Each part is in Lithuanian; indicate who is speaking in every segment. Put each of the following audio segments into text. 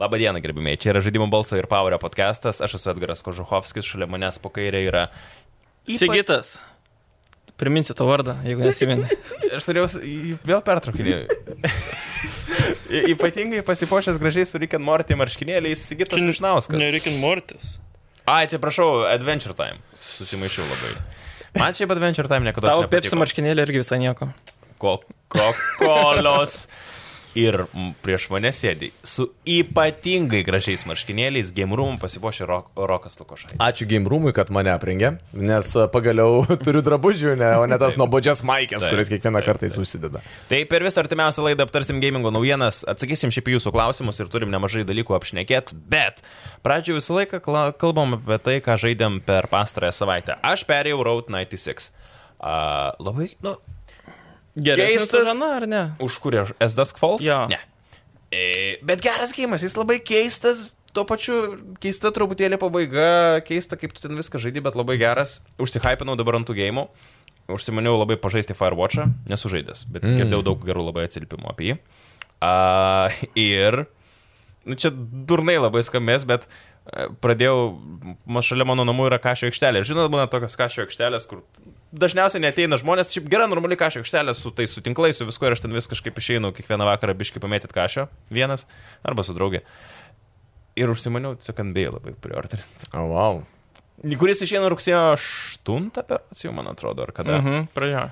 Speaker 1: Labadiena, gerbimiai. Čia yra žaidimų balso ir powerio podcastas. Aš esu Edgaras Kožuhovskis, šalia manęs po kairė yra... Ypa-
Speaker 2: Sigitas. Priminsiu to vardą, jeigu nesimeni.
Speaker 1: Aš turėjau s- į- vėl pertraukinį. Ypatingai pasipošęs gražiai su Rick and Morty marškinėliais Sigitas Mišnauskas.
Speaker 3: Nerikin Mortis.
Speaker 1: Ai, atsiprašau, Adventure Time. Susimaišiau labai. Man šiaip Adventure Time niekada
Speaker 2: Tau
Speaker 1: nepatiko.
Speaker 2: pepsi marškinėlė irgi visai nieko.
Speaker 1: Coca-Colos. Ir m, prieš mane sėdi su ypatingai gražiais marškinėliais, game room pasipošė Rok- Rokas Lukošai.
Speaker 4: Ačiū Game Roomui, kad mane aprengė, nes e, pagaliau turiu drabužių, ne, o ne tas nuobodžias maikės,
Speaker 1: Taip,
Speaker 4: kurias kiekvieną
Speaker 1: taip,
Speaker 4: kartą jis užsideda.
Speaker 1: Tai per visą artimiausią laidą aptarsim gamingo naujienas, atsakysim šiaip į jūsų klausimus ir turim nemažai dalykų apšnekėt, bet pradžioje visą laiką kla- kalbam apie tai, ką žaidėm per pastarąją savaitę. Aš perėjau Road 96. Uh, labai, nu,
Speaker 2: Geresnis
Speaker 1: Keistas.
Speaker 2: už Aną, ar ne?
Speaker 1: už kurį aš SDSK Falls?
Speaker 2: Jo.
Speaker 1: Ne. E, bet geras gėjimas, jis labai keistas, tuo pačiu keista truputėlė pabaiga, keista kaip tu ten viską žaidži, bet labai geras. Užsihypinau dabar ant tų gėjimų, užsimaniau labai pažaisti Firewatch'ą, nesu žaidęs, bet mm. girdėjau daug gerų labai atsiliepimų apie jį. A, ir, nu čia durnai labai skambės, bet e, pradėjau, ma- šalia mano namų yra kažio aikštelė. Žinot, būna tokios kažio aikštelės, kur dažniausiai neteina žmonės, šiaip gera normali kažio aikštelė su tais su tinklais, su viskuo ir aš ten vis kažkaip išeinu kiekvieną vakarą biškai pamėtyti kažio vienas arba su draugė. Ir užsimaniau, sekambėjai labai prioritetinti.
Speaker 4: O, oh, wow.
Speaker 1: Kuris išeina rugsėjo 8, berods jau man atrodo, ar kada. Mhm.
Speaker 2: Mhm, pradėjo.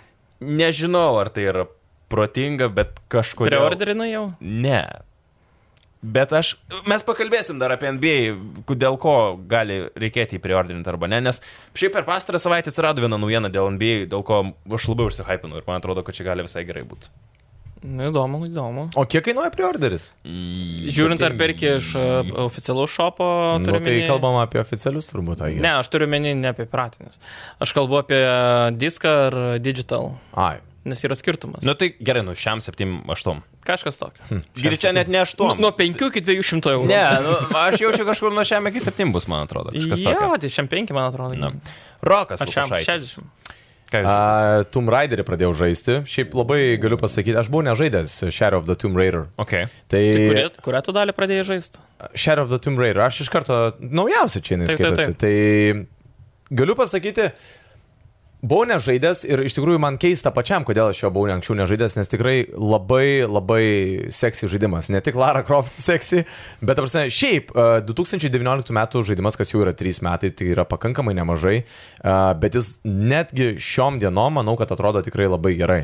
Speaker 1: Nežinau, ar tai yra protinga, bet kažkodėl.
Speaker 2: Preorderina jau?
Speaker 1: Ne. Bet aš. Mes pakalbėsim dar apie NBA, ku- dėl ko gali reikėti jį priordinti arba ne, nes šiaip per pastarą savaitę atsirado viena naujiena dėl NBA, dėl ko aš labai užsihypinu ir man atrodo, kad čia gali visai gerai būti.
Speaker 2: Nu, įdomu, įdomu.
Speaker 4: o kiek kainuoja priorderis?
Speaker 1: Nu,
Speaker 2: Žiūrint, ar perki iš e, oficialaus šopo,
Speaker 4: Nu,
Speaker 2: turime.
Speaker 4: tai kalbam apie oficialius turbūt, ai.
Speaker 2: Ne, aš turiu menį ne apie pratinius. Aš kalbu apie diską ar digital,
Speaker 4: Ai.
Speaker 2: nes yra skirtumas.
Speaker 1: Na tai gerai, nu šiam 7-8.
Speaker 2: Kažkas tokio.
Speaker 1: Greičia net ne 8.
Speaker 2: Nu, nuo 5 iki 200 eurų.
Speaker 1: Ne, nu, aš jaučiu kažkur nuo šiam iki 7 bus, man atrodo. Kažkas
Speaker 2: Jo,
Speaker 1: tokio.
Speaker 2: tai šiam 5, man atrodo.
Speaker 1: Na. Rokas.
Speaker 2: Aš šiam
Speaker 1: Lukošaitis.
Speaker 2: 60.
Speaker 1: Ką jūs
Speaker 4: A, Tomb Raiderį pradėjau žaisti. Šiaip labai galiu pasakyti, aš buvau nežaidęs Shadow of the Tomb Raider.
Speaker 1: Okay.
Speaker 4: Tai,
Speaker 2: Tai kurią,
Speaker 1: E-
Speaker 2: kurią tu dalį pradėjai žaisti?
Speaker 4: Shadow of the Tomb Raider. Aš iš karto naujausia čia jinai
Speaker 2: Taip, taip,
Speaker 4: skaitosi. Tai galiu pasakyti, buvau nežaidęs ir iš tikrųjų man keista pačiam, kodėl aš jo buvau ne anksčiau nežaidęs, nes tikrai labai labai seksy žaidimas. Ne tik Lara Croft seksy, bet ta prasme, šiaip e, a, 2019 metų žaidimas, kas jau yra 3 metai, tai yra pakankamai nemažai, a, bet jis netgi šiom dienom, manau, kad atrodo tikrai labai gerai.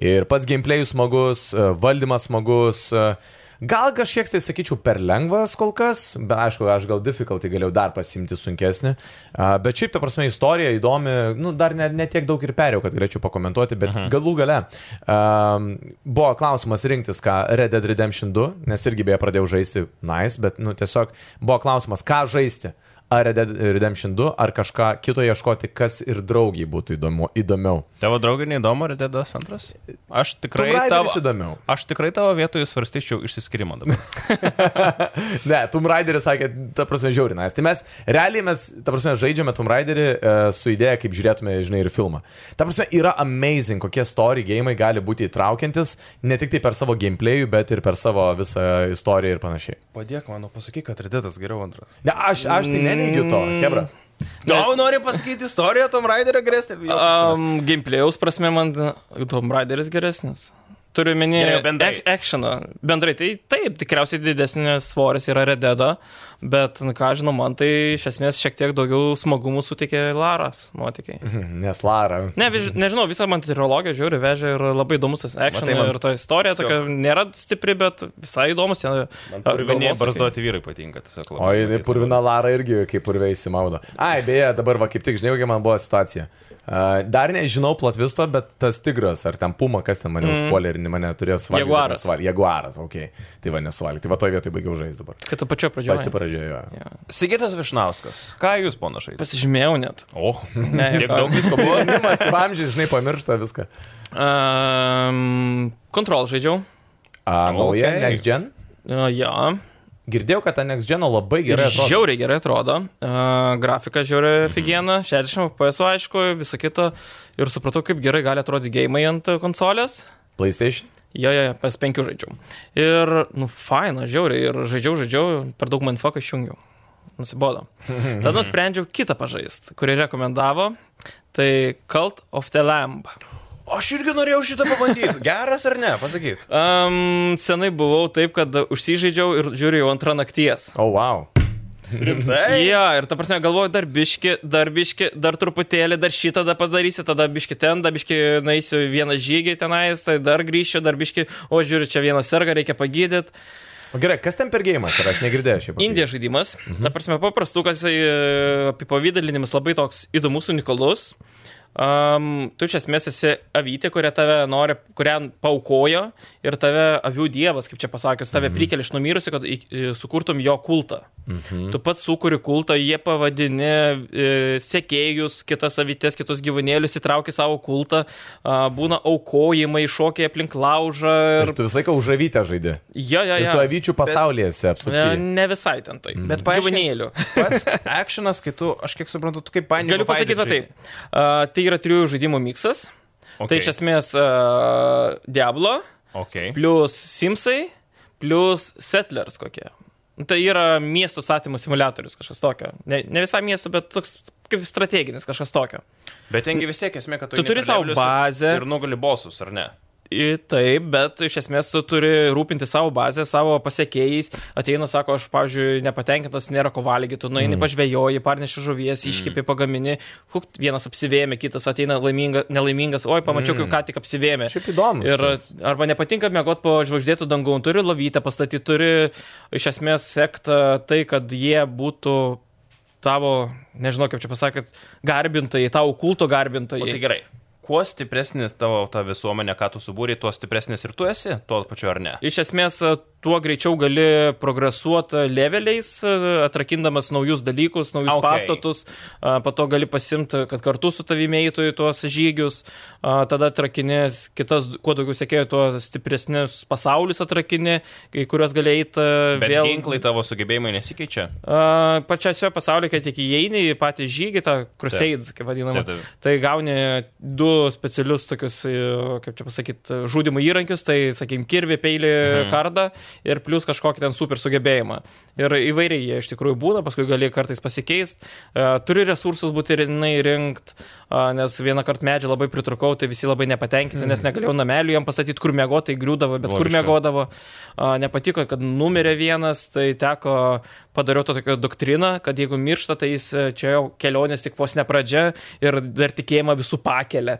Speaker 4: Ir pats gameplayus smagus, a, valdymas smagus. e, a, Gal kažkiek tai sakyčiau per lengvas kol kas, bet aišku, aš gal difficulty galėjau dar pasimti sunkesnį. A, Bet šiaip, ta prasme, istorija įdomi, nu, dar net ne tiek daug ir perėjau, kad galėčiau pakomentuoti, bet Aha. galų gale um, buvo klausimas rinktis, ką Red Dead Redemption 2, nes irgi beje pradėjau žaisti Nice, bet, nu, tiesiog buvo klausimas, ką žaisti. Ar Red Dead Redemption 2, ar kažką kito ieškoti, kas ir draugiai būtų įdomu, įdomiau.
Speaker 1: Tavo draugai neįdomu, ar dėdas antras? Aš tikrai
Speaker 4: Tomb
Speaker 1: tavo...
Speaker 4: Raideris įdomiau.
Speaker 1: Aš tikrai tavo vietoje svarstyčiau išsiskirimą dabar.
Speaker 4: Ne, Tomb Raideris sakė, ta prasme, žiaurinais. Tai mes, realiai mes, ta prasme, žaidžiame Tomb Raiderį e, su idėja, kaip žiūrėtume, žinai, ir filmą. Ta prasme, yra amazing, kokie story gėjimai gali būti įtraukiantis, ne tik tai per savo gameplayų, bet ir per savo visą istoriją ir panašiai.
Speaker 1: Padėk man, nu, pasakyk, kad Rededas geriau antras.
Speaker 4: Ne, aš, aš tai neneigiu to, Hebra.
Speaker 1: Tau nori pasakyti istoriją Tom Raiderio grėsti?
Speaker 2: Um, Gameplayaus prasme man Tomb Raideris geresnis. Turiu
Speaker 1: Gerai,
Speaker 2: minėti
Speaker 1: o bendrai?
Speaker 2: actioną. Bendrai, tai taip, tikriausiai didesnis svoris yra rededa, bet, nu, ką žinau, man tai iš esmės šiek tiek daugiau smagumų suteikė Laras nuotikiai.
Speaker 4: Nes Lara.
Speaker 2: Ne, viž, nežinau, visą man trilogija žiūri, vežė ir labai įdomus tas action
Speaker 1: Matai, man
Speaker 2: ir ta istorija
Speaker 1: tiesiog-
Speaker 2: tokia nėra stipri, bet visai įdomus.
Speaker 1: Purviniai barzduoti vyrai patinka, tiesiog
Speaker 4: O jinai purvina Lara irgi, kaip purviai įsimaudo. Ai, beje, dabar va kaip tik žinai, kokia man buvo situacija. Uh, dar nežinau platvisto, bet tas tigras ar ten puma, kas ten mane mm. užpuolė ir mane turėjo suvalgyti.
Speaker 2: Mhm. Jaguaras.
Speaker 4: Nesval... Jaguaras, okei. Okay. Tai va nesuvalgyti. Tai va toje vietoje baigiau žaisti dabar.
Speaker 2: Kad tu pačiu
Speaker 4: Pačiu
Speaker 2: pradžioje.
Speaker 4: pradžioje. jo.
Speaker 1: Sigitas Višnauskas. Ką jūs panašai?
Speaker 2: Pasižymėjau net.
Speaker 1: O,
Speaker 2: Ne,
Speaker 1: tiek
Speaker 2: juokauju.
Speaker 1: daug visko buvo.
Speaker 4: Jaunimas, amžiai, žinai, pamiršta viską.
Speaker 2: Um, Kontrol žaidžiau.
Speaker 4: A, nauja,
Speaker 1: Okei.
Speaker 4: okay. Next Gen.
Speaker 2: Uh, jo.
Speaker 4: Girdėjau, kad ta Next Gen labai
Speaker 2: Ir
Speaker 4: gerai atrodo. Mhm.
Speaker 2: žiauriai gerai atrodo. Uh, grafika žiauriai figiena, 60 FPS aišku, visa kita. Ir supratau, kaip gerai gali atrodyti gėjimai ant uh, konsolės.
Speaker 4: PlayStation.
Speaker 2: Jo, jo, jo, pas penkių žaidžiau. Ir, nu, faina, žiauriai. Ir žaidžiau, žaidžiau, per daug man foką išjungiau. Nusibodo.
Speaker 4: Mhm.
Speaker 2: Tada nusprendžiau kitą pažaist, kurį rekomendavo. Tai Cult of the Lamb.
Speaker 1: Aš irgi norėjau šitą pabandyti. Geras ar ne, pasakyk.
Speaker 2: Um, senai buvau taip, kad užsižaidžiau ir žiūrėjau antrą nakties.
Speaker 4: O, oh, wow.
Speaker 2: Taip.
Speaker 1: Rimtai.
Speaker 2: Ja, ir ta prasme, galvoju, dar biški, dar biški, dar truputėlį, dar šitą tada padarysiu, tada biški ten, dar biški naisiu vieną žygį tenais, tai dar grįšiu, dar biški, o žiūriu, čia vieną sergą reikia pagydyti.
Speaker 4: O gerai, kas ten per gėjimas? Ar aš negirdėjau šiaip? apie jį?
Speaker 2: Indija žaidimas, mhm. ta prasme, paprastukas, e, apipavydalinimas labai toks įdomus, unikalus. Um, tu iš esmės esi avytė, kurią tave nori, kurią paukojo ir tave avių dievas, kaip čia pasakius,
Speaker 4: Mhm.
Speaker 2: tave mm. prikelia iš numirusių, kad į- į- sukurtum jo kultą.
Speaker 4: Mhm.
Speaker 2: Tu pats sukuri kultą, jie pavadini e, sekėjus, kitas avytės, kitus gyvūnėlius, įtrauki savo kultą, a, būna aukojimai, šokiai aplink laužą
Speaker 4: Ir
Speaker 2: ir...
Speaker 4: tu visą laiką užravytę žaidži.
Speaker 2: Ja, ja,
Speaker 4: Ir
Speaker 2: ja.
Speaker 4: tu Mhm. avyčių pasaulyje esi
Speaker 2: E,
Speaker 4: apsupti.
Speaker 2: Ne visai ten tai.
Speaker 1: Bet paaiškink-
Speaker 2: Gyvūnėlių.
Speaker 1: Pats actionas, kai tu, aš kiek suprantu, tu kaip panė.
Speaker 2: Galiu pasakyti va taip. A, Tai yra trijų žaidimų miksas. Okay. Tai iš esmės uh, Diablo,
Speaker 1: Okay.
Speaker 2: plus Simsai, plus Settlers kokie. Tai yra miesto statymo simulatorius kažkas tokio. Ne, ne visai miesto, bet toks kaip strateginis kažkas tokio.
Speaker 1: Bet tengi vis tiek esmė, kad tu,
Speaker 2: Tu
Speaker 1: eini
Speaker 2: turi
Speaker 1: per
Speaker 2: savo
Speaker 1: levelius
Speaker 2: bazę.
Speaker 1: Ir nugali bosus, ar ne?
Speaker 2: Ir taip, bet iš esmės tu turi rūpinti savo bazę, savo pasiekėjais. Ateina, sako, aš, pavyzdžiui, nepatenkintas, nėra ko valgyti, tu nueini mm. pažvėjoji, parneši žuvies, iškipi pagamini, huk, vienas apsivėmė, kitas ateina laiminga, nelaimingas, oi, pamačiau, mm. kaip ką tik apsivėmė.
Speaker 4: Šiaip įdomu.
Speaker 2: Ir arba nepatinka mėgoti po žvaigždėtų dangų, turi lovytę pastatyti, turi iš esmės sekti tai, kad jie būtų tavo, nežinau kaip čia pasakyt, garbintojai, tavo
Speaker 1: O
Speaker 2: kulto
Speaker 1: tai
Speaker 2: garbintojai.
Speaker 1: gerai. Kuo stipresnis tavo ta visuomenė, ką tu subūrė, tuo stipresnis ir tu esi, tuo pačiu ar ne?
Speaker 2: Iš esmės, e, tuo greičiau gali progresuoti leveliais, e, atrakindamas naujus dalykus, naujus
Speaker 1: Okay.
Speaker 2: okay. pastatus, a, po to gali pasimti, kad kartu su tavimi eitų į tuos žygius, a, tada atrakinės kitas, kuo daugiau sekėjų, tuo stipresnius pasaulius atrakinė, į kuriuos gali eiti
Speaker 1: Bet
Speaker 2: vėl.
Speaker 1: Vėl... ginklai tavo sugebėjimai nesikeičia.
Speaker 2: A, Pačiasioje pasaulyje, kai tik įeini į patį žygį, tą Crusades, kaip vadinama,
Speaker 1: Taip, taip.
Speaker 2: tai gauni du specialius tokius, e, kaip čia pasakyti, žudimo įrankius, tai, sakykime, kirvi, peilį, mhm. kardą ir plus kažkokį ten super sugebėjimą. Ir įvairiai jie iš tikrųjų būna, paskui gali kartais pasikeisti, turi resursus būti rinai rinkti, nes vieną kartą medžią labai pritrukau, tai visi labai nepatenkinti, nes negalėjau namelių jam pastatyti, kur mėgo, tai griūdavo, bet
Speaker 1: Mhm.
Speaker 2: kur
Speaker 1: Logiška.
Speaker 2: mėgo miegodavo, a, nepatiko, kad numirė vienas, tai teko padariau to tokią doktriną, kad jeigu miršta, tai jis e, čia jau kelionės tik vos ne pradžia ir dar tikėjimą visų pakelia.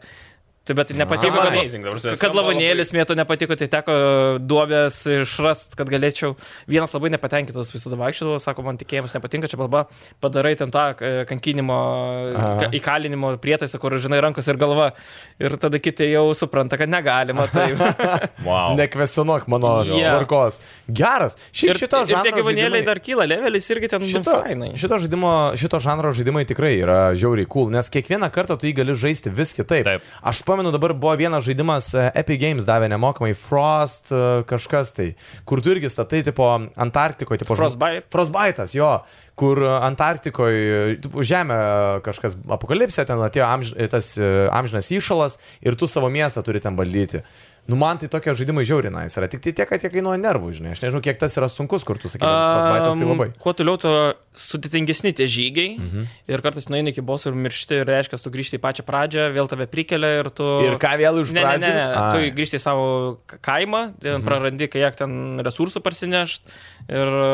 Speaker 2: Tai bet nepatiko,
Speaker 1: Skamba
Speaker 2: kad,
Speaker 1: amazing, ta prasme,
Speaker 2: kad
Speaker 1: skamba
Speaker 2: lavonėlis mėto nepatiko, tai teko duobės išrast, kad galėčiau. Vienas labai nepatenkintas visada vaikščiodavo, sako, man tikėjimas nepatinka, čia balba, padarai ten tą e, kankinimo,
Speaker 4: Aha.
Speaker 2: ka, įkalinimo prietaisą, kur, žinai, rankos ir galva. Ir tada kiti jau supranta, kad negalima. Tai...
Speaker 1: Wow. Ne...
Speaker 4: Nekvesionuok mano
Speaker 2: Jo.
Speaker 4: tvarkos. Geras. Šiaip
Speaker 2: Ir,
Speaker 4: šito
Speaker 2: ir tie
Speaker 4: žanro
Speaker 2: gyvūnėliai
Speaker 4: žaidimai-
Speaker 2: dar kyla, levelis irgi ten šito,
Speaker 4: Šito,
Speaker 2: fainai.
Speaker 4: šito, žaidimo, šito žanro žaidimai tikrai yra žiauriai cool, nes kiekvieną kartą tu jį gali žaisti vis kitaip.
Speaker 1: Taip.
Speaker 4: Aš pamenu, dabar buvo vienas žaidimas, e, Epic Games davė nemokamai Frost e, kažkas tai, kur tu irgi statai tipo Antarktikoje, tipo žmo-
Speaker 2: Frostbite?
Speaker 4: Frostbite'as, jo, kur e, Antarktikoje e, tipo, žemė e, kažkas apokalipsė, ten atėjo amž, e, tas e, amžinas įšalas ir tu savo miestą turi ten valdyti. Nu, man tai tokie žaidimai žiaurinais yra. Tik tai tiek, kad jie kainuoja nervų, žinai. Aš nežinau, kiek tas yra sunkus, kur tu sakai, Frostbite'as tai
Speaker 2: Am,
Speaker 4: labai.
Speaker 2: Kuo toliau, tuo sudėtingesni tie žygiai. Mhm. Ir kartais nueini iki bosų ir miršti, ir reiškia, tu grįžti į pačią pradžią, vėl tave prikelia ir tu...
Speaker 4: Ir ką vėl iš
Speaker 2: Ne, ne, ne,
Speaker 4: pradžios? Ai.
Speaker 2: tu grįžti į savo k- kaimą, mhm. prarandi, kai jak ten resursų parsinešt ir e,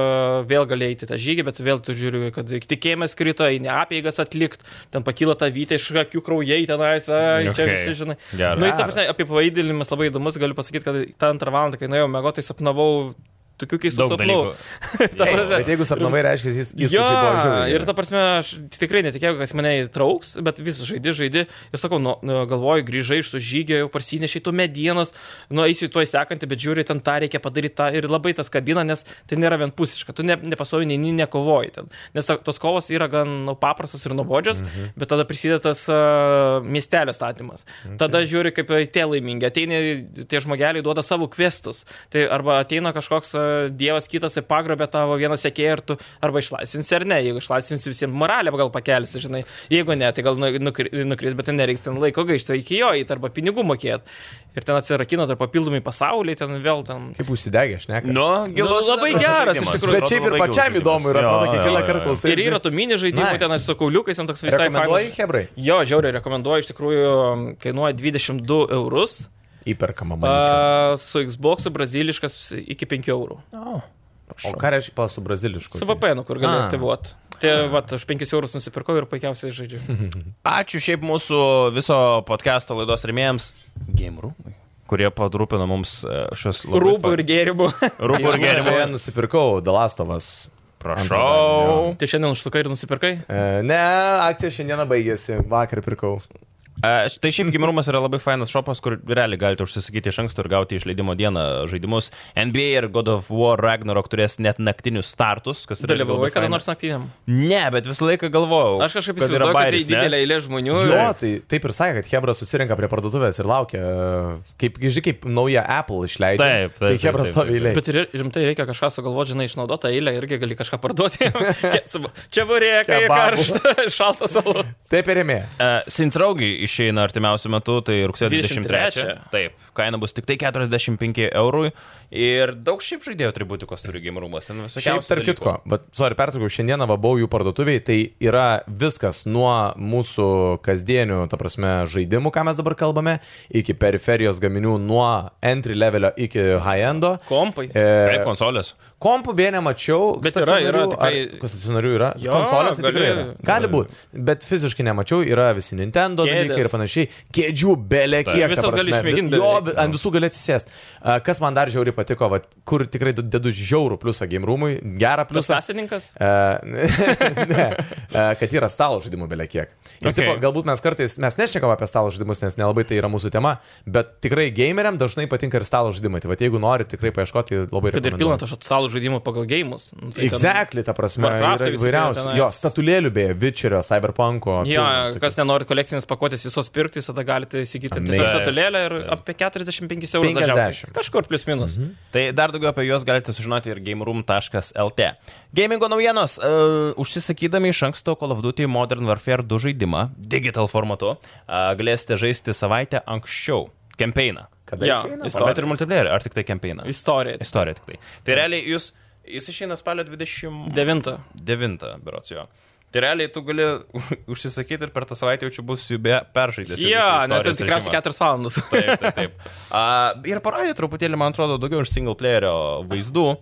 Speaker 2: vėl gali eiti tą žygį, bet vėl tu žiūri, kad tikėjimas krito, eini apėgas atlikti, ten pakyla ta vytė iš akių kraujai tenais, ai, čia
Speaker 1: Okay.
Speaker 2: visi žinai.
Speaker 1: Geras.
Speaker 2: Nu, jis, ta prasme, apie pavaidinimas labai įdomus, galiu pasakyti, kad tą antrą valandą, kai nuėjau mėgoti, sapnavau tokių keistų
Speaker 1: Daug
Speaker 2: sapnų.
Speaker 1: dalykų.
Speaker 2: Ta prasme,
Speaker 4: Bet jeigu sapnavai, reiškia, jis
Speaker 2: Jo,
Speaker 4: įspūdžiai buvo žiauriai
Speaker 2: ir
Speaker 4: geri.
Speaker 2: ta prasme, aš tikrai netikėjau, kad jis mane įtrauks, bet vis žaidži, žaidži. Ir sakau, nu, nu, galvoju, grįžai iš to žygio, jau parsinešiai tu medienos, nu, eisiu į to įsekantį, bet žiūri, ten tą reikia padaryti tą ir labai tas kabina, nes tai nėra vienpusiška, tu ne, nepasovi, nei nekovoji ten. Nes ta, tos kovos yra gan nu, paprastas ir nuobodžios, mhm. bet tada prisideda tas uh, miestelio statymas. Okay. Tada žiūri, kaip tie laimingi, ateina tie žmogeliai, duoda savo kvestus, tai arba ateina kažkoks a, dievas kitas ir pagrobė tavo vieną sekėją ir tu arba išlaisvinsi ar ne. Jeigu išlaisvinsi visiems moralę, gal pakelsi, žinai. Jeigu ne, tai gal nu- nukri- nukris, bet ten nereiks ten laiko gaišti iki jo, į arba pinigų mokėti. Ir ten atsirakina dar papildomai pasauliai, ten vėl ten.
Speaker 4: Kaip užsidegė, aš nekalbu.
Speaker 1: Nu, gilus
Speaker 2: labai geras, iš
Speaker 1: žaidimas.
Speaker 2: tikrųjų.
Speaker 4: Bet šiaip
Speaker 1: Labai
Speaker 4: ir
Speaker 1: gilus
Speaker 4: pačiam
Speaker 1: žaidimas.
Speaker 4: įdomu ir atrodo
Speaker 1: Jo, jo,
Speaker 4: kiekvieną
Speaker 1: jo,
Speaker 4: kartą
Speaker 1: jo.
Speaker 4: klausai.
Speaker 2: Ir yra tų mini žaidimų,
Speaker 4: Nice.
Speaker 2: nice. ten su kauliukais, ten toks visai fainas.
Speaker 4: Rekomenduoji, Hebrai?
Speaker 2: Jo, žiauriai rekomenduoju, iš tikrųjų kainuoja 22 eurus,
Speaker 4: Įperkama, man.
Speaker 2: a, su Xbox braziliškas iki 5 eurų.
Speaker 4: O ką reiškia pa su brazilišku?
Speaker 2: Su VPN, kur gali
Speaker 4: A.
Speaker 2: aktyvuoti. Tai va, aš 5 eurus nusipirkau ir puikiausiai žaidžiu.
Speaker 1: Ačiū šiaip mūsų viso podcast'o laidos remėjams Game Roomui, kurie padrūpino mums e, šios labai
Speaker 2: Rūbų
Speaker 1: fa-
Speaker 2: ir gėrimų.
Speaker 1: Rūbų ir gėrimų.
Speaker 4: Beje, nusipirkau Dalastovas.
Speaker 1: Prašau.
Speaker 2: tai šiandien užsukai ir nusipirkai?
Speaker 4: E, Ne, akcija šiandieną baigėsi, vakar pirkau.
Speaker 1: E, š- Tai šiaip gimirumas yra labai fainas šopas, kur realiai galite užsisakyti iš anksto ir gauti išleidimo dieną žaidimus. NBA ir God of War Ragnarok turės net naktinius startus, kas yra irgi
Speaker 2: Dalyvavai
Speaker 1: labai
Speaker 2: kada
Speaker 1: faina.
Speaker 2: nors naktiniam?
Speaker 1: Ne, bet visą laiką galvojau.
Speaker 2: Aš kažkaip
Speaker 1: kad yra
Speaker 2: įsivaizduoju, kad tai
Speaker 1: bairis, ne?
Speaker 2: didelė eilė žmonių.
Speaker 4: Jo,
Speaker 2: ir-
Speaker 4: tai taip ir sakė, kad Hebra susirinka prie parduotuvės ir laukia, e, kaip, žinai, kaip naują Apple išleidžia.
Speaker 1: Taip, taip,
Speaker 4: Tai
Speaker 1: taip,
Speaker 4: Hebra
Speaker 1: taip,
Speaker 4: stovi
Speaker 1: taip.
Speaker 4: eilėje.
Speaker 2: Bet ir rimtai reikia kažką sugalvoti, žinai, išnaudotą eilę irgi gali kažką parduoti. Ke- su- Čia burėka,
Speaker 4: Kebabų.
Speaker 2: karšta, šaltas salas.
Speaker 4: Taip ir ėmė.
Speaker 1: Uh, Sinsraugi išeina artimiausiu metu, tai rugsėjo 23.
Speaker 2: 23.
Speaker 1: Taip, kaina bus tik tai 45 eurų. Ir daug šiaip žaidėjo atributikos turi gimrumas. Ten visokiausių.
Speaker 4: Šiaip, tarp kitko, bet, sorry, pertraukiau, šiandieną va, buvau jų parduotuviai, tai yra viskas nuo mūsų kasdienių, ta prasme, žaidimų, ką mes dabar kalbame, iki periferijos gaminių, nuo entry levelio iki high-endo.
Speaker 2: Kompai.
Speaker 1: Taip,
Speaker 4: E,
Speaker 1: konsolės.
Speaker 4: Kompų beje nemačiau.
Speaker 2: Bet yra, yra
Speaker 4: stacionarių,
Speaker 2: tikrai-
Speaker 4: ar- Kas stacionarių yra?
Speaker 2: Jo,
Speaker 4: Konsolės tai
Speaker 2: gali-
Speaker 4: tikrai yra. Gali būti. Bet fiziškai nemačiau, yra visi Nintendo
Speaker 2: Kėdės.
Speaker 4: dalykai ir panašiai. Kėdžių belė
Speaker 1: Taip.
Speaker 4: kiek. ta
Speaker 2: Visas
Speaker 4: prasme.
Speaker 2: gali išmėgint
Speaker 4: Vi- Jo,
Speaker 2: beveik.
Speaker 4: bet ant visų gali atsisėsti. Kas man dar žiauriai patiko, vat, kur tikrai du- dedu žiaurų pliusą game roomui, gerą
Speaker 2: Plus
Speaker 4: pliusą.
Speaker 2: asininkas.
Speaker 4: E, ne, e, kad yra stalo žaidimų belie kiek. Ir
Speaker 1: Okay.
Speaker 4: tipo, galbūt mes kartais, mes nešnekam apie stalo žaidimus, nes nelabai tai yra mūsų tema, bet tikrai gameriam dažnai patinka ir stalo žaidimai. Tai va, jeigu nori tikrai paieškoti, labai
Speaker 2: Kad ir
Speaker 4: rekomenduoju.
Speaker 2: pilna to stalų žaidimų pagal gėjimus. Nu, tai ten-
Speaker 4: Exactly, ta prasme,
Speaker 2: Warcraft'ai
Speaker 4: yra
Speaker 2: visokie
Speaker 4: įvairiausių.
Speaker 2: tenais.
Speaker 4: Jo, statulėlių beje, Witcherio, Cyberpunko.
Speaker 2: Jo,
Speaker 4: pilna visokių.
Speaker 2: kas nenori kolekcinės pakuotės visos pirkti, visada galite įsigyti
Speaker 4: Amazing.
Speaker 2: tiesiog statulėlę ir apie 45 eurus
Speaker 4: 50.
Speaker 2: dažniausiai. Kažkur plius minus.
Speaker 1: Tai dar daugiau apie juos galite sužinoti ir gameroom.lt. Gamingo naujienos. Uh, užsisakydami iš anksto Call of Duty Modern Warfare 2 žaidimą digital formatu uh, galėsite žaisti savaitę anksčiau. Kampeiną.
Speaker 4: Kada
Speaker 2: Jo,
Speaker 4: išeina?
Speaker 2: jis-
Speaker 1: Bet ir multiplayerį, ar tik tai kampeiną?
Speaker 2: Istorija.
Speaker 1: Istorija tik tai. Tai realiai jūs, jis išeina spalio 29,
Speaker 2: Devinta.
Speaker 1: berots jo. Tai realiai tu gali užsisakyti ir per tą savaitę jau čia bus jų be peržaidęs. jau
Speaker 2: Jo,
Speaker 1: visą
Speaker 2: nes ten
Speaker 1: istorijos
Speaker 2: tikriausiai
Speaker 1: režimą.
Speaker 2: 4 valandas.
Speaker 1: Taip, taip, taip. Uh, ir parodė truputėlį, man atrodo, daugiau iš single playerio vaizdų.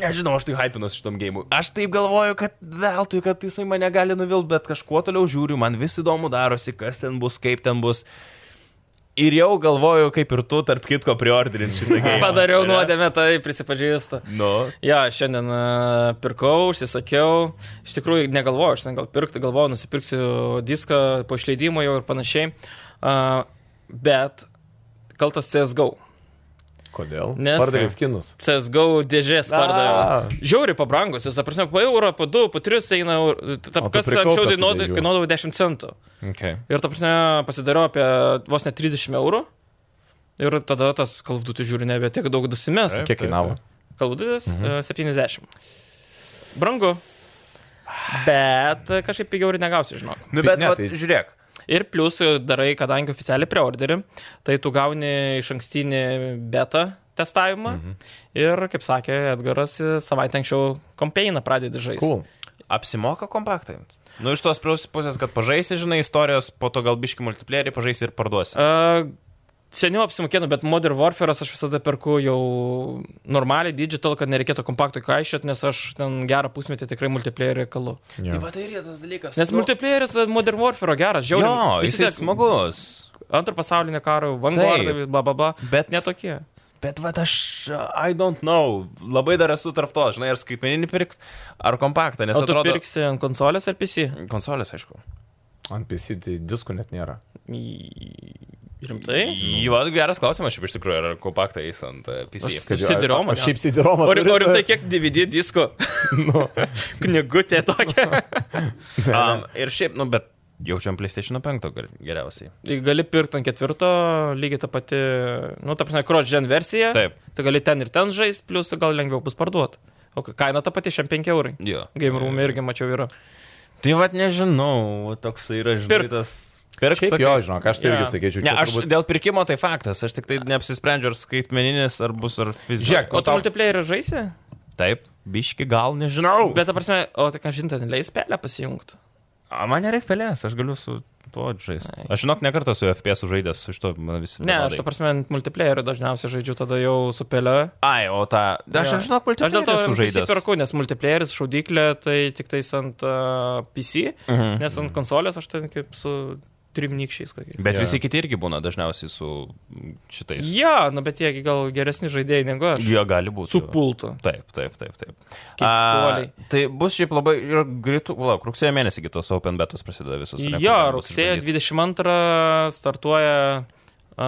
Speaker 1: Nežinau, aš tai hypinus šitam gėjimui. Aš taip galvoju, kad veltui, kad jisai mane gali nuvilti, bet kažkuo toliau žiūriu, man vis įdomu darosi, kas ten bus, kaip ten bus. Ir jau galvoju, kaip ir tu, tarp kitko, priorderint šitą gėjimą.
Speaker 2: Padariau nuodėmę, tai prisipažįstu.
Speaker 1: Nu,
Speaker 2: Jo, šiandien e, pirkau, užsisakiau. Iš tikrųjų, negalvojau, aš ten gal pirkti, galvojau, nusipirksiu diską po išleidimo jau ir panašiai. A, Bet kaltas CSGO.
Speaker 4: Kodėl?
Speaker 2: Nes-
Speaker 4: Pardavė skinus.
Speaker 2: CSGO dėžės
Speaker 4: A.
Speaker 2: pardaviau. Žiauriai pabrangus, jis, ta prasme, po eurą, po du, po tris eina, eur- ta,
Speaker 4: O tu
Speaker 2: kas
Speaker 4: prikaupęs
Speaker 2: anksčiau
Speaker 4: tų
Speaker 2: dainuodavo,
Speaker 4: dėžių.
Speaker 2: kainuodavo 10 centų.
Speaker 1: Okay.
Speaker 2: Ir, ta prasme, pasidariau apie vos net 30 eurų. Ir tada tas kalvdutis žiūri nebe tiek daug dusimės.
Speaker 1: Taip,
Speaker 4: Kiek kainavo?
Speaker 2: Kalvutis mhm. 70. Brangu. Bet e, kažkaip pigiau ir negausi, žinok.
Speaker 1: Nu,
Speaker 4: Tai
Speaker 1: bet,
Speaker 4: ne,
Speaker 1: ne,
Speaker 4: tai-
Speaker 1: tai... žiūrėk.
Speaker 2: Ir plus e, darai, kadangi oficialiai preorderį, tai tu gauni iš ankstinį beta testavimą. Mhm. Ir, kaip sakė Edgaras, e, savaitę anksčiau kompeiną pradedi žaisti.
Speaker 4: Cool.
Speaker 1: Apsimoka kompaktai. Nu, iš tos plius pusės, kad pažaisi, žinai, istorijos, po to gal biški multiplayerį pažaisi ir parduosi.
Speaker 2: Uh, Seniau apsimokėtų, bet Modern Warfare aš visada perku jau normaliai digital, kad nereikėtų kompaktų kaišyti, nes aš ten gerą pusmetį tikrai multiplayerį kalu.
Speaker 1: Tai va tai ir yra tas dalykas.
Speaker 2: Nes multiplayeris e, Modern Warfare geras,
Speaker 1: Jo,
Speaker 2: žiauriai.
Speaker 1: jis
Speaker 2: Visi
Speaker 1: yra
Speaker 2: tie-
Speaker 1: smagus.
Speaker 2: Antro pasaulinio karo, vanguardai, bla bla bla.
Speaker 1: Bet-
Speaker 2: netokie.
Speaker 1: Bet va aš, I don't know, labai dar esu tarp to, žinai, ar skaitmeninį pirks, ar kompaktą, nes
Speaker 2: Ar tu
Speaker 1: atrodo...
Speaker 2: atrodo... pirksi ant konsolės ar PC?
Speaker 1: Konsolės, aišku.
Speaker 4: Ant PC tai diskų net nėra.
Speaker 2: Į- Rimtai?
Speaker 1: Jo, geras klausimas, šiaip iš tikrųjų, ar kompaktą eis ant e, PC.
Speaker 2: Aš- CD-ROM,
Speaker 4: Aš
Speaker 2: ne?
Speaker 4: šiaip sidiromą.
Speaker 2: O ri- o rimtai tai kiek DVD disko?
Speaker 4: Nu,
Speaker 2: Knygutė tokia.
Speaker 1: Um, ir šiaip, nu, bet jaučiam PlayStation 5 gal- geriausiai.
Speaker 2: Jei Gali pirkti ant ketvirto, lygiai ta pati, nu, ta prasme, cross-gen versija.
Speaker 1: Taip.
Speaker 2: Tu gali ten ir ten žaisti, plus gal lengviau bus parduoti. O ka- kaina ta pati, šiam 5 eurai.
Speaker 1: Jo.
Speaker 2: Game room irgi mačiau yra.
Speaker 1: Tai vad nežinau, va toks yra
Speaker 2: Pirk.
Speaker 1: žvirtas.
Speaker 4: Pirk, Šiaip
Speaker 1: sakai.
Speaker 4: jo, žinok, aš tai irgi
Speaker 2: Jo.
Speaker 4: sakyčiau.
Speaker 1: Ne,
Speaker 4: čia
Speaker 1: aš
Speaker 4: turbūt-
Speaker 1: dėl pirkimo tai faktas, aš tik tai neapsisprendžiu, ar skaitmeninis, ar bus, ar fizinis.
Speaker 4: Žiūrėk,
Speaker 2: O
Speaker 4: O
Speaker 2: tu
Speaker 4: tau-
Speaker 2: multiplayerį žaisi?
Speaker 1: Taip, biški gal nežinau. Bet
Speaker 2: Bet, ta prasme, o tai ką žinai, ten leis pelę pasijungti.
Speaker 1: a, man nereikia pelės, aš galiu su tuo žaisti. Aš žinok, nekartą su FPS žaidęs, iš to man visi.
Speaker 2: Ne, aš
Speaker 1: vienodai.
Speaker 2: ta prasme, ant multiplayerį dažniausiai žaidžiu tada jau su pelė.
Speaker 1: Ai, o tą. Aš ja.
Speaker 2: Jo.
Speaker 1: žinok,
Speaker 2: Aš dėl to
Speaker 1: multiplayer
Speaker 2: žaidžiu.
Speaker 1: sužaidęs.
Speaker 2: Perku, nes multiplayeris šaudyklė tai tik tais ant uh, PC,
Speaker 1: Mhm.
Speaker 2: nes ant konsolės aš ten kaip su trimnykščiais kokiais.
Speaker 1: Bet
Speaker 4: Jo.
Speaker 1: ja. visi kiti irgi būna dažniausiai su šitais.
Speaker 2: Ja, nu bet jiegi gal geresni žaidėjai negu aš.
Speaker 1: Jie gali būti.
Speaker 2: Su pultu.
Speaker 1: Taip, taip, taip, taip.
Speaker 2: Keistuoliai.
Speaker 1: A, tai bus šiaip labai ir greitų, lauk, rugsėjo mėnesį kitos Open Betos prasideda visos. ir
Speaker 2: Jo,
Speaker 1: rekomendacijos
Speaker 2: rugsėjo
Speaker 1: išbandyt.
Speaker 2: 22 startuoja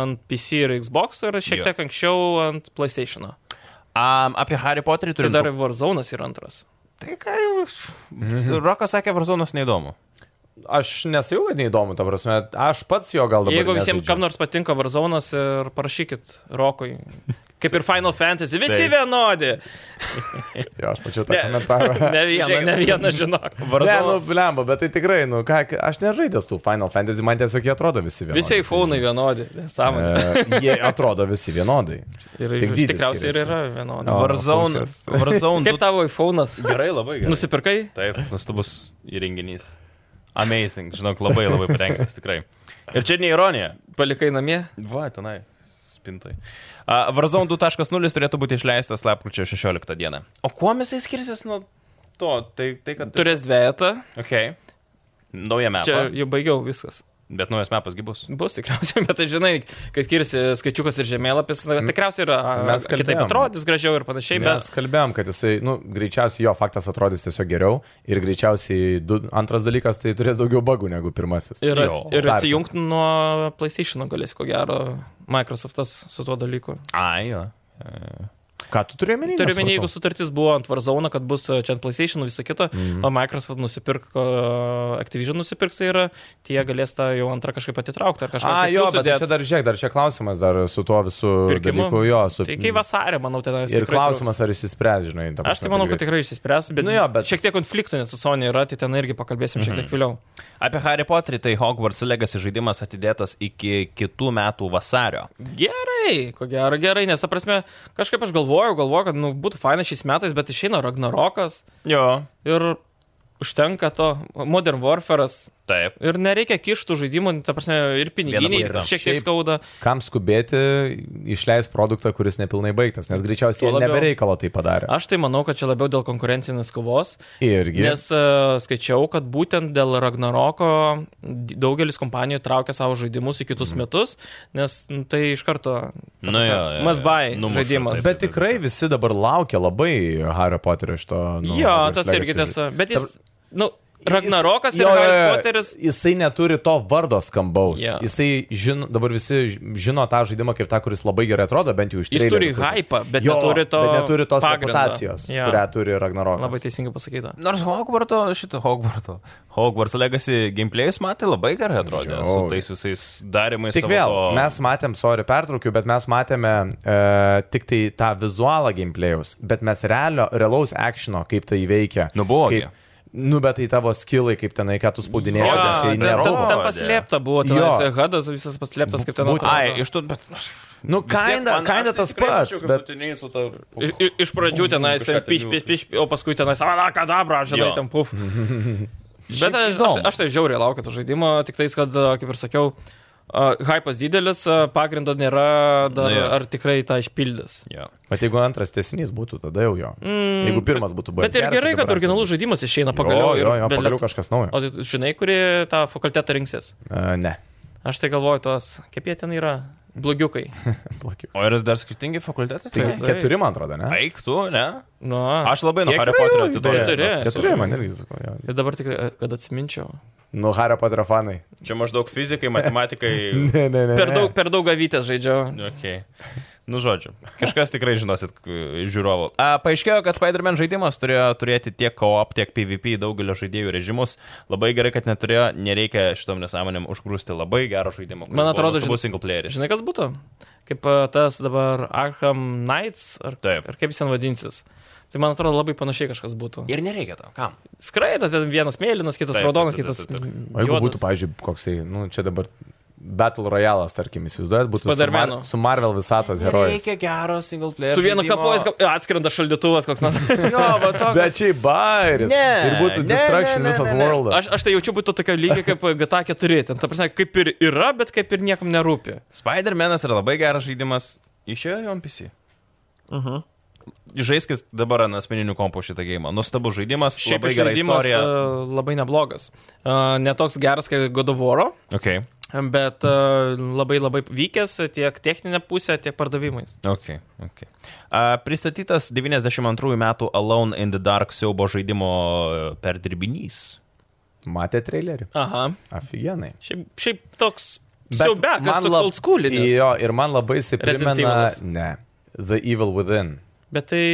Speaker 2: ant PC ir Xbox ir šiek
Speaker 1: Jo.
Speaker 2: tiek anksčiau ant PlayStation.
Speaker 1: Am, apie Harry Potterį
Speaker 2: Tai
Speaker 1: turim.
Speaker 2: dar Warzone yra antras.
Speaker 1: Tai ką jau. Mhm. Rokas sakė, Varzonas neįdomu.
Speaker 4: Aš nesijau, kad neįdomu, ta prasme, aš pats jo gal dabar.
Speaker 2: Jeigu visiems
Speaker 4: nežaidžiu.
Speaker 2: kam nors patinka Warzone ir parašykit Rokui. Kaip ir Final Fantasy, visi
Speaker 1: Taip.
Speaker 2: vienodi.
Speaker 4: Jo, aš mačiau tą komentarą.
Speaker 2: Ne vieną, ne vieną, žinok.
Speaker 4: Ne, nu,
Speaker 1: Varzonas.
Speaker 4: blemba, bet tai tikrai, nu, ką, aš nežaidęs tų Final Fantasy, man tiesiog jie atrodo visi vienodai.
Speaker 2: Visi iPhone'ai vienodi, nesąmonė.
Speaker 4: E, jie atrodo visi vienodai.
Speaker 2: Ir
Speaker 4: E, tik dydis
Speaker 2: tikriausiai ir
Speaker 4: skiriasi.
Speaker 2: yra vienodi.
Speaker 4: O.
Speaker 1: Varzone.
Speaker 4: funkcijos.
Speaker 1: Varzone.
Speaker 2: Kaip tavo iPhone'as?
Speaker 1: Gerai, labai gerai.
Speaker 2: Nusipirkai?
Speaker 1: Taip, nustabus įrenginys. Amazing, žinok, labai labai patenkintas tikrai. Ir čia ne ironija.
Speaker 2: Palikai namie?
Speaker 1: Va, tenai. Spintoj. Uh, Warzone 2.0 turėtų būti išleistas lapkričio 16 dieną. O kuo jisai skirsis nuo to? Tai, tai kad...
Speaker 2: Turės dviejatą.
Speaker 1: Ok. Nauja mepa.
Speaker 2: Čia
Speaker 1: Čia...
Speaker 2: jau baigiau viskas.
Speaker 1: Bet naujas mepas gybus.
Speaker 2: Bus tikriausiai, bet tai žinai, kai skiriasi skaičiukas ir žemėlapis, na, tikriausiai yra a,
Speaker 4: Mes
Speaker 2: kitaip
Speaker 4: kalbėjom.
Speaker 2: atrodys gražiau ir panašiai,
Speaker 4: Mes
Speaker 2: bet
Speaker 4: kalbėjom, kad jisai, nu, greičiausiai jo faktas atrodys tiesiog geriau ir greičiausiai du, antras dalykas, tai turės daugiau bagų negu pirmasis.
Speaker 2: ir,
Speaker 1: Jo,
Speaker 2: ir
Speaker 4: starte.
Speaker 2: atsijungti nuo PlayStation galės, ko gero, Microsoft'as su tuo dalyku.
Speaker 1: Ai, jo. E.
Speaker 4: Ką tu turėjai minėti?
Speaker 2: Turiu minėti, jeigu sutartis buvo ant Warzone, kad bus e, čia ant PlayStation visą kitą,
Speaker 4: Mhm.
Speaker 2: mm. o Microsoft nusipirko, e, Activision nusipirks tai yra, tie galės tą jau antrą kažkaip atitraukti ar kažką.
Speaker 4: A, jo, bet tai čia dar, žiūrėk, dar čia klausimas dar su tuo visu
Speaker 2: Pirkimu?
Speaker 4: dalyku, jo, su...
Speaker 2: Tai iki vasarį, manau, ten
Speaker 4: ir klausimas, ar išsispręs, žinai, dabar.
Speaker 2: Aš tai manau, kad tikrai išsispręs, bet,
Speaker 4: Nu jo, bet- Mhm.
Speaker 2: šiek tiek konfliktų net su Sony yra, tai ten irgi pakalbėsim šiek tiek vėliau.
Speaker 1: Apie Harry Potterį, tai Hogwarts Legacy žaidimas atidėtas iki kitų metų vasario.
Speaker 2: Gerai, ko gero gerai, nes, ta prasme, kažkaip aš galvojau, galvojau, kad nu, būtų faina šiais metais, bet išeina Ragnarokas
Speaker 1: Jo.
Speaker 2: ir užtenka to Modern Warfare'as.
Speaker 1: Taip.
Speaker 2: Ir nereikia kištų žaidimų, ta prasme, ir piniginiai
Speaker 1: po kito.
Speaker 2: šiek tiek
Speaker 4: Šiaip-
Speaker 2: skauda.
Speaker 4: Kam skubėti išleis produktą, kuris nepilnai baigtas, nes greičiausiai
Speaker 2: Tuo
Speaker 4: jie
Speaker 2: labiau.
Speaker 4: nebereikalo tai padarė.
Speaker 2: Aš tai manau, kad čia labiau dėl konkurencinės kovos,
Speaker 4: Irgi.
Speaker 2: Nes uh, skaičiau, kad būtent dėl Ragnaroko d- daugelis kompanijų traukia savo žaidimus į kitus mm. metus, nes nu, tai iš karto
Speaker 1: Mhm. Nu jo, jo, jo.
Speaker 2: masbai
Speaker 1: Numuša,
Speaker 2: žaidimas.
Speaker 1: taip.
Speaker 4: Bet tikrai visi dabar laukia labai Hario Poterio šito.
Speaker 2: Nu,
Speaker 4: Nu,
Speaker 2: jo,
Speaker 4: Hogwarts
Speaker 2: tas
Speaker 4: Legacy
Speaker 2: irgi
Speaker 4: žaidimo.
Speaker 2: tiesa. Bet
Speaker 4: Ta
Speaker 2: jis, nu, Ragnarokas ir
Speaker 4: Jo, jo,
Speaker 2: Harry
Speaker 4: jo.
Speaker 2: Potteris.
Speaker 4: Jisai neturi to vardo skambaus.
Speaker 2: Jo.
Speaker 4: Yeah. Jisai žino, dabar visi ž- žino tą žaidimą kaip tą, kuris labai gerai atrodo, bent jau iš
Speaker 2: Jis turi
Speaker 4: trailerių pusės.
Speaker 2: hypą, bet
Speaker 4: jo,
Speaker 2: neturi to
Speaker 4: Bet neturi tos
Speaker 2: pagrindo.
Speaker 4: reputacijos,
Speaker 2: Jo.
Speaker 4: yeah. kurią turi Ragnarokas.
Speaker 2: Labai tai teisingai pasakyta.
Speaker 1: Nors Hogwarto, šitą Hogwarto, Hogwarts Legacy gameplayus matė labai gerai atrodė. Žiau. Su
Speaker 4: Žiauriai.
Speaker 1: tais visais darimais.
Speaker 4: Tik
Speaker 1: savo
Speaker 4: vėl,
Speaker 1: to-
Speaker 4: mes matėm, sorry, pertraukiu, bet mes matėme e, tik tai tą vizualą gameplayaus, bet mes realio, realaus actiono, kaip tai veikia.
Speaker 1: Nu, buvo gi.
Speaker 4: Kaip, nu, bet tai tavo skillai, kaip tenai, ką tu spaudinėjai,
Speaker 1: Jo,
Speaker 4: aš jai
Speaker 1: ten-
Speaker 4: nerau.
Speaker 1: ten-
Speaker 2: Ten paslėpta buvo, ten
Speaker 4: Jo.
Speaker 2: tas hadas visas paslėptas, kaip ten
Speaker 4: Būtent.
Speaker 1: Ai,
Speaker 2: atrodo.
Speaker 1: iš to, bet...
Speaker 4: Nu, kaina,
Speaker 2: tai
Speaker 4: kaina tas pats, bet...
Speaker 2: Iš, i- iš pradžių tenais
Speaker 1: Kažką ten
Speaker 2: piš, piš, piš, o paskui tenais, ala, kadabra, žinai,
Speaker 1: Jo.
Speaker 2: ten puf. Bet aš, aš,
Speaker 4: įdomu.
Speaker 2: aš tai žiauriai laukiu to žaidimo, tik tais, kad, a, kaip ir sakiau, a, hypas didelis, a, pagrindo nėra, dar,
Speaker 1: Nu jo.
Speaker 2: ar tikrai tą išpildys.
Speaker 1: Jo.
Speaker 4: Bet jeigu antras tesinys būtų, tada jau jo. Mm, jeigu pirmas būtų buvęs.
Speaker 2: Bet ir
Speaker 4: geras,
Speaker 2: gerai,
Speaker 4: tai
Speaker 2: kad
Speaker 4: dabar
Speaker 2: originalus
Speaker 4: antras.
Speaker 2: žaidimas išeina pagaliau.
Speaker 4: Jo, jo,
Speaker 2: ir
Speaker 4: jo,
Speaker 2: be
Speaker 4: pagaliau
Speaker 2: lietu-
Speaker 4: kažkas naujo.
Speaker 2: O tai tu žinai, kuri tą fakultetą rinksis?
Speaker 4: Uh, ne.
Speaker 2: Aš tai galvoju, tos, kaip jie ten yra, blogiukai.
Speaker 4: Plakiu.
Speaker 1: O yra dar skirtingi fakultetai?
Speaker 4: Tai
Speaker 2: Taip.
Speaker 4: keturi, man atrodo, ne?
Speaker 1: Eik tu, ne?
Speaker 2: Nu,
Speaker 1: Aš labai nuo
Speaker 4: Kiek
Speaker 1: Harry
Speaker 4: yra
Speaker 1: Poterio
Speaker 4: jų?
Speaker 2: Keturi.
Speaker 1: atiduodu. žinok.
Speaker 4: Keturi, man irgi sakau. jo.
Speaker 2: Ir dabar tik, a, kad atsiminčiau.
Speaker 4: Nu, Hario Poterio fanai.
Speaker 1: Čia maždaug fizikai, matematikai.
Speaker 4: Ne, ne, ne.
Speaker 2: Per
Speaker 4: ne.
Speaker 2: daug, per daug avytės žaidžiau.
Speaker 1: okay. Nu, žodžiu, kažkas tikrai žinosit k- žiūrovų. A, paaiškėjo, kad Spider-Man žaidimas turėjo turėti tiek co-op, tiek PvP daugelio žaidėjų režimus. Labai gerai, kad neturėjo, nereikia šitom nesąmonėm užgrūsti labai gero žaidimo.
Speaker 2: Man atrodo,
Speaker 1: žinau,
Speaker 2: žin-
Speaker 1: single playeris.
Speaker 2: Žinai, kas būtų? Kaip a, tas dabar Arkham Knights, ar,
Speaker 1: Taip.
Speaker 2: ar kaip jis ten vadinsis. Tai man atrodo labai panašiai kažkas būtų.
Speaker 1: Ir nereikia to, kam?
Speaker 2: Skraido, ten vienas mėlynas, kitas
Speaker 1: Taip,
Speaker 2: raudonas,
Speaker 1: taip, taip,
Speaker 2: kitas.
Speaker 1: taip, taip.
Speaker 4: O jeigu būtų,
Speaker 2: juodas.
Speaker 4: pavyzdžiui, koksai, nu, čia dabar Battle Royale'as, tarkim, įsivaizduojat, būtų su, Mar
Speaker 2: Spidermano.
Speaker 4: su Marvel visatos herojais.
Speaker 1: Reikia gero single player.
Speaker 2: Su vienu
Speaker 1: žaidimo.
Speaker 2: kapojais kap... atskrenda šaldytuvas koks nors.
Speaker 1: Jo, va toks.
Speaker 4: Bet šiaip bairis.
Speaker 1: Ne,
Speaker 4: ir būtų
Speaker 1: ne,
Speaker 4: destruction
Speaker 1: ne, ne,
Speaker 4: visas
Speaker 1: ne, ne.
Speaker 4: worldas.
Speaker 2: Aš, aš tai jaučiu būtų tokia lygiai kaip GTA 4. Ten, ta prasme, kaip ir yra, bet kaip ir niekam nerūpi.
Speaker 1: Spider-Man'as yra labai geras žaidimas. Išėjo jo MPC. Mhm. Žaiskis dabar ant asmeninių kompų šitą gėjimą. Nuostabus žaidimas,
Speaker 2: Šiaip
Speaker 1: labai gera
Speaker 2: išleidimas
Speaker 1: istorija.
Speaker 2: a, labai neblogas. A, Netoks geras kaip Godovoro,
Speaker 1: Okay.
Speaker 2: bet a, labai labai vykęs tiek techninė pusė, tiek pardavimais.
Speaker 1: Okay, okay. A, pristatytas 92 metų Alone in the Dark siaubo žaidimo e, perdirbinys.
Speaker 4: Matė trailerį.
Speaker 2: Aha.
Speaker 4: Aфиgenai.
Speaker 2: Šiaip, šiaip toks siaubekas, toks old schoolinis.
Speaker 4: Jo, ir man labai
Speaker 2: Resident
Speaker 4: įsiprimena.
Speaker 2: Evilas.
Speaker 4: Ne. The Evil Within.
Speaker 2: Bet tai...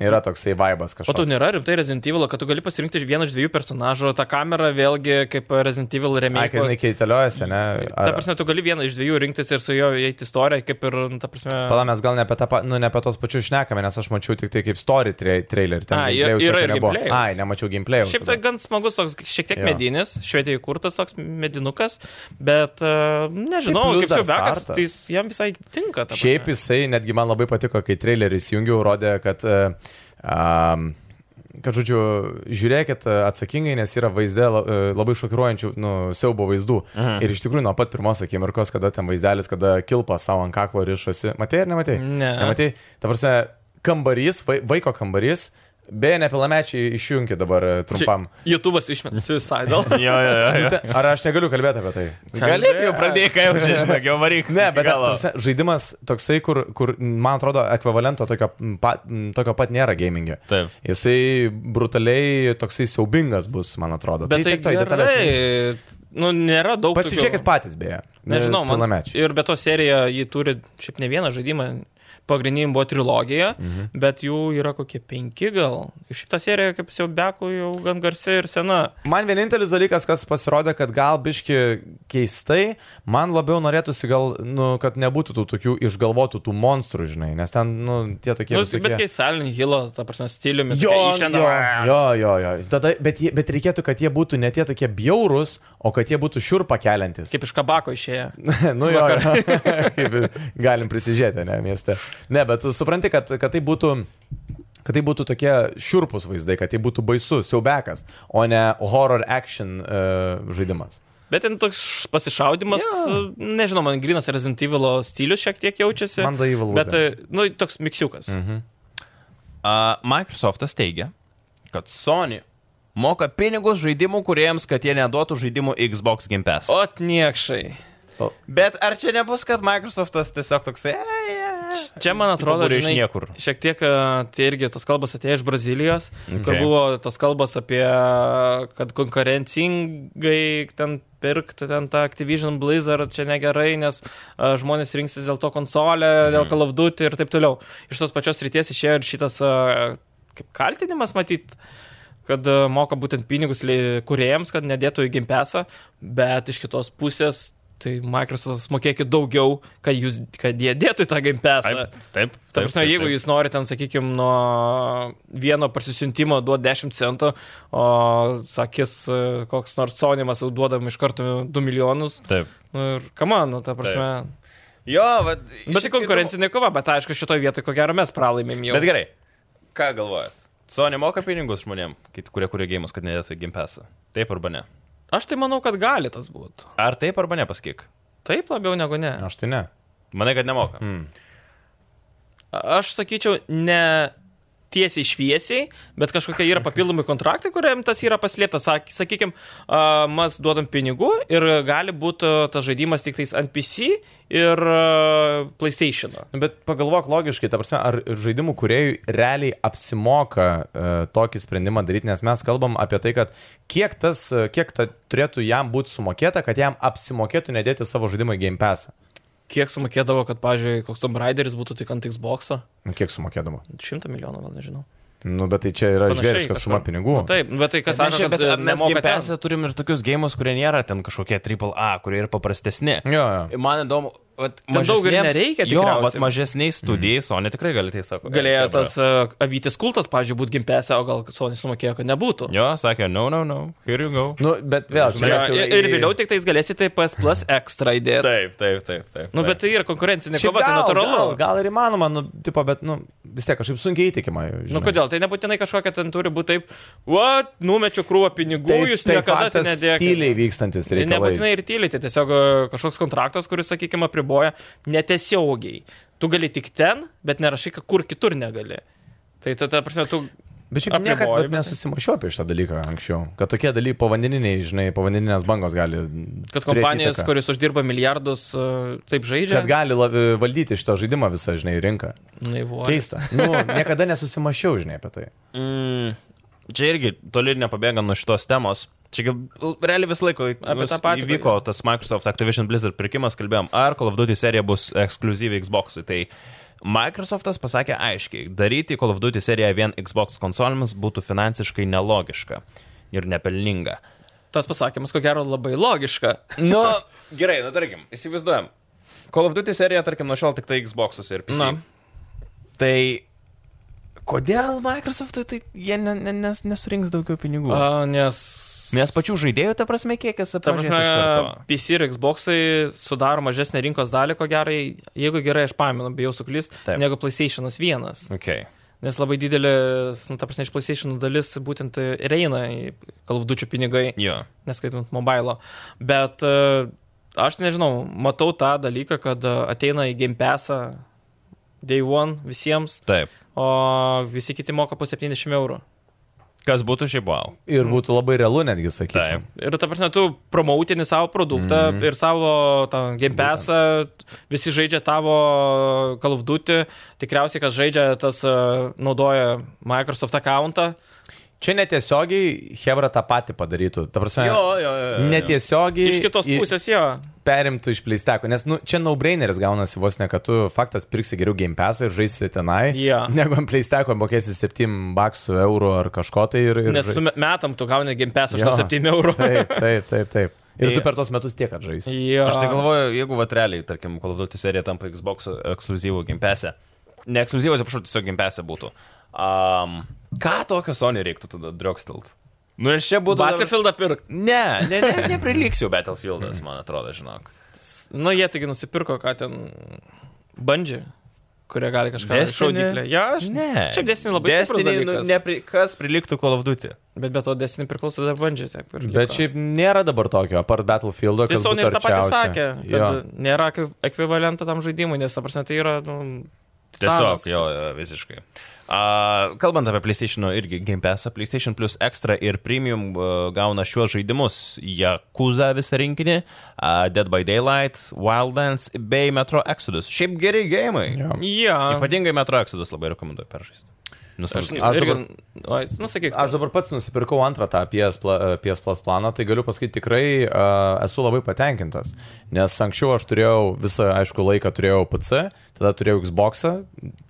Speaker 4: Yra toksai vaibas
Speaker 2: O
Speaker 4: kažkoks.
Speaker 2: tu nėra rimtai Resident Evil, kad tu gali pasirinkti iš vieną iš dviejų personažų, ta kamera vėlgi kaip Resident Evil
Speaker 4: Ai,
Speaker 2: remake.
Speaker 4: kai jinai keiteliojasi, ne?
Speaker 2: Ta prasme, tu gali vieną iš dviejų rinktis ir su juo eiti istoriją, kaip ir, nu, ta prasme...
Speaker 4: Pala, mes gal ne apie, tą, pa- nu, ne apie tos pačius šnekame, nes aš mačiau tik tai kaip story tra trailerį. ten
Speaker 2: A, ir-
Speaker 4: gameplayaus
Speaker 2: yra
Speaker 4: jokio
Speaker 2: ir
Speaker 4: nebuvo.
Speaker 2: gameplayaus.
Speaker 4: Ai, nemačiau gameplayaus.
Speaker 2: Šiaip tai gan smagus toks, šiek tiek
Speaker 4: Jo.
Speaker 2: jo. medinis, švedijoje kurtas toks medinukas, bet uh, nežinau,
Speaker 4: Tai plius
Speaker 2: kaip
Speaker 4: dar
Speaker 2: siaubekas,
Speaker 4: startas.
Speaker 2: tai jis- jam visai tinka. ta
Speaker 4: Šiaip
Speaker 2: prasme.
Speaker 4: jisai, netgi man labai patiko, kai traileris jungiau, rodė, kad, e, am, kad žodžiu, žiūrėkit e, atsakingai, nes yra vaizde la- e, labai šokiruojančių, nu, siaubo vaizdų. Mhm. Ir iš tikrųjų, nuo pat pirmos akimirkos, kada ten vaizdelis, kada kilpa savo ant kaklo rišosi, matei ar nematei?
Speaker 2: Ne.
Speaker 4: Nematei? Ta prasme, kambarys, vai- vaiko kambarys, beje, nepilnamečiai išjungi dabar e, trumpam.
Speaker 2: Čia YouTube'as išmetė suicidal.
Speaker 1: Jo, jo, jo.
Speaker 4: Te- Ar aš negaliu kalbėti apie tai?
Speaker 1: Galėtum jau pradėti, kai jau čia žinai, jau varyk.
Speaker 4: Ne, bet ta
Speaker 1: gal.
Speaker 4: prasme, žaidimas toksai, kur, kur, man atrodo, ekvivalento tokio, m, pa, m, tokio pat nėra gamingė.
Speaker 1: Taip.
Speaker 4: Jisai brutaliai toksai siaubingas bus, man atrodo.
Speaker 2: Bet tai
Speaker 4: tiek to į detalės neisiu.
Speaker 2: gerai. Nu, nėra daug. tokių-
Speaker 4: Pasižiūrėkit patys, beje.
Speaker 2: Nežinau, man.
Speaker 4: Pilnamečiai.
Speaker 2: Ir be to serija, ji turi šiaip ne vieną žaidimą. Pagrindinė buvo trilogija, mhm. bet jų yra kokie penki gal. Šitą seriją, kaip jau beku, jau gan garsi ir sena.
Speaker 4: Man vienintelis dalykas, kas pasirodė, kad gal biški keistai, man labiau norėtųsi gal, nu, kad nebūtų tų tokių išgalvotų tų monstrų, žinai, nes ten, nu, tie tokie...
Speaker 2: Nu,
Speaker 4: visokie-
Speaker 2: bet kai Silent Hill, ta prasme, stiliumi.
Speaker 4: Jo,
Speaker 2: Nu, tokia
Speaker 4: jo, jo, jo, jo. Tada, bet, jie- bet reikėtų, kad jie būtų ne tie tokie bjaurūs, o kad jie būtų šiurpa keliantis.
Speaker 2: Kaip iš kabako išėję.
Speaker 4: nu, jo, jo. Kaip galim prisižiūrėti, ne, mieste. Ne, bet tu supranti, kad, kad tai būtų... Kad tai būtų tokie šiurpus vaizdai, kad tai būtų baisus, siaubekas, o ne horror action uh, žaidimas.
Speaker 2: Bet ten toks pasišaudimas,
Speaker 4: Jo.
Speaker 2: nežinau, man grinas Resident Evil stilius šiek tiek jaučiasi.
Speaker 4: Man The Evil
Speaker 2: Bet, e,
Speaker 4: Within.
Speaker 2: nu, toks miksiukas. Mhm.
Speaker 1: A, Microsoftas teigia, kad Sony moka pinigus žaidimų kuriems, kad jie neduotų žaidimų Xbox Game Pass.
Speaker 2: O, niekšai.
Speaker 1: Bet ar čia nebus, kad Microsoftas tiesiog toksai... "Ei, ei, ei."
Speaker 2: Čia, man
Speaker 1: Tipo,
Speaker 2: atrodo,
Speaker 1: kurie iš
Speaker 2: žinai,
Speaker 1: niekur.
Speaker 2: šiek tiek e, tai irgi tos kalbos atėjo iš Brazilijos, okay. kur
Speaker 1: Okay.
Speaker 2: buvo tos kalbos apie, kad konkurencingai ten pirkti ten tą Activision Blizzard čia negerai, nes a, žmonės rinksis dėl to konsolę,
Speaker 1: Mhm.
Speaker 2: dėl Call of Duty ir taip toliau. Iš tos pačios ryties išėjo ir šitas a, kaip kaltinimas matyt kad a, moka būtent pinigus lei- kūrėjams, kad nedėtų į gimpesą, bet iš kitos pusės, tai Microsoft'as mokėkit daugiau, kad, jūs, kad jie dėtų į tą gimpesą.
Speaker 1: Taip, taip.
Speaker 2: Ta prasme, jeigu jūs norite, ten, sakykime, nuo vieno pasisiuntimo duoti 10 centų, o sakys e, koks nors Sonimas, jau duodam iš karto 2 milijonus.
Speaker 1: Taip.
Speaker 2: Nu ir kamano, ta prasme.
Speaker 1: Jo, vad.
Speaker 2: Taip. Bet tai konkurencinė kova, bet aišku, šitoje vietoje ko gero mes pralaimėm jau.
Speaker 1: Bet gerai. Ką galvojat? Sony moka pinigus žmonėm, kit- kurie kuria gėjimus, kad nedėtų į gimpesą. Taip arba ne.
Speaker 2: Aš tai manau, kad gali tas būti.
Speaker 1: Ar taip arba ne pasakyk?
Speaker 2: Taip labiau negu ne.
Speaker 4: Aš tai ne.
Speaker 1: Manai, kad nemoka.
Speaker 4: Mm.
Speaker 2: A- Aš sakyčiau, ne tiesiai šviesiai, bet kažkokie yra papildomi kontraktai, kuriam tas yra paslėptas. Sak- Sakykim, a, mes duodam pinigų ir gali būti tas žaidimas tik tais ant PC ir a, PlayStation.
Speaker 4: Nu, Bet pagalvok logiškai, ta prasme, ar žaidimų kuriejui realiai apsimoka uh, tokį sprendimą daryti, nes mes kalbam apie tai, kad kiek tas, uh, kiek ta turėtų jam būti sumokėta, kad jam apsimokėtų nedėti savo žaidimo į Game Pass.
Speaker 2: kiek sumokėdavo, kad, pavyzdžiui, koks Tomb Raideris būtų tik ant Xbox?
Speaker 4: Nu, kiek sumokėdama?
Speaker 2: Šimtą milijonų, gal nežinau.
Speaker 4: Nu, bet tai čia yra
Speaker 2: Panašiai
Speaker 4: žvėriška
Speaker 2: kažkur.
Speaker 4: suma pinigų.
Speaker 2: Nu, taip, bet tai kas
Speaker 1: Mes,
Speaker 2: sako,
Speaker 1: čia,
Speaker 2: kad
Speaker 1: bet,
Speaker 2: e,
Speaker 1: mes Game
Speaker 2: nemokate.
Speaker 1: Pass'e turim ir tokius gėjimus, kurie nėra ten kažkokie AAA, kurie yra paprastesni.
Speaker 4: Jo, jo.
Speaker 1: Man įdomu, vat,
Speaker 2: Ten daug ir
Speaker 1: mažesnėms-
Speaker 2: nereikia
Speaker 1: Jo,
Speaker 2: tikriausiai.
Speaker 1: vat mažesniais studijais, mm. o ne tikrai gali tai sako.
Speaker 2: Galėjo
Speaker 1: chebra.
Speaker 2: tas uh, avytis kultas, pavyzdžiui, būti gimpesė, e, o gal Sony sumokėjo, kad nebūtų.
Speaker 1: Jo, sakė, no, no, no, here you go.
Speaker 4: Nu, bet vėl, čia
Speaker 2: Jo,
Speaker 4: mes jau
Speaker 2: ir, ir vėliau tik tais galėsite į PS Plus ekstra įdėti.
Speaker 1: Taip, taip, taip, taip.
Speaker 2: Nu, bet tai yra konkurencinė
Speaker 4: Šiaip
Speaker 2: kova, tai
Speaker 4: gal,
Speaker 2: natūralu.
Speaker 4: Gal, gal ir įmanoma, nu, tipo, bet, nu, vis tiek kažkaip sunkiai įtikima.
Speaker 2: Na nu, kodėl? Tai nebūtinai kažkokia ten turi būti taip, va, numečiu krūvą pinigų, tai, jūs tai niekada tai nedėkite.
Speaker 4: Tyliai vykstantis reikalai.
Speaker 2: Nebūtinai ir tyliai, tai tiesiog e, kažkoks kontraktas, kuris, sakykime, priboja netiesiogiai. Tu gali tik ten, bet nerašai, kad kur kitur negali. Tai ta, ta prasme, tu...
Speaker 4: Bet šiaip niekada
Speaker 2: apribojimai.
Speaker 4: vat, nesusimašiau apie šitą dalyką anksčiau. Kad tokie dalykai povandeniniai, žinai, povandeninės bangos gali.
Speaker 2: Kad
Speaker 4: turėti
Speaker 2: kompanijos,
Speaker 4: įtaką.
Speaker 2: kuris uždirba milijardus, e, taip žaidžia.
Speaker 4: Kad gali labi- valdyti šitą žaidimą visą, žinai, rinką.
Speaker 2: Naivu.
Speaker 4: Keista. Nu, niekada nesusimašiau, žinai, apie tai.
Speaker 1: Mm, čia irgi toli ir nepabėga nuo šitos temos. Čia gi, l- realiai vis laiko į-
Speaker 2: Apie
Speaker 1: vis
Speaker 2: tą patį
Speaker 1: įvyko tas Microsoft Activision Blizzard pirkimas, kalbėjom, ar Call of Duty serija bus ekskluzyvi Xbox'ui. Tai Microsoftas pasakė aiškiai, daryti Call of Duty seriją vien Xbox konsolėmis būtų finansiškai nelogiška ir nepelninga.
Speaker 2: Tas pasakymas, ko gero, labai logiška.
Speaker 1: Nu, gerai, nu tarkim, įsivaizduojam. Call of Duty serija, tarkim, nuo šiol tik tai Xbox'us ir PC.
Speaker 2: Na,
Speaker 1: Na. Tai kodėl Microsoft'ui tai jie ne, ne, nes, nesurinks daugiau pinigų?
Speaker 2: a, nes.
Speaker 1: Nes pačių žaidėjų, ta prasme, kiekis
Speaker 2: Ta
Speaker 1: apmažės
Speaker 2: prasme,
Speaker 1: iš karto.
Speaker 2: PC ir Xbox'ai sudaro mažesnę rinkos dalį, ko gerai, jeigu gerai aš pamenu, bijau suklys,
Speaker 1: Taip.
Speaker 2: negu PlayStation 1.
Speaker 1: Okay.
Speaker 2: Nes labai didelė, nu, ta prasme, iš PlayStation dalis būtent ir eina į kalvdučių pinigai,
Speaker 1: Jo.
Speaker 2: neskaitant mobilo. Bet e, aš nežinau, matau tą dalyką, kad e, ateina į Game Passą Day One visiems,
Speaker 1: Taip.
Speaker 2: o visi kiti moka po 70 eurų.
Speaker 1: Kas būtų šiaip wow.
Speaker 4: Ir
Speaker 2: Mm.
Speaker 4: būtų labai realu netgi, sakyčiau.
Speaker 1: Taip.
Speaker 2: Ir ta prasme, tu promautini savo produktą
Speaker 1: Mhm.
Speaker 2: mm. ir savo tą Game Passą, visi žaidžia tavo Call of Duty, tikriausiai, kas žaidžia, tas e, naudoja Microsoft accountą.
Speaker 4: Čia netiesiogiai Hebra tą patį padarytų. Ta prasme,
Speaker 1: jo,
Speaker 4: netiesiogiai.
Speaker 2: Iš kitos
Speaker 4: į-
Speaker 2: pusės jo.
Speaker 4: Perimtų iš pleisteko, nes nu, čia no-braineris gaunasi vos ne, kad tu faktas pirksi geriau game pass ir žaisi tenai,
Speaker 2: Jo.
Speaker 4: negu ant pleisteko mokėsi 7 baksų eurų ar kažko tai ir... ir
Speaker 2: Nes su me- metam tu gauni Game Pass už
Speaker 4: Jo.
Speaker 2: tą 7 eurų. Tai-
Speaker 4: Taip, taip, taip, taip. Ir tu
Speaker 1: Jo.
Speaker 4: per tos metus tiek atžaisi.
Speaker 2: Jo.
Speaker 1: Aš tai galvoju, jeigu vatreliai, tarkim, Call of Duty serija tampa Xbox ekskluzyvų gimpesė. Ne ekskluzyvų, atsiprašau, tiesiog gimpesė būtų. Um, ką tokio Sony reiktų tada drogstelt? Nu ir čia būtų...
Speaker 2: Battlefieldą pirk.
Speaker 1: Ne, ne, ne, nepriliks jau Battlefieldas, man atrodo, žinok.
Speaker 2: Nu, jie taigi nusipirko, ką ten bandžiai, kurie gali kažką
Speaker 1: Destiny?
Speaker 2: iššaudyklę. Ja, aš...
Speaker 1: Ne.
Speaker 2: Šiaip Destiny labai stiprus
Speaker 1: Destiny, nu,
Speaker 2: dalykas.
Speaker 1: nepri, kas priliktų Call of Duty?
Speaker 2: Bet be to Destiny priklauso dar bandžiai. Taip, ir
Speaker 4: Bet
Speaker 2: liko.
Speaker 4: šiaip nėra dabar tokio, apart Battlefield.
Speaker 2: Tai Sony ir tą patį sakė, kad nėra kaip ekvivalento tam žaidimui, nes, ta prasme, tai yra, nu,
Speaker 1: Tiesiog,
Speaker 2: Titanas.
Speaker 1: jo, jo, visiškai. Uh, kalbant apie PlayStation irgi Game Pass, PlayStation Plus Extra ir Premium uh, gauna šiuos žaidimus Jakuza visą rinkinį, uh, Dead by Daylight, Wildlands bei Metro Exodus. Šiaip geri gėjimai.
Speaker 4: Jo.
Speaker 2: jie.
Speaker 1: Ypatingai Metro Exodus labai rekomenduoju peržaisti.
Speaker 2: Aš,
Speaker 1: Nustatyk.
Speaker 4: aš
Speaker 2: aš
Speaker 4: dabar-
Speaker 2: dabar... Oi, nu, sakyk.
Speaker 4: Aš dabar pats nusipirkau antrą tą PS, pla, PS Plus planą, tai galiu pasakyti, tikrai uh, esu labai patenkintas. Nes anksčiau aš turėjau visą, aišku, laiką turėjau PC, tada turėjau Xbox,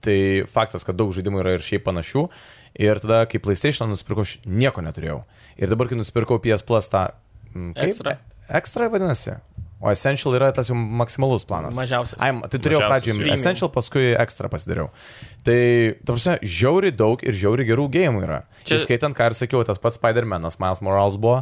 Speaker 4: tai faktas, kad daug žaidimų yra ir šiaip panašių. Ir tada, kai PlayStation nusipirkau, aš nieko neturėjau. Ir dabar, kai nusipirkau PS Plus tą... mm, kaip?
Speaker 2: Extra.
Speaker 4: Extra vadinasi. O Essential yra tas jau maksimalus planas.
Speaker 2: Mažiausias.
Speaker 4: Ai, tai turėjau
Speaker 1: Mažiausias
Speaker 4: pradžioje
Speaker 1: premium.
Speaker 4: Essential, paskui Extra pasidariau. Tai, ta prasme, žiauri daug ir žiauri gerų gėjimų yra. Čia...
Speaker 2: Čia-
Speaker 4: Įskaitant, ką ir sakiau, tas pats Spider-Man'as, Miles Morales buvo.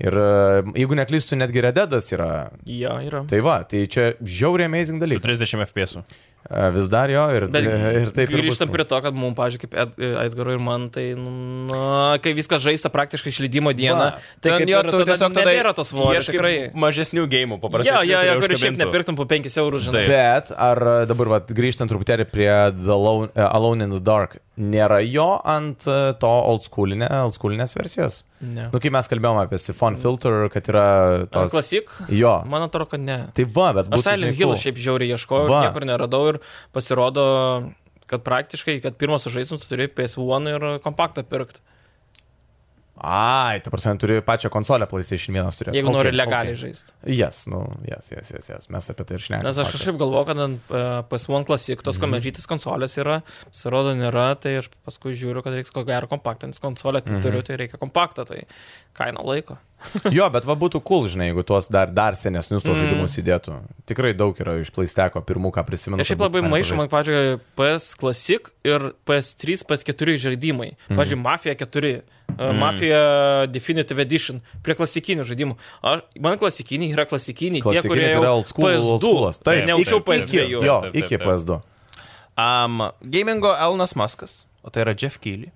Speaker 4: Ir e, jeigu neklystu, netgi Rededas yra.
Speaker 2: Jo, yra.
Speaker 4: Tai va, tai čia žiauri amazing
Speaker 1: Su
Speaker 4: dalykai.
Speaker 1: 30 FPS. -ų.
Speaker 4: E, Vis dar jo ir,
Speaker 2: Bet
Speaker 4: tai- ir taip. ir bus.
Speaker 2: grįžtam prie to, kad mums, pažiūrėk, kaip Ed- Edgarui ir man, tai, na, kai viskas žaista praktiškai išleidimo dieną,
Speaker 4: Va.
Speaker 2: tai
Speaker 1: Ten
Speaker 2: kaip
Speaker 1: jo,
Speaker 2: ir
Speaker 1: tu
Speaker 2: tada
Speaker 1: tiesiog tada
Speaker 2: nebėra tos svorio,
Speaker 1: ieškai
Speaker 2: tikrai.
Speaker 1: Mažesnių gėjimų paprastai.
Speaker 2: Jo, jo, jo, kur šiaip nepirktum po 5 eurų, žinai.
Speaker 1: Taip.
Speaker 4: Bet ar e, dabar vat, grįžtant truputėlį prie The Alone, e, Alone in the Dark, nėra jo ant e, to old schoolinė- old schoolinės versijos?
Speaker 2: Ne.
Speaker 4: Nu, kai mes kalbėjome apie Siphon Filter, kad yra
Speaker 2: Ar
Speaker 4: tos...
Speaker 2: Klasik?
Speaker 4: Jo.
Speaker 2: Man atrodo, kad ne.
Speaker 4: Tai va, bet
Speaker 2: Aš
Speaker 4: būtų,
Speaker 2: Silent
Speaker 4: žinai,
Speaker 2: Hill
Speaker 4: cool.
Speaker 2: šiaip žiauriai ieškojau,
Speaker 4: Va.
Speaker 2: Va. niekur neradau ir pasirodo, kad praktiškai, kad pirmas sužaistum, tu turi PS1 ir kompaktą pirkti.
Speaker 4: Ai, ta prasme, turi pačią konsolę PlayStation 1 turėti.
Speaker 2: Jeigu nori legaliai žaisti.
Speaker 4: Jas, nu, jas, jas, jas, jas. Mes apie tai ir šnekame.
Speaker 2: Nes aš kažkaip galvoju, kad ant e, PS1 Classic tos
Speaker 4: Mhm.
Speaker 2: komežytis konsolės yra, pasirodo nėra, tai aš paskui žiūriu, kad reiks ko gero kompaktą, nes konsolę tai turiu,
Speaker 4: Mhm.
Speaker 2: tai reikia kompaktą, tai kaina laiko.
Speaker 4: Jo, bet va būtų cool, žinai, jeigu tuos dar, dar senesnius tos
Speaker 2: Mm.
Speaker 4: žaidimus įdėtų. Tikrai daug yra iš plaisteko pirmų, ką prisimenu.
Speaker 2: Aš šiaip
Speaker 4: kad būtų
Speaker 2: labai
Speaker 4: faina
Speaker 2: maišau, man, pavyzdžiui,
Speaker 4: pažaist.
Speaker 2: PS Classic ir PS3, PS4 žaidimai.
Speaker 4: Mhm.
Speaker 2: Pavyzdžiui, Mafija 4, mm. Mafija Definitive Edition prie klasikinių žaidimų. Aš, man klasikiniai yra klasikiniai,
Speaker 4: Klasikiniai
Speaker 2: tie, kurie
Speaker 4: tai yra old school, old schoolas. Taip,
Speaker 2: Taip, neužčiau
Speaker 1: taip, taip,
Speaker 2: PS2.
Speaker 1: taip.
Speaker 2: jau.
Speaker 4: Jo,
Speaker 1: Taip, taip,
Speaker 4: iki
Speaker 1: taip.
Speaker 4: PS2.
Speaker 1: Um, gamingo Elnas Maskas, o tai yra Jeff Keely.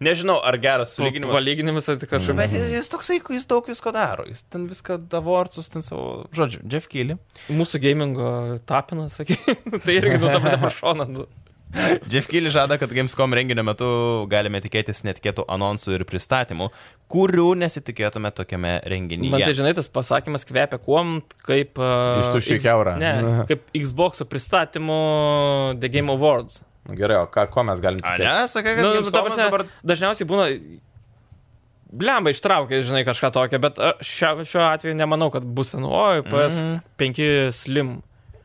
Speaker 1: Nežinau, ar geras sulyginimas.
Speaker 2: Palyginimas, tai kažkaip.
Speaker 1: Bet jis, jis toksai, jis daug visko daro. Jis ten viską davorcus, ten savo. Žodžiu, Jeff Keely.
Speaker 2: Mūsų gamingo tapinas, sakykime, tai irgi nu dabar pašona.
Speaker 1: Jeff Keely žada, kad Gamescom renginio metu galime tikėtis netikėtų anonsų ir pristatymų, kurių nesitikėtume tokiame renginyje.
Speaker 2: Man tai žinai, tas pasakymas kvepia kuom, kaip... a,
Speaker 4: Iš tuščio į
Speaker 2: X-
Speaker 4: kiaurą.
Speaker 2: Ne, kaip Xbox pristatymo The Game Awards.
Speaker 4: Nu, Gerai, o ką, ko mes galime
Speaker 1: A, ne, sakai, kad
Speaker 2: Nu,
Speaker 1: nu,
Speaker 2: ta prasme,
Speaker 1: dabar...
Speaker 2: Dažniausiai būna... Blemba ištraukia, žinai, kažką tokio, bet a, šia, šiuo atveju nemanau, kad bus, nu, oi, PS5 Slim.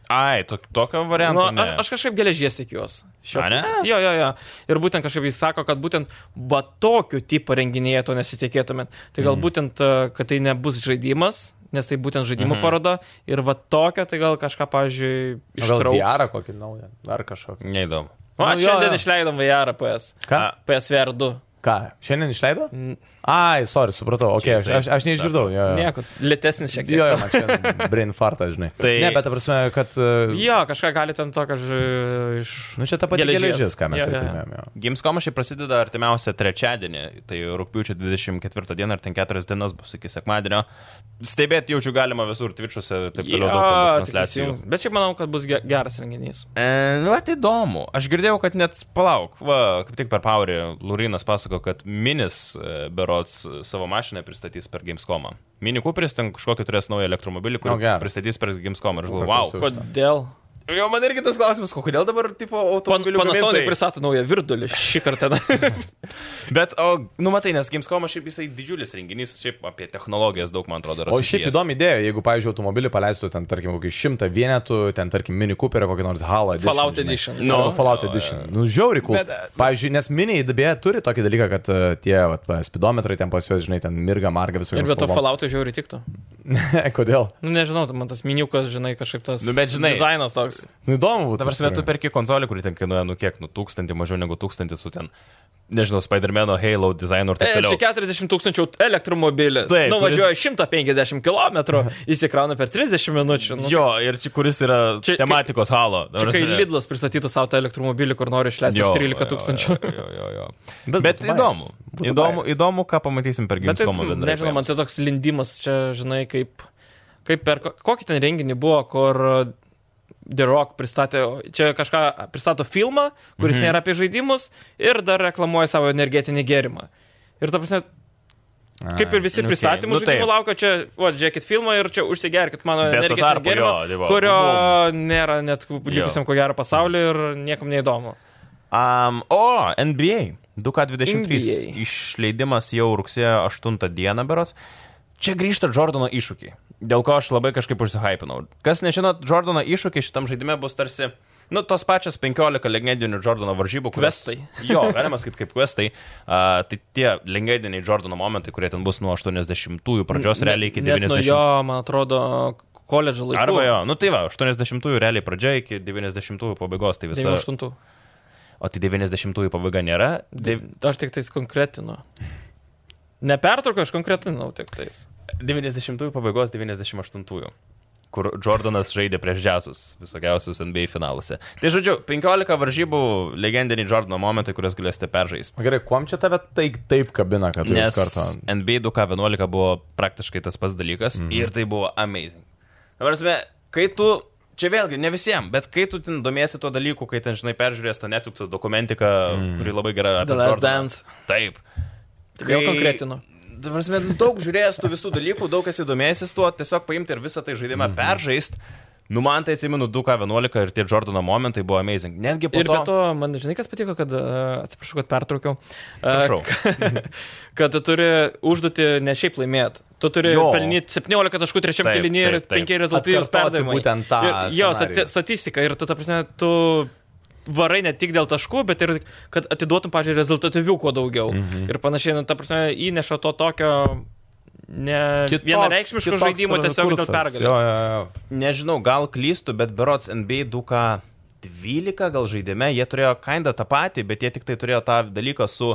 Speaker 1: Ai, to, tokio varianto.
Speaker 2: Nu,
Speaker 1: Nu,
Speaker 2: aš, aš kažkaip geležies tikiuosi. šio
Speaker 1: A, ne?
Speaker 2: pusės. Jo, jo, jo. Ir būtent kažkaip jis sako, kad būtent va tokiu tipo renginėje to nesitikėtumėt. Tai gal būtent, e, kad tai nebus žaidimas, nes tai būtent žaidimų
Speaker 1: Mhm.
Speaker 2: paroda. Ir va tokia, tai gal kažką, pavyzdžiui, ištrauks.
Speaker 4: Gerą kokį naują, dar kažkokį.
Speaker 1: Neįdomu.
Speaker 2: O,
Speaker 4: Nu,
Speaker 2: nu,
Speaker 4: jo,
Speaker 2: šiandien
Speaker 4: jo.
Speaker 2: išleidom VR PS.
Speaker 4: Ką?
Speaker 2: PSVR 2.
Speaker 4: Ką? Šiandien išleido?
Speaker 2: N-
Speaker 4: Ai, sorry, supratau, okay, aš,
Speaker 1: Čia jisai
Speaker 4: aš, aš neišgirdau. Jo, jo.
Speaker 2: Nieko, lėtesnis šiek tiek.
Speaker 4: Jo, jo, man čia brain fartas, žinai.
Speaker 1: Tai-
Speaker 4: Ne, bet ta prasme, kad... uh,
Speaker 2: Jo, kažką gali ten tokio ž- iš...
Speaker 4: Nu, čia ta pati
Speaker 2: Geležies.
Speaker 4: geležis, ką mes
Speaker 2: Jo, jo, jo.
Speaker 4: jau kalbėjome. jo.
Speaker 1: Gimskomas šiaip prasideda artimiausią trečiadienį, tai rūpiučio 24 dieną ir ten keturias dienas bus iki sekmadienio. Stebėti jaučiu galima visur, Twitch'uose ir taip toliau daug ten bus
Speaker 2: tai
Speaker 1: transliacijų.
Speaker 2: transliacijų. Bet šiaip manau, kad bus ge- geras renginys.
Speaker 1: E, nu, tai įdomu. Aš girdėjau, kad net palauk, va, kaip tik per Paurį Lurinas pasako, kad Minis e, berots e, savo mašiną pristatys per Gamescomą. Mini Cooperis ten kažkokį turės naują elektromobilį,
Speaker 4: O,
Speaker 1: kurį
Speaker 4: Nu, geras.
Speaker 1: pristatys per Gamescomą. Ir aš
Speaker 4: Paklausiau.
Speaker 1: galvoju,
Speaker 2: Kodėl?
Speaker 1: wow. Jo, man irgi tas klausimas, ko, kodėl dabar, tipo,
Speaker 2: Pan,
Speaker 1: automobilių
Speaker 2: Panasonic
Speaker 1: gamintojai-
Speaker 2: pristato naują virdulį šį kartą.
Speaker 1: Bet, o, nu matai, nes Gamescomas šiaip jisai didžiulis renginys, šiaip apie technologijas daug, man atrodo, yra.
Speaker 4: O šiaip
Speaker 1: susijęs.
Speaker 4: įdomi idėja, jeigu, pavyzdžiui, automobilį paleistų ten, tarkim, kokį šimtą vienetų, ten, tarkim, mini Cooperį, kokį nors Halą.
Speaker 2: Fallout Edition.
Speaker 4: Nu, no,
Speaker 1: Nu,
Speaker 4: Fallout
Speaker 1: jo,
Speaker 4: Edition. Nu, žiauri, cool.
Speaker 1: Bet,
Speaker 2: e,
Speaker 1: bet-
Speaker 4: Pavyzdžiui, nes mini įdabėje turi tokį dalyką, kad e, tie vat, va, spidometrai ten pas juos, žinai, ten mirga, marga visokie.
Speaker 2: Ir vietoj Fallouto žiauri tiktų.
Speaker 4: Kodėl?
Speaker 2: Nu, nežinau, tai man tas miniukas, žinai, kažkaip tas
Speaker 1: Nu, bet žinai-
Speaker 2: dizainas toks.
Speaker 4: Nu, įdomu būtų.
Speaker 1: Ta prasme, tu perki konsolį, kuri ten kainuoja, nu kiek, nu tūkstantį, mažiau negu tūkstantį su ten, nežinau, Spider-Man'o, Halo dizainu ir
Speaker 2: E,
Speaker 1: taip
Speaker 2: čia
Speaker 1: toliau.
Speaker 2: 40 tūkstančių elektromobilis.
Speaker 1: Taip,
Speaker 2: Nuvažiuoja 150 km, įsikrauna per 30 minučių. Nu,
Speaker 1: Jo, ir čia, kuris yra
Speaker 2: Čia
Speaker 1: čia,
Speaker 2: kai-
Speaker 1: tematikos halo. Ta
Speaker 2: čia kai
Speaker 1: prasme,
Speaker 2: Lidlas pristatytų savo tą elektromobilį, kur nori išleisti
Speaker 1: jo,
Speaker 2: už
Speaker 1: jo,
Speaker 2: 13 tūkstančių.
Speaker 1: Jo, jo, jo, jo.
Speaker 4: Bet
Speaker 1: Bet, Bet
Speaker 4: būtų
Speaker 1: įdomu.
Speaker 4: bajeris. Būtų
Speaker 1: Įdomu,
Speaker 4: bajeris.
Speaker 1: įdomu, ką pamatysim per
Speaker 2: Bet tai,
Speaker 1: Gamescomą bendrai.
Speaker 2: nežinau, man
Speaker 1: paėmus.
Speaker 2: tai toks lindimas čia, žinai, kaip, kaip per ko- kokį ten renginį buvo, kur uh, The Rock pristatė, čia kažką pristato filmą, kuris
Speaker 1: Mhm.
Speaker 2: mm -hmm. nėra apie žaidimus ir dar reklamuoja savo energetinį gėrimą. Ir ta prasme, kaip ir visi
Speaker 1: nu, okei,
Speaker 2: okay. pristatymų
Speaker 1: nu
Speaker 2: nu, žaidimų
Speaker 1: taip.
Speaker 2: laukia, čia, o, žiūrėkit filmą ir čia užsigerkit mano
Speaker 1: Bet tuo
Speaker 2: energetinį
Speaker 1: tarpu
Speaker 2: gėrimą,
Speaker 1: jo, tai va,
Speaker 2: kurio nėra net likusiam ko gero pasauliu ir niekam neįdomu.
Speaker 1: Um, o, NBA. 2K23
Speaker 2: NBA.
Speaker 1: išleidimas jau rugsėjo 8 dieną beros. Čia grįžta Jordano iššūkiai, dėl ko aš labai kažkaip užsihypinau. Kas nežinot, Jordano iššūkiai šitam žaidime bus tarsi, nu, tos pačios 15 legendinių Jordano varžybų. kurios-
Speaker 2: Questai.
Speaker 1: Jo, galima sakyti kaip questai. Uh, tai tie legendiniai Jordano momentai, kurie ten bus nuo 80-ųjų pradžios realiai iki
Speaker 2: Net nuo
Speaker 1: 90-ųjų.
Speaker 2: Jo, man atrodo, koledžo laikų.
Speaker 1: Arba jo, nu tai va, 80-ųjų realiai pradžia iki 90-ųjų pabaigos, tai visa.
Speaker 2: 98.
Speaker 1: O tai 90-ųjų pabaiga nėra.
Speaker 2: Tai
Speaker 1: Dev...
Speaker 2: Aš tik tais konkretinu. Nepertrauką aš konkretinau tik tais.
Speaker 1: 90-ųjų pabaigos 98-ųjų, kur Jordanas žaidė prieš džiazus visokiausius NBA finaluose. Tai žodžiu, 15 varžybų legendiniai Jordano momentai, kuriuos galėsite peržaisti.
Speaker 4: Gerai, kuom čia tave taip, taip kabina, kad tu
Speaker 1: Nes
Speaker 4: iš karto...
Speaker 1: NBA 2K11 buvo praktiškai tas pats dalykas mhm. ir tai buvo amazing. Dabar, asme, kai tu, čia vėlgi, ne visiems, bet kai tu ten domiesi tuo dalyku, kai ten, žinai, peržiūrės tą Netflix dokumentiką,
Speaker 4: Mhm.
Speaker 1: mm. kuri labai gera
Speaker 2: The
Speaker 1: apie
Speaker 2: Last
Speaker 1: Jordaną.
Speaker 2: Dance.
Speaker 1: Taip. Tai
Speaker 2: Jau konkretinu.
Speaker 1: Ta
Speaker 2: Mhm.
Speaker 1: Prasme, nu, daug žiūrėjęs tų visų dalykų, daug esi domėjęsis tuo, tiesiog paimti ir visą tai žaidimą peržaist. Nu, man tai atsimenu 2K11 ir tie Jordano momentai buvo amazing. Netgi po
Speaker 2: Ir be
Speaker 1: to...
Speaker 2: to, man žinai, kas patiko, kad, a, atsiprašau, kad pertraukiau,
Speaker 1: Prašau.
Speaker 2: A, kad tu turi užduoti ne šiaip laimėti. Tu turi
Speaker 1: Jo.
Speaker 2: pelnyti 17 taškų trečiam
Speaker 1: Taip,
Speaker 2: kilinį ir
Speaker 1: taip, taip.
Speaker 2: 5 rezultatus
Speaker 4: Atkartoti
Speaker 2: perdavimai.
Speaker 4: būtent tą
Speaker 2: Ir- Jo,
Speaker 4: scenarijų.
Speaker 2: stati- statistika. Ir tu, ta prasme, tu varai ne tik dėl taškų, bet ir kad atiduotum, pažiūrėjau, rezultatyvių kuo daugiau. Mhm. Ir panašiai, na, ta prasme, įneša to tokio ne
Speaker 4: Kitoks-
Speaker 2: vienareikšmiško
Speaker 4: kitoks
Speaker 2: žaidimo tiesiog dėl
Speaker 4: kursas.
Speaker 2: pergalės.
Speaker 4: Jo, jo, jo.
Speaker 1: Nežinau, gal klystu, bet berots NBA 2K12 gal žaidime jie turėjo kinda tą patį, bet jie tik tai turėjo tą dalyką su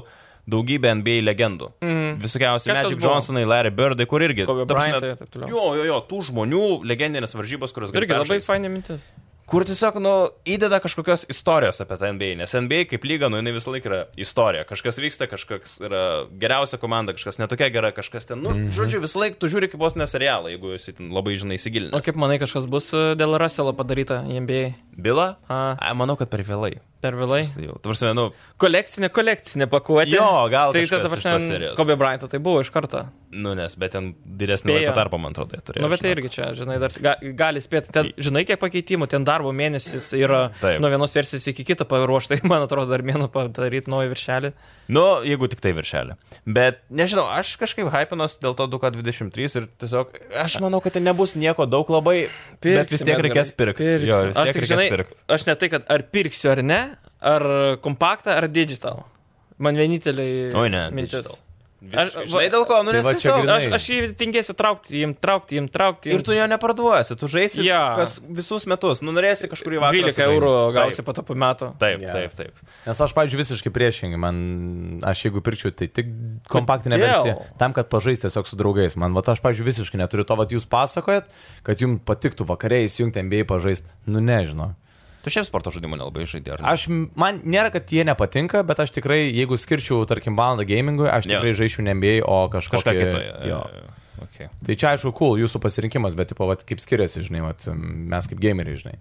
Speaker 1: daugybė NBA legendų. Mm. Visokiausi
Speaker 2: Mhm. Kažkas
Speaker 1: Magic
Speaker 2: buvo.
Speaker 1: Johnsonai, Larry Birdai, kur irgi.
Speaker 2: Kobe
Speaker 1: ta prasme,
Speaker 2: Bryantai ir taip toliau.
Speaker 1: Jo, jo, jo, tų žmonių legendinės varžybos, kurios gali
Speaker 2: Irgi labai
Speaker 1: peržaist.
Speaker 2: fainė mintis.
Speaker 1: Kur tiesiog, nu, įdeda kažkokios istorijos apie tą NBA, nes NBA kaip lyga, nu, jinai visą laiką yra istorija. Kažkas vyksta, kažkas yra geriausia komanda, kažkas netokia gera, kažkas ten, nu,
Speaker 2: Mhm.
Speaker 1: mm -hmm. žodžiu, visą laiką tu žiūri kaip vos neserialą, jeigu esi ten labai, žinai, įsigilinęs.
Speaker 2: O kaip manai, kažkas bus e, dėl Russelo padaryta NBA
Speaker 1: Bila?
Speaker 2: A.
Speaker 1: A, manau, kad per vėlai.
Speaker 2: per vėlai?
Speaker 1: Tai jau, tarsi, nu,
Speaker 2: Kolekcinė, kolekcinė pakuotė.
Speaker 1: Jo, gal
Speaker 2: Tai
Speaker 1: kažkas
Speaker 2: tada,
Speaker 1: iš tos
Speaker 2: prasme,
Speaker 1: serijos.
Speaker 2: Kobe Bryant, tai buvo iš karto.
Speaker 1: nu, nes, bet ten didesnį
Speaker 2: Spėjo.
Speaker 1: laiko tarpą, man atrodo, jie turėjo.
Speaker 2: Na, bet tai irgi čia, žinai, dar ga, gali spėti. Ten, žinai, kiek pakeitimų, ten darbo mėnesis yra
Speaker 1: Taip.
Speaker 2: nuo vienos versijos iki kito paruošta, tai man atrodo, dar mėno padaryti naują viršelį.
Speaker 1: Nu, jeigu tik tai viršelė. Bet, nežinau, aš kažkaip hypinos dėl to 2K23 ir tiesiog, aš manau, kad ten nebus nieko daug labai, pirksim, bet vis tiek
Speaker 2: Edgarai,
Speaker 1: reikės pirkti.
Speaker 2: pirksim.
Speaker 1: Jo, vis tiek
Speaker 2: Aš tik,
Speaker 1: reikės
Speaker 2: žinai,
Speaker 1: pirkt.
Speaker 2: aš ne tai, kad ar pirksiu ar ne, ar kompaktą, ar digital. Man vieninteliai
Speaker 1: Oi, ne,
Speaker 2: mintis.
Speaker 1: digital. Aš,
Speaker 2: Aš-
Speaker 1: žinai, dėl ko, nu,
Speaker 4: Tai
Speaker 1: nes
Speaker 4: va
Speaker 1: tai
Speaker 4: čia
Speaker 1: tiesiog...
Speaker 4: grina-
Speaker 2: Aš, aš jį tingėsiu traukti, jim traukti, jim traukti.
Speaker 1: Ir tu jo neparduosi, tu žaisi
Speaker 2: Jo.
Speaker 1: yeah. kas visus metus, nu, norėsi kažkur į vakarą.
Speaker 2: 12 eurų gausi po to po metų.
Speaker 1: Taip,
Speaker 4: Jo.
Speaker 1: taip, taip. taip.
Speaker 4: Nes aš, pavyzdžiui, visiškai priešingai, man, aš jeigu pirčiau, tai tik kompaktinę
Speaker 2: Kodėl?
Speaker 4: versiją, tam, kad pažaisti tiesiog su draugais. Man, va, aš, pavyzdžiui, visiškai neturiu to, va, jūs pasakojat, kad jums patiktų vakariai įsijungti MBA pažaisti. Nu, nežinau.
Speaker 1: Tu šiaip sporto žaidimų nelabai žaidė, ar ne?
Speaker 4: Aš, m- man nėra, kad jie nepatinka, bet aš tikrai, jeigu skirčiau, tarkim, valandą gamingui, aš
Speaker 1: Jo.
Speaker 4: tikrai yeah. žaisčiau ne MBA, o kažkokį,
Speaker 1: kažką kitoje.
Speaker 4: Jo.
Speaker 1: Okay.
Speaker 4: Tai čia, aišku, cool, jūsų pasirinkimas, bet, tipo, va, kaip skiriasi, žinai, va, mes kaip gameriai, žinai.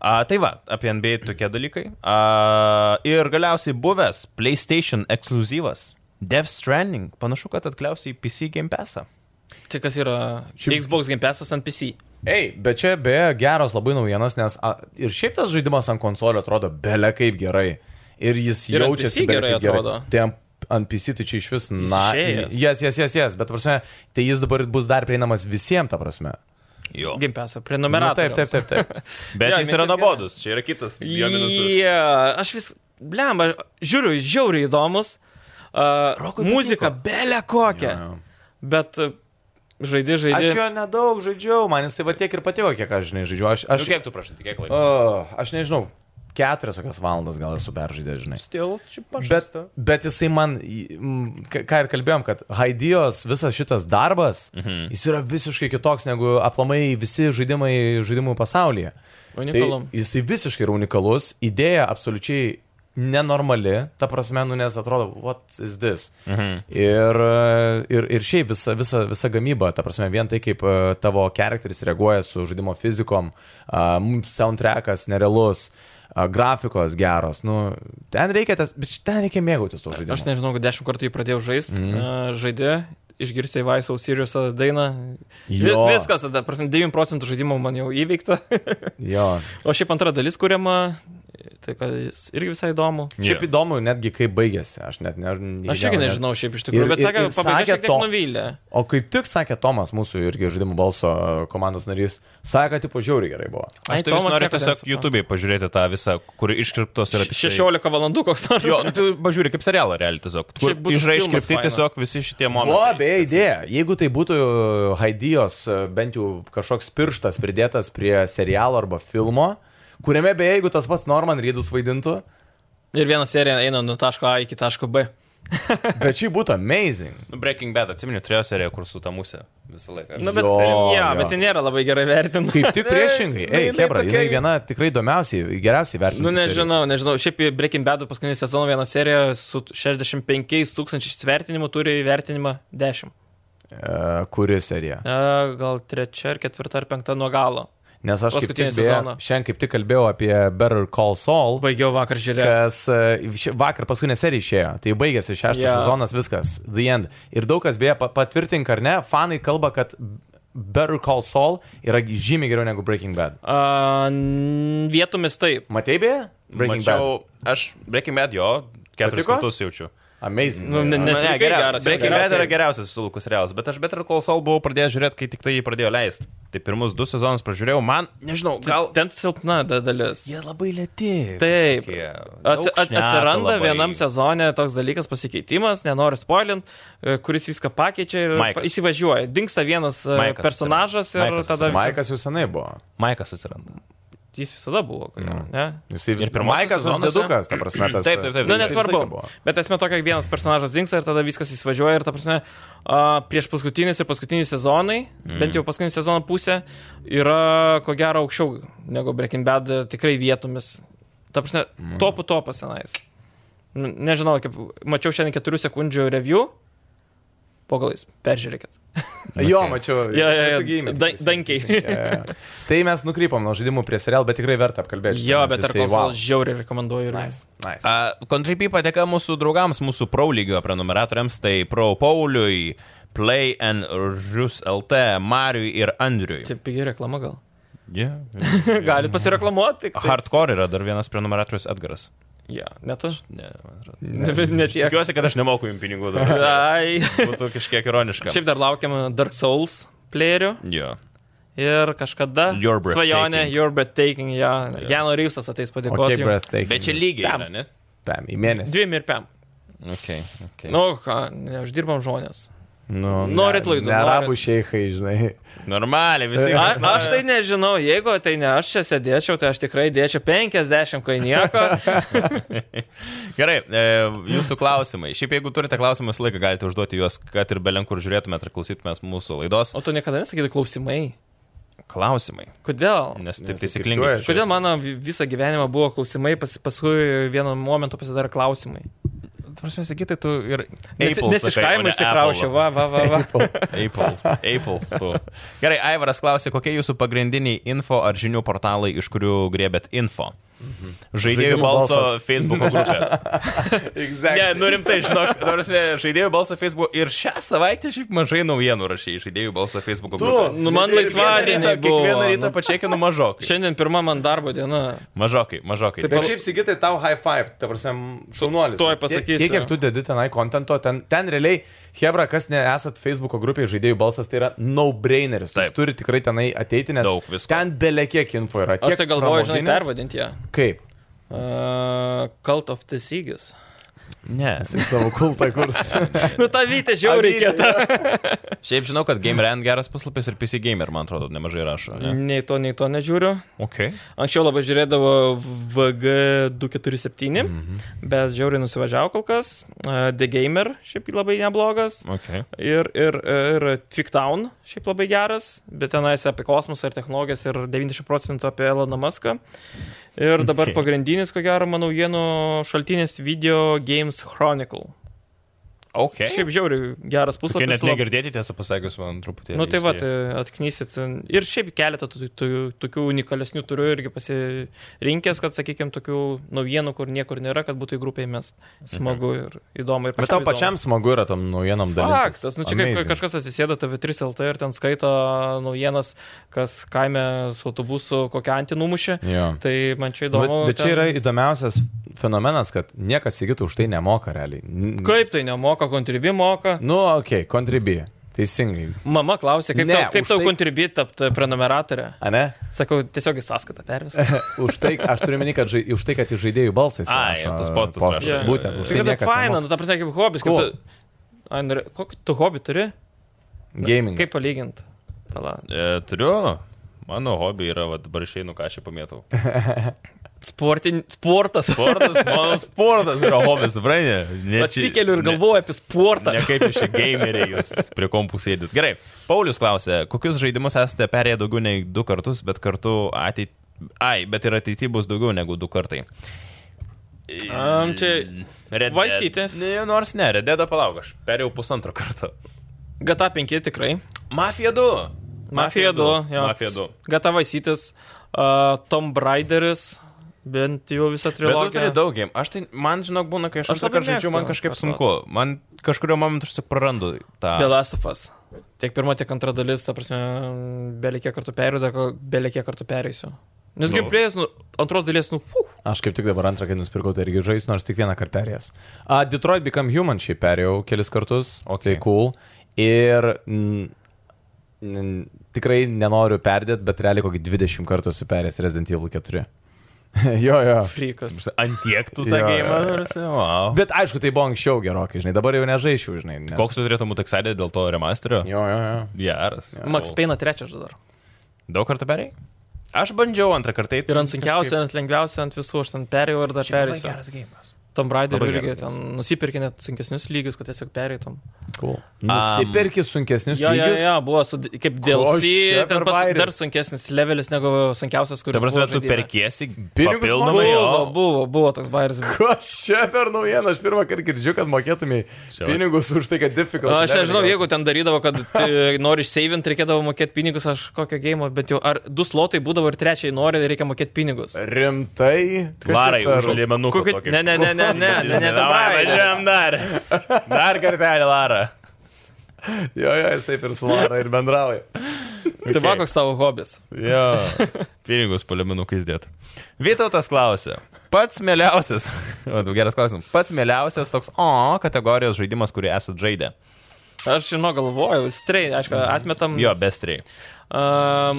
Speaker 1: A, tai va, apie NBA tokie dalykai. A, ir galiausiai buvęs PlayStation ekskluzyvas. Death Stranding panašu, kad atkliausiai PC Game Passą.
Speaker 2: Čia kas yra
Speaker 4: Šiaip-
Speaker 2: Xbox Game Passas ant PC.
Speaker 4: Ei, bet čia beje geros labai naujienos, nes a, ir šiaip tas žaidimas ant konsolio atrodo bele kaip gerai. Ir jis
Speaker 2: Ir ant
Speaker 4: jaučiasi
Speaker 2: PC
Speaker 4: bele
Speaker 2: gerai
Speaker 4: kaip
Speaker 2: atrodo.
Speaker 4: Tai ant- ant PC tai čia iš vis, na,
Speaker 2: išėjęs.
Speaker 4: jas, jas, jas, jas, bet, ta prasme, tai jis dabar bus dar prieinamas visiems, ta prasme.
Speaker 1: Jo.
Speaker 2: Game Passą,
Speaker 4: Nu,
Speaker 2: prenumerata.
Speaker 4: taip, taip, taip, taip.
Speaker 1: Bet
Speaker 2: Jo,
Speaker 1: jo, jis yra
Speaker 2: mintis
Speaker 1: nuobodus, čia yra kitas. jo minusas.
Speaker 2: Yeah, aš vis, blem, žiūriu, žiauriai įdomus. Uh,
Speaker 1: Rokui
Speaker 2: muzika belė kokia.
Speaker 4: Jo, jo.
Speaker 2: Bet uh, žaidži,
Speaker 4: Aš
Speaker 2: žaidži.
Speaker 4: jo nedaug žaidžiau, man jisai va tiek ir patiko, kiek aš, žinai, žaidžiu. Aš,
Speaker 1: Nu,
Speaker 4: aš,
Speaker 1: kiek tu prašai, kiek laiko?
Speaker 4: o, aš nežinau, keturias kokias valandas gal esu peržaidęs, žinai.
Speaker 1: Still, čia
Speaker 4: Bet, bet jisai man, į- m, k- ką ir kalbėjom, kad Haidijos visas šitas darbas, mhm. jis yra visiškai kitoks negu aplamai visi žaidimai žaidimų pasaulyje.
Speaker 2: Unikalum.
Speaker 4: Tai jisai visiškai yra unikalus, idėja absoliučiai nenormali, ta prasme, nu, nes atrodo, what is this? Mhm. Ir, e, ir, ir šiaip visa, visa, visa gamyba, ta prasme, vien tai, kaip e, tavo charakteris reaguoja su žaidimo fizikom, a, m, soundtrackas nerealus. a, Grafikos geros, nu, ten reikia, tas, bet ten reikia mėgautis to žaidimo.
Speaker 2: Aš nežinau, kad dešimt kartų jį pradėjau žaisti.
Speaker 4: Mhm.
Speaker 2: Mm. Uh, žaidži, išgirsti Vaisaus Sirius dainą. Vi,
Speaker 4: Jo.
Speaker 2: viskas, tada, prasme, 9 procentų žaidimų man jau įveikta.
Speaker 4: Jo.
Speaker 2: o šiaip antra dalis kuriama, tai kad jis irgi visai įdomu.
Speaker 1: Jo.
Speaker 4: Šiaip įdomu, netgi kaip baigėsi, aš net ne,
Speaker 2: Aš irgi nežinau šiaip iš tikrųjų,
Speaker 4: Ir-
Speaker 2: bet
Speaker 4: ir-
Speaker 2: sakė,
Speaker 4: ir
Speaker 2: pabaiga
Speaker 4: sakė
Speaker 2: šiek tiek
Speaker 4: to-
Speaker 2: nuvylė.
Speaker 4: O kaip tik sakė Tomas, mūsų irgi žaidimų balso e, komandos narys, sakė, kad tipo žiauriai gerai buvo.
Speaker 1: Aš
Speaker 2: Ai,
Speaker 1: tai vis
Speaker 2: Tomas
Speaker 1: noriu
Speaker 2: nieko
Speaker 1: tiesiog
Speaker 2: nesupranta.
Speaker 1: YouTube'ai pažiūrėti tą visą, kur iškriptos yra tik tai-
Speaker 2: 16 valandų koks nors.
Speaker 1: Jo, nu, tu pažiūrėk kaip serialą realiai tiesiog. Kur
Speaker 2: Šiaip būtų filmas
Speaker 1: išraiškirti
Speaker 2: faina.
Speaker 1: tiesiog visi šitie
Speaker 4: O,
Speaker 1: momentai.
Speaker 4: beje, idėja. Jeigu tai būtų Haidijos e, bent jau kažkoks pirštas pridėtas prie serialo arba filmo, kuriame beje, jeigu tas pats Norman Reedus vaidintų,
Speaker 2: Ir viena serija eina nuo taško A iki taško B.
Speaker 4: bet čia būtų amazing.
Speaker 1: Nu, Breaking Bad, atsiminiu, turėjo seriją, kur su tamusė visą laiką.
Speaker 2: Na, Nu, bet,
Speaker 4: Jo,
Speaker 2: jo,
Speaker 4: jo.
Speaker 2: bet tai nėra labai gerai vertinama.
Speaker 4: Kaip tik priešingai.
Speaker 1: nu,
Speaker 4: Ei,
Speaker 1: jinai
Speaker 4: Hebra,
Speaker 1: tokia-
Speaker 4: jinai viena tikrai įdomiausiai, geriausiai vertinama.
Speaker 2: Nu, nežinau, nežinau. Šiaip į Breaking Bad paskutinį sezoną vieną seriją su 65 tūkstančiais vertinimų turi įvertinimą 10.
Speaker 4: uh, Kuri serija?
Speaker 2: E, gal trečia, ar ketvirta, ar penkta nuo galo.
Speaker 4: Nes aš kaip tik,
Speaker 2: Paskutinį
Speaker 4: beje,
Speaker 2: sezoną.
Speaker 4: šiandien kaip tik kalbėjau apie Better Call Saul,
Speaker 2: Baigiau vakar žiūrėti.
Speaker 4: kas e, ši- vakar paskutinė serija išėjo, tai baigėsi šeštas
Speaker 2: Jo.
Speaker 4: sezonas, viskas, the end. Ir daug kas beje pa- patvirtink ar ne, fanai kalba, kad Better Call Saul yra žymiai geriau negu Breaking Bad.
Speaker 2: A, n- vietomis taip.
Speaker 4: Matei beje? Breaking Mačiau.
Speaker 1: Mačiau, aš Breaking Bad jo keturis
Speaker 4: Patiko?
Speaker 1: kartus jaučiu.
Speaker 4: Bad. Amazing.
Speaker 2: Nu, ne- ne- Nes ilgai
Speaker 1: geria-
Speaker 2: geras, jo,
Speaker 1: Breaking Bad
Speaker 2: geriausia.
Speaker 1: yra geriausias visų laikų serialas, bet aš Better Call Saul buvau pradėjęs žiūrėti, kai tik tai jį pradėjo leisti. Tai pirmus du sezonus pražiūrėjau, man, nežinau, gal...
Speaker 2: Ten silpna da- dalis.
Speaker 1: Jie labai lėti.
Speaker 2: Taip.
Speaker 1: Tokie,
Speaker 2: Ats,
Speaker 1: daug
Speaker 2: at,
Speaker 1: šneka
Speaker 2: atsiranda
Speaker 1: labai.
Speaker 2: vienam sezone toks dalykas pasikeitimas, nenoriu spoilint, e, kuris viską pakeičia ir
Speaker 1: Maikas.
Speaker 2: pa- įsivažiuoja. Dinksta vienas e,
Speaker 1: Maikas
Speaker 2: personažas ir
Speaker 1: atsiranda. Maikas
Speaker 2: tada visi,
Speaker 4: Maikas jau senai buvo.
Speaker 1: Maikas Mm. atsiranda.
Speaker 2: jis visada buvo. ko gero, Ne?
Speaker 4: Jisai
Speaker 1: Ir pirmuose
Speaker 4: Maikas tas
Speaker 1: sezonuose-
Speaker 4: dedukas, ta prasme, tas.
Speaker 1: Taip, taip, taip.
Speaker 2: Na,
Speaker 1: jisai
Speaker 4: visą
Speaker 2: Nu, nesvarbu.
Speaker 4: laiką buvo.
Speaker 2: Bet esmė tokia, kad vienas personažas dinksta ir tada viskas įsivažiuoja ir, ta prasme, a, prieš paskutinis ir paskutinis sezonai, mm. bent jau paskutinį sezoną pusę, yra ko gero aukščiau negu Breaking Bad e, tikrai vietomis. Ta prasme, mm. topų topas senais. Nu, Nežinau, kaip mačiau šiandien keturių sekundžių review. Pogalais, peržiūrėkit.
Speaker 4: Jo, mačiau.
Speaker 2: Jo, jo, jo,
Speaker 4: Tu gi įmetei
Speaker 2: da-
Speaker 4: teisingai.
Speaker 2: dankiai.
Speaker 4: Jo, jo, jo. Tai mes nukrypom nuo žaidimų prie serialų, bet tikrai verta apkalbėti.
Speaker 2: Jo, bet ar konsol žiauriai rekomenduoju ir mes.
Speaker 4: Nice.
Speaker 1: Kontripy padėka mūsų draugams, mūsų Pro lygio prenumeratoriams, tai Pro Pauliui, Play and Rus LT, Mariui ir Andriui.
Speaker 2: Taip, pigi reklama gal.
Speaker 1: Yeah.
Speaker 2: Galit pasireklamuoti.
Speaker 1: Hardcore yra dar vienas prenumeratorius Edgaras.
Speaker 2: Ja, net aš.
Speaker 1: Ne, man atrodo.
Speaker 2: Ne, ne tiek.
Speaker 1: Tikiuosi, kad aš nemoku jums pinigų dabar.
Speaker 2: Ai.
Speaker 1: Būtų kažkiek ironiška.
Speaker 2: Šiaip dar laukiam Dark Souls plėrių
Speaker 1: Jo.
Speaker 2: ir kažkada
Speaker 1: Your
Speaker 2: svajonė,
Speaker 1: Breathtaking.
Speaker 2: Your Breathtaking, ja, Jano Ryvsas ateis
Speaker 4: Okay,
Speaker 2: padėkoti. jum.
Speaker 4: breathtaking.
Speaker 1: Bet čia lygiai
Speaker 2: Tam.
Speaker 1: yra, ne?
Speaker 4: Tam, į mėnesį.
Speaker 2: Dviem ir pem.
Speaker 1: Okay, okay.
Speaker 2: Nu, ką, neuždirbam žmonės.
Speaker 4: Nu, ne-
Speaker 2: Norit laidų,
Speaker 4: Ne arabų
Speaker 2: norit.
Speaker 4: šeikai, žinai.
Speaker 1: Normaliai, visi.
Speaker 2: A, aš tai nežinau, jeigu tai ne aš čia sėdėčiau, tai aš tikrai dėčiau 50 kai nieko.
Speaker 1: Gerai, e, jūsų klausimai. Šiaip jeigu turite klausimų, visą laiką galite užduoti juos, kad ir belenkur žiūrėtumėt ar klausytumės mūsų laidos.
Speaker 2: O tu niekada nesakytum klausimai.
Speaker 1: Klausimai.
Speaker 2: Kodėl?
Speaker 1: Nes
Speaker 4: Nes
Speaker 1: taip
Speaker 4: tai
Speaker 1: taisyklingai.
Speaker 4: kirčiuojas.
Speaker 2: Kodėl mano vi- visą gyvenimą buvo klausimai, pas, paskui vienu momentu pasidarė klausimai.
Speaker 1: Prasme, sakytai, tu ir...
Speaker 2: Nes,
Speaker 1: Apple
Speaker 2: nes iš
Speaker 1: sakai, o
Speaker 2: kaimo
Speaker 1: ne
Speaker 2: išsikraušiau, va, va, va. va.
Speaker 1: Apple. Apple. Tu. Gerai, Aivaras klausė, kokie jūsų pagrindiniai info ar žinių portalai, iš kurių griebėt info.
Speaker 2: Mhm.
Speaker 1: Žaidėjų
Speaker 4: Žaidimų
Speaker 1: balso
Speaker 4: balsas.
Speaker 1: Facebook grupė.
Speaker 4: Exactly.
Speaker 1: Ne, nu rimtai, žinok, ta prasme, žaidėjų balso Facebook. Ir šią savaitę šiaip mažai naujienų rašiai, žaidėjų balso Facebook grupė.
Speaker 2: Nu, man laisvadienį buvo.
Speaker 1: Kiekvieną rytą
Speaker 2: nu.
Speaker 1: pačiakinu mažokai.
Speaker 2: Šiandien pirma man darbo diena.
Speaker 1: Mažokai, mažokai.
Speaker 2: Taip,
Speaker 4: Bet šiaip sigitai tau high five, ta prasme, šaunuolis.
Speaker 2: Tuoj
Speaker 4: Nes tiek-
Speaker 2: pasakysiu.
Speaker 4: Tiek, kiek tu dedi tenai kontento, ten, ten realiai, Hebra, kas nesat Facebook'o grupėje žaidėjų balsas, tai yra no-braineris. Tu
Speaker 1: Taip.
Speaker 4: turi tikrai tenai ateiti, nes
Speaker 1: Daug visko.
Speaker 4: ten belekiek info yra.
Speaker 2: Aš
Speaker 4: Tiek
Speaker 2: tai galvoju, žinai,
Speaker 4: pramoginės-
Speaker 2: pervadinti ją.
Speaker 4: Kaip?
Speaker 2: Uh, Cult of the Seagis.
Speaker 1: Ne.
Speaker 4: Į savo kultą kurs.
Speaker 2: Nu, tą vytę žiauriai kietą.
Speaker 1: Šiaip žinau, kad GameRand geras puslapis ir PC Gamer, man atrodo, nemažai rašo. Ne?
Speaker 2: Nei to, nei to nežiūriu.
Speaker 1: Okay.
Speaker 2: Anksčiau labai žiūrėdavo VG247, bet žiauriai nusivažiavau kol kas. Uh, The Gamer šiaip labai neblogas.
Speaker 1: Okay.
Speaker 2: Ir, ir, ir Twigtown šiaip labai geras, bet tenais apie kosmosą ir technologijas ir 90 procentų apie Eloną Muską. Ir dabar okay. pagrindinis, ko gero, mano naujienų šaltinis video Games Chronicle.
Speaker 1: Okay.
Speaker 2: Okay. Šiaip žiauriai geras
Speaker 1: Kai
Speaker 2: puslapis.
Speaker 1: net negirdėti, tiesą pasakius, man truputį.
Speaker 2: Nu tai va, tai atknysit. Ir šiaip keletą tų- tų- tokių unikalesnių turiu irgi pasirinkęs, kad, sakykime, tokių naujienų, kur niekur nėra, kad būtų į grupę mes smagu ir įdomu. Ir
Speaker 4: Mhm. Bet tau
Speaker 2: įdomu.
Speaker 4: pačiam smagu yra tom naujienom dalyvam.
Speaker 2: Faktas, nu čia kaip kažkas atsisėda TV3 LT ir ten skaito naujienas, kas kaime su autobusu kokią antį numušė.
Speaker 4: Jo.
Speaker 2: Tai man čia
Speaker 4: Bet,
Speaker 2: įdomu.
Speaker 4: bet čia
Speaker 2: ten-
Speaker 4: yra įdomiausias fenomenas, kad niekas įgytų už tai nemoka realiai. N-
Speaker 2: Kaip tai nemoka, kontribi moka.
Speaker 4: Nu, okei, okay, kontribį. Teisingai.
Speaker 2: Mama klausė, kaip, ne,
Speaker 4: Ne,
Speaker 2: tau,
Speaker 4: už
Speaker 2: kaip tau
Speaker 4: tai-
Speaker 2: tai... kontribi tapti prenumeratorę.
Speaker 4: Ane?
Speaker 2: Sakau, tiesiog į sąskaitą pervisą.
Speaker 4: už tai, aš turiu meni, kad žai, už tai, kad į žaidėjų balsai.
Speaker 1: Ai,
Speaker 4: surašo
Speaker 1: tuos postus
Speaker 4: postus.
Speaker 1: rašo.
Speaker 4: Būtent, už
Speaker 2: Tai
Speaker 4: tai.
Speaker 2: kada
Speaker 4: niekas
Speaker 2: faina,
Speaker 4: nemoka.
Speaker 2: nu ta prasme kaip hobis. Kaip
Speaker 4: Ko?
Speaker 2: tu, ai, nori, kokį tu hobį turi?
Speaker 4: Gaming.
Speaker 2: Kaip palyginti?
Speaker 1: E, turiu. Mano hobi yra, va, dabar išeinu, ką aš čia pamėtau.
Speaker 2: Sportin, sportas.
Speaker 1: Sportas, mano sportas yra hobis, brainė.
Speaker 2: Atsikeliu ir galvoju apie sportą.
Speaker 1: Ne, ne kaip iš gameriai jūs prie kompų sėdit. Gerai, Paulius klausė, kokius žaidimus esate perėję daugiau nei du kartus, bet kartu ateit... Ai, bet ir ateityje bus daugiau negu du kartai.
Speaker 2: Am, čia
Speaker 1: Red
Speaker 2: Vice City'is.
Speaker 1: Ne, nors ne, Redėdo palauk, aš perėjau pusantro karto.
Speaker 2: GTA 5 tikrai.
Speaker 1: Mafija 2.
Speaker 2: Mafija 2. jo.
Speaker 1: Mafija 2.
Speaker 2: GTA Vaisytis, uh, Tom Braideris, bent jau visą
Speaker 1: Bet tu turi
Speaker 2: trilogiją.
Speaker 1: daug game. Aš tai, man žinok, būna, kai aš
Speaker 2: Aš
Speaker 1: antrą
Speaker 2: labai
Speaker 1: kartą žaidžiu, man
Speaker 2: mėgstu
Speaker 1: kažkaip
Speaker 2: kartot.
Speaker 1: sunku. Man kažkurio momentu aš tik prarandu tą.
Speaker 2: The Last of Us. Tiek pirma, tiek antra dalis, ta prasme, belikė kartų perėda, belikė kartų perėsiu. Nes
Speaker 1: Nu.
Speaker 2: nu. gameplays, nu, antros dalies, nu, huh.
Speaker 4: Aš kaip tik dabar antrą, kai nusipirkau, tai irgi žaisiu, nors tik vieną kartą perėjęs. Uh, Detroit Become Human šiaip perėjau kelis kartus, o okay. tai cool. Ir mm, n- tikrai nenoriu perdėti, bet realiai kokį 20 kartų esu perėjęs Resident Evil 4. jo, jo.
Speaker 2: freakas.
Speaker 1: Antiektų
Speaker 4: Jo,
Speaker 1: tą
Speaker 4: jo,
Speaker 1: gėjimą.
Speaker 4: jo.
Speaker 1: Wow.
Speaker 4: Bet aišku, tai buvo anksčiau gerokai, žinai, dabar jau nežaisiu, žinai. Nes...
Speaker 1: Koks tu turėtum būti excited dėl to remasterio?
Speaker 4: Jo, jo, jo.
Speaker 1: Geras.
Speaker 2: Max Payne trečias dar.
Speaker 1: Daug kartų perėjai? Aš bandžiau antrą kartą. tai eit,
Speaker 2: Ir ant sunkiausio, ant lengviausio, ant visų, aš ten perėjau ir dar
Speaker 1: Šiaip labai
Speaker 2: perėsiu.
Speaker 1: Geras gėjimas.
Speaker 2: Tom Raider
Speaker 1: Labai
Speaker 2: irgi
Speaker 1: geras
Speaker 2: ten nusipirkė net sunkesnius lygius, kad tiesiog perėtum.
Speaker 4: Cool. Nusipirki sunkesnius
Speaker 2: Jo, jo,
Speaker 4: lygius.
Speaker 2: jo, buvo su, kaip
Speaker 4: čia
Speaker 2: DLC,
Speaker 4: per
Speaker 2: ten pats
Speaker 4: bairį?
Speaker 2: dar sunkesnis levelis negu sunkiausias, kuris
Speaker 1: Ta prasme,
Speaker 2: buvo
Speaker 1: tu
Speaker 2: žaidime.
Speaker 1: perkiesi
Speaker 4: Pinigus
Speaker 1: papildomai
Speaker 4: moku.
Speaker 1: jo.
Speaker 2: Buvo, buvo, buvo toks bairis.
Speaker 4: Ko aš čia per naujieną, aš pirmą kartą girdžiu, kad mokėtumėjai
Speaker 1: Čia va.
Speaker 4: pinigus už tai, kad difficult.
Speaker 2: Aš
Speaker 4: level
Speaker 2: nežinau,
Speaker 4: gautum.
Speaker 2: jeigu ten darydavo, kad e, nori išseivinti, reikėdavo mokėti pinigus, aš kokio gėjimo, bet jau ar du slotai būdavo ir trečiai nori, reikia mokėti pinigus.
Speaker 4: Rimtai? Kas čia
Speaker 1: Varai
Speaker 4: per-
Speaker 1: už liemenų.
Speaker 2: Kokiu- Ne, ne, ne, ne, ne, ne, nu, ne,
Speaker 1: Davai,
Speaker 2: ne,
Speaker 1: važiuojam dar. Dar kartelį, Lara.
Speaker 4: Jo, jo, jis taip ir su Lara ir bendrauja.
Speaker 2: Tai va, koks tavo hobis.
Speaker 1: Jo. Pinigus poliminukais dėt. Vytautas klausė. Pats mėliausias. O, geras klausimas. Pats mėliausias toks O kategorijos žaidimas, kurį esat žaidę.
Speaker 2: Aš žinau, galvoju, strei, aišku, atmetam.
Speaker 1: Mhm. Jo,
Speaker 2: nes-
Speaker 1: bestrei.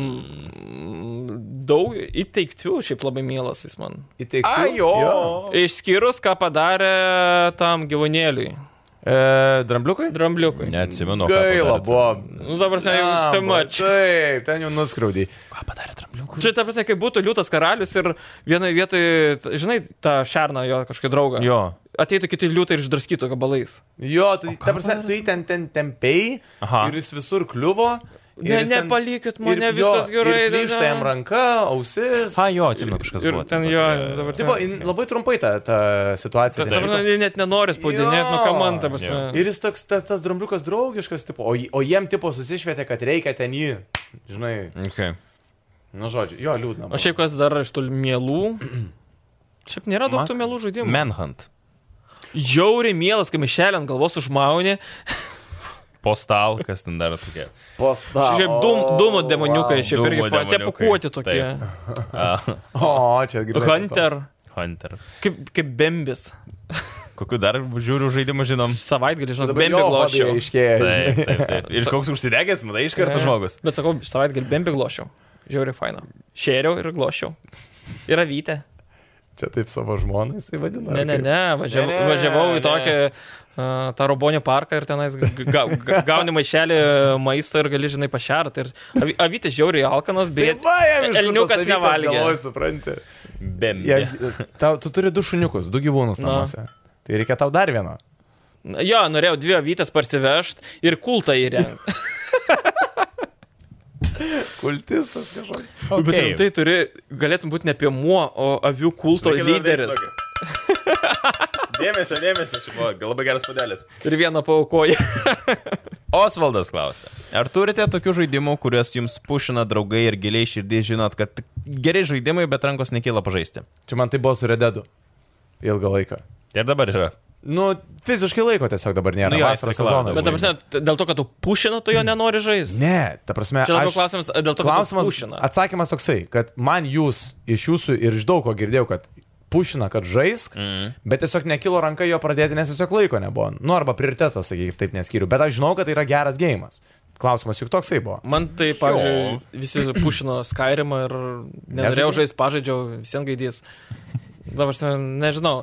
Speaker 2: Um, daug įteiktių šiaip labai mielas jis man.
Speaker 4: Įteiksiu.
Speaker 2: Išskyrus, ką padarė tam gyvūnėliui,
Speaker 4: E, drambliukai?
Speaker 2: drambliukui.
Speaker 1: Neatsimenu. ką
Speaker 4: Gaila
Speaker 1: padarėt.
Speaker 4: buvo.
Speaker 2: Nu, dabar seniai,
Speaker 4: Blemba,
Speaker 2: tai mač.
Speaker 4: Taip, ten jau nuskriaudai.
Speaker 1: Ką padarė trampliukų?
Speaker 2: Čia, ta prasme, kai būtų liūtas karalius ir vienoje vietoje, t- žinai, tą šerną jo kažkokį draugą.
Speaker 1: Jo.
Speaker 2: Ateitų kiti liūtai ir išdraskytų gabalais.
Speaker 4: Jo, tu, ta prasme,
Speaker 1: padarė?
Speaker 4: tu jį ten, ten tempei
Speaker 1: Aha.
Speaker 4: ir jis visur kliuvo. ir
Speaker 2: Ne,
Speaker 4: jis ten-
Speaker 2: nepalikit
Speaker 4: ir-
Speaker 2: mane,
Speaker 4: jo,
Speaker 2: viskas gerai,
Speaker 4: Ir
Speaker 2: ne, ne.
Speaker 4: plyšta jam ranka, ausis.
Speaker 1: Ha, jo, atsimenu, kažkas
Speaker 2: ir
Speaker 1: buvo.
Speaker 2: ten
Speaker 1: tokio.
Speaker 2: jo, dabar
Speaker 4: Tipo, in- labai trumpai ta, ta situacija.
Speaker 2: Ta
Speaker 4: ten vyko.
Speaker 2: prasme, jie net nenori spaudinėti, nu ką man, ta prasme.
Speaker 4: Ir jis toks, ta, tas drumbliukas draugiškas, tipo, o, j- o jiem tipo susišvietė, kad reikia ten jį, žinai,
Speaker 1: Okay.
Speaker 4: nu žodžiu, jo liūdna.
Speaker 2: O šiaip kas dar iš tų mielų? Šiaip nėra daug tų mielų žaidimų.
Speaker 1: Manhunt.
Speaker 2: Jauri mielas, kai mišelė ant galvos užmauni.
Speaker 1: Postal, kas ten dar tokie.
Speaker 4: Posta.
Speaker 2: Šiaip dum, dumo demoniukai, šiaip
Speaker 1: Dūmų
Speaker 2: irgi fa- tie
Speaker 1: demoniukai,
Speaker 2: pakuoti tokie.
Speaker 1: Uh,
Speaker 4: O, čia grįžtu.
Speaker 2: Hunter,
Speaker 1: Hunter.
Speaker 2: kaip, kaip bembis.
Speaker 1: Kokiu dar žiūriu žaidimą žinom?
Speaker 2: Savaitgalį, žinau,
Speaker 4: Dabar
Speaker 2: bembį
Speaker 4: jo
Speaker 2: glošiau.
Speaker 4: fobija iškėlė.
Speaker 1: Taip, taip, taip. Ir koks užsidegęs, matai, iš karto
Speaker 2: Ne.
Speaker 1: žmogus.
Speaker 2: Bet sakau, savaitgalį bembį glošiau. Žiauri faina. Šėriau ir glošiau. Ir avytę.
Speaker 4: Čia taip savo žmonai jisai vadina.
Speaker 2: Ne, ne, ne,
Speaker 1: Ne,
Speaker 2: važiavau, ne,
Speaker 1: ne,
Speaker 2: važiavau
Speaker 1: ne.
Speaker 2: į tokį uh, tą robonio parką ir tenais ga, ga, ga- gauni maišelį maisto ir gali, žinai, pašerti. Ir avy- avytė žiauriai alkanas,
Speaker 4: Tai
Speaker 2: beje.
Speaker 4: va, jam iš kur
Speaker 2: elniukas
Speaker 4: tos avytės
Speaker 2: nevalgė.
Speaker 4: galvoj, supranti.
Speaker 1: Bem.
Speaker 4: Ja, tau, tu turi du šuniukus, du gyvūnus
Speaker 2: Na.
Speaker 4: namuose. Tai reikia tau dar vieno.
Speaker 2: Jo, norėjau dvi avytės parsivežti ir kultą įrengti.
Speaker 4: Kultistas kažkoks.
Speaker 1: Okay.
Speaker 2: Bet rimtai tai turi, galėtum būti ne piemuo, o avių kulto lyderis.
Speaker 1: Dėmesio, dėmesio, čia buvo labai geras padelis.
Speaker 2: Ir vieną paukoja.
Speaker 1: Osvaldas klausia. Ar turite tokių žaidimų, kuriuos jums pušina draugai ir giliai širdį žinot, kad tik geri žaidimai, bet rankos nekyla pažaisti?
Speaker 4: Čia man tai buvo su Rededu. Ilgą laiką.
Speaker 1: Ir dabar yra.
Speaker 4: Nu, fiziškai laiko tiesiog dabar nėra.
Speaker 1: Nu
Speaker 4: Nu,
Speaker 1: jo,
Speaker 4: Vasaros
Speaker 1: jisai reikalauja
Speaker 4: sezonas.
Speaker 2: Bet, ta prasme, t- dėl to, kad tu pušinu, tu jo nenori žaisti.
Speaker 4: Mm. Ne, ta prasme.
Speaker 2: Čia labiau
Speaker 4: aš-
Speaker 2: klausimas, dėl to, kad
Speaker 4: Klausimas,
Speaker 2: tu pušina.
Speaker 4: atsakymas toksai, kad man jūs iš jūsų ir iš daug ko girdėjau, kad pušina, kad žaisk,
Speaker 2: Mhm.
Speaker 1: Mm.
Speaker 4: bet tiesiog nekilo ranka jo pradėti, nes tiesiog laiko nebuvo. Nu, arba prioriteto, sakykime, taip neskiriu, bet aš žinau, kad tai yra geras gėjimas. Klausimas juk toksai buvo.
Speaker 2: Man tai, pavyzdžiui, visi pušino Skyrimą ir nenorėjau
Speaker 4: Nežaidei?
Speaker 2: žaisti, pažaidžiau, visiems gaidys. Dabar aš ten nežinau.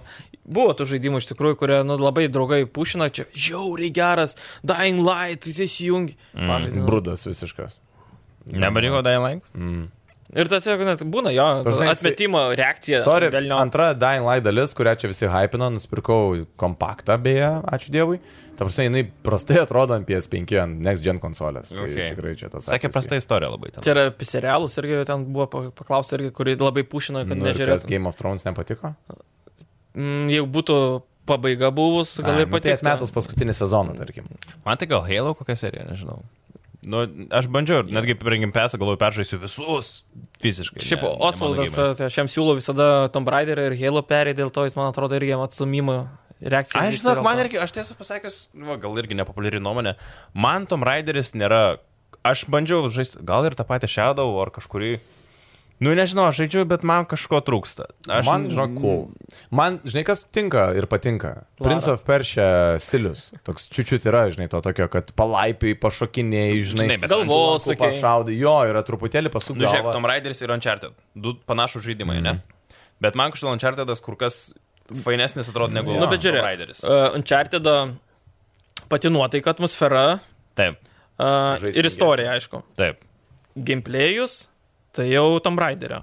Speaker 2: Buvo tų žaidimų iš tikrųjų, kurie nu, labai draugai pušina, čia žiauriai geras, Dying Light, tu įsijungi.
Speaker 4: Mm,
Speaker 2: Pažaidžiau.
Speaker 4: Brudas visiškas.
Speaker 1: Nebariko Dying Light?
Speaker 2: Ir tas, jeigu net būna jo,
Speaker 4: Ta prasme, jisai-
Speaker 2: atmetimo reakcija.
Speaker 4: Sorry,
Speaker 2: velniop.
Speaker 4: antra Dying Light dalis, kurią čia visi hypino, nusipirkau kompaktą, beje, ačiū Dievui. Ta prasme, jinai prastai atrodo ant PS5, ant Next Gen konsolės. Tai
Speaker 1: Okay.
Speaker 4: okay. tikrai čia tas.
Speaker 1: Sakė
Speaker 4: atvejis,
Speaker 1: prasta istorija labai ten.
Speaker 2: Tai yra piserelus, irgi ten buvo pa- paklausta, irgi, kuri labai pušina,
Speaker 4: kai-
Speaker 2: kad
Speaker 4: Nu, ir kas
Speaker 2: nežiūrės.
Speaker 4: Game of Thrones nepatiko?
Speaker 2: Mm, Jeigu būtų pabaiga buvus, gal
Speaker 4: Ai,
Speaker 2: ir
Speaker 4: nu tai
Speaker 2: pati.
Speaker 4: Atmetus paskutinį sezoną, tarkim.
Speaker 1: Man tai gal Halo kokia serija, nežinau. Nu, aš bandžiau ir netgi rengim pesą, galvoju, peržaisiu visus fiziškai.
Speaker 2: Šiaip
Speaker 1: ne- ne mano
Speaker 2: Osvaldas, tai
Speaker 1: gėjimai.
Speaker 2: aš jam siūlau visada Tomb Raider ir Halo perį, dėl to jis, man atrodo, irgi jam atsumimo reakcija.
Speaker 1: Aš
Speaker 2: vyksta
Speaker 1: žinok,
Speaker 2: dėl
Speaker 1: man
Speaker 2: to.
Speaker 1: irgi, aš tiesą pasakius, va, gal irgi nepopuliari nuomonė, man Tom Raideris nėra, aš bandžiau žaisti, gal ir tą patį Shadow ar kažkurį, nu nežinau, aš žaidžiu, bet man kažko trūksta. Aš,
Speaker 4: Aš...
Speaker 1: nu,
Speaker 4: Man, žinok, cool. Man, žinai, kas tinka ir patinka. Prince of Persia stilius. Toks čiučiut yra, žinai, to tokio, kad palaipiai, pašokiniai, žinai,
Speaker 1: Žinai, bet
Speaker 2: Galvos,
Speaker 4: Kulakų
Speaker 2: sakė.
Speaker 4: pašaudai. Jo, yra truputėlį pasukti.
Speaker 1: Nu, žiūrėk, Tom Raideris ir Uncharted. Du panašų žaidimai, mm. ne? Bet man kažkaip Unchartedas kur kas fainesnis atrodo negu
Speaker 2: Nu, bet
Speaker 1: Tomb
Speaker 2: žiūrėk.
Speaker 1: Raideris.
Speaker 2: Uh, Uncharted pati nuotaika, atmosfera
Speaker 1: Taip,
Speaker 2: uh,
Speaker 4: Žaismingesnė.
Speaker 2: ir istorija, aišku.
Speaker 1: taip.
Speaker 2: Gameplayus, tai jau Tom Raiderio.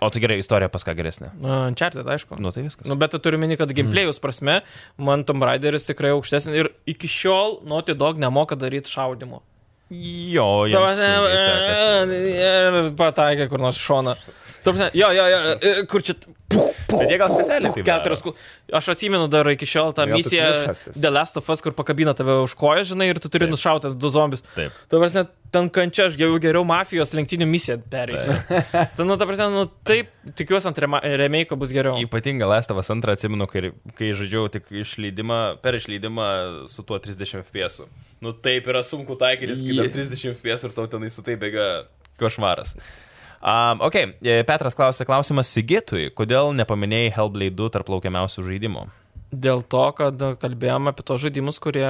Speaker 1: O tai gerai, istorija pas ką geresnė.
Speaker 2: Uh, Uncharted, aišku.
Speaker 1: Nu tai viskas.
Speaker 2: Nu, bet turiu meni, kad gameplayus prasme, man Tom Raideris tikrai aukštesnis ir iki šiol Naughty Dog nemoka daryti šaudimo.
Speaker 1: Jo,
Speaker 2: Tuo
Speaker 1: jiems sunkiai
Speaker 2: e,
Speaker 1: sekasi.
Speaker 2: prasme, e, pataikė kur nors šona. Tuo prasme, jo, jo, jo, e, kur čia... t- puch, puch,
Speaker 1: Bet jie gal specialiai tai
Speaker 2: puch,
Speaker 1: taip
Speaker 2: Keturios. kul- Aš atsimenu dar iki šiol tą
Speaker 4: Gal tu
Speaker 2: misiją
Speaker 4: priešastis.
Speaker 2: The Last of Us, kur pakabina tave už koją, žinai, ir tu turi
Speaker 1: Taip.
Speaker 2: nušauti du zombius.
Speaker 1: Taip.
Speaker 2: Tuo prasme, ten kančia, aš geriau, geriau mafijos lenktynių misiją perėsiu. Tai, nu, ta prasme, nu, taip, tikiuosi ant rema- remake'o bus geriau.
Speaker 1: Ypatinga Lestavas antrą atsimenu, kai, kai žaidžiau tik išleidimą, per išleidimą su tuo 30 FPS. Nu taip yra sunku taikytis, kai dar
Speaker 2: Je-
Speaker 1: 30 FPS ir tau tenai su tai bėga košmaras. Um, ok, e, Petras klausė klausimą Sigitui, kodėl nepaminėjai Hellblade 2 tarp laukiamiausių žaidimų?
Speaker 2: Dėl to, kad kalbėjome apie tos žaidimus, kurie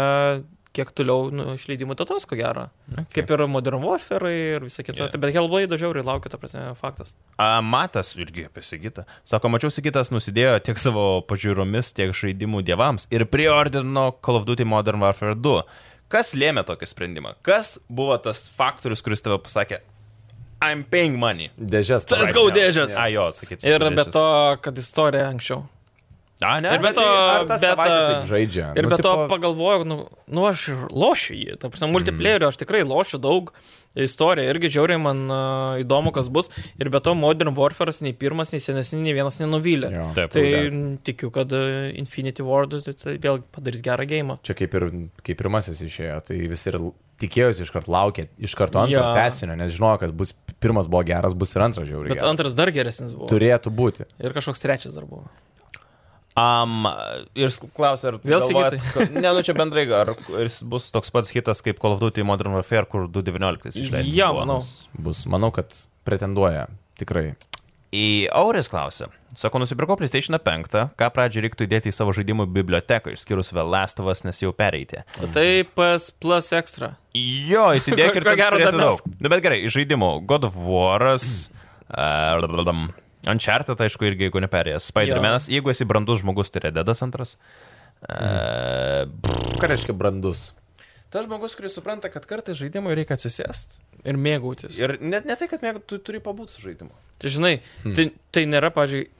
Speaker 2: kiek toliau nu, išleidimų datos, ko gero. Okay. Kaip ir Modern Warfare ir visa kita.
Speaker 1: Yeah.
Speaker 2: Yeah. Bet Hellblade žiauriai laukia, ta prasme, faktas.
Speaker 1: A, Matas irgi apie Sigitą. Sako, mačiau Sigitas nusidėjo tiek savo pažiūromis, tiek žaidimų dievams ir priordino Call of Duty Modern Warfare 2. Kas lėmė tokį sprendimą? Kas buvo tas faktorius, kuris tave pasakė, I'm paying money?
Speaker 4: Dėžės.
Speaker 2: CS:GO
Speaker 4: pabrašinė.
Speaker 2: dėžės.
Speaker 1: A, jo, sakyti.
Speaker 2: Ir be to, kad istorija anksčiau.
Speaker 1: A, ne.
Speaker 2: ir be to-
Speaker 4: Ar tą
Speaker 2: bet,
Speaker 4: savaitę
Speaker 2: a,
Speaker 1: tai-
Speaker 4: taip Žaidžia.
Speaker 2: Ir
Speaker 4: Nu,
Speaker 2: nu, be to
Speaker 4: tipo,
Speaker 2: pagalvojau, nu, nu aš ir lošiu jį. Ta prasme, multiplayerio aš tikrai lošiu daug. Istorija irgi žiauriai man uh, įdomu, kas bus. Ir be to Modern Warfare'as nei pirmas, nei senesnis, nei vienas nenuvylė.
Speaker 4: jo.
Speaker 1: Taip.
Speaker 2: Tai
Speaker 4: Būtent.
Speaker 2: n, tikiu, kad a, Infinity Ward tai, tai vėl padarys gerą gėjimą.
Speaker 4: Čia kaip ir kaip pirmasis išėjo, tai visi ir l- tikėjosi iškart laukė, iš karto antro
Speaker 2: Jo.
Speaker 4: tesinio, nes žinojo, kad bus pirmas buvo geras, bus ir antras žiauriai.
Speaker 2: Bet
Speaker 4: geras.
Speaker 2: antras dar geresnis buvo.
Speaker 4: Turėtų būti.
Speaker 2: Ir kažkoks trečias dar buvo.
Speaker 1: Um, ir klausia, ar
Speaker 2: Vėl
Speaker 1: galvojat,
Speaker 2: Sigitai.
Speaker 1: kad- Ne, nu čia bendrai, ar jis bus toks pats hitas kaip Call of Duty Modern Warfare, kur 2.19 išleistas.
Speaker 2: Jo,
Speaker 1: buvo?
Speaker 2: manau.
Speaker 4: Bus, bus. Manau, kad pretenduoja. Tikrai.
Speaker 1: Į Auris klausia. Sako, nusipirko PlayStation 5, ką pradžiai reiktų įdėti į savo žaidimų biblioteką, išskyrus vėl Lestovas, nes jau pereitė.
Speaker 2: O tai PS Plus Extra.
Speaker 1: Jo, įsidėk ir
Speaker 2: Ko- ko gero
Speaker 1: turėsi
Speaker 2: dar
Speaker 1: daug.
Speaker 2: mes.
Speaker 1: Nu, bet gerai, iš žaidimų. God of War'as. Uh, Uncharted, aišku, irgi, jeigu neperėjęs. Spider-Man'as, jeigu esi brandus žmogus, tai Rededas antras. Uh,
Speaker 4: Ką reiškia brandus?
Speaker 1: Tas žmogus, kuris supranta, kad kartais žaidimui reikia atsisėsti.
Speaker 2: Ir mėgautis. Ir...
Speaker 1: Ir net ne tai, kad mėg, tu turi pabūti su žaidimu.
Speaker 2: Tai žinai, hmm. tai, tai nėra, pažiūrėjau,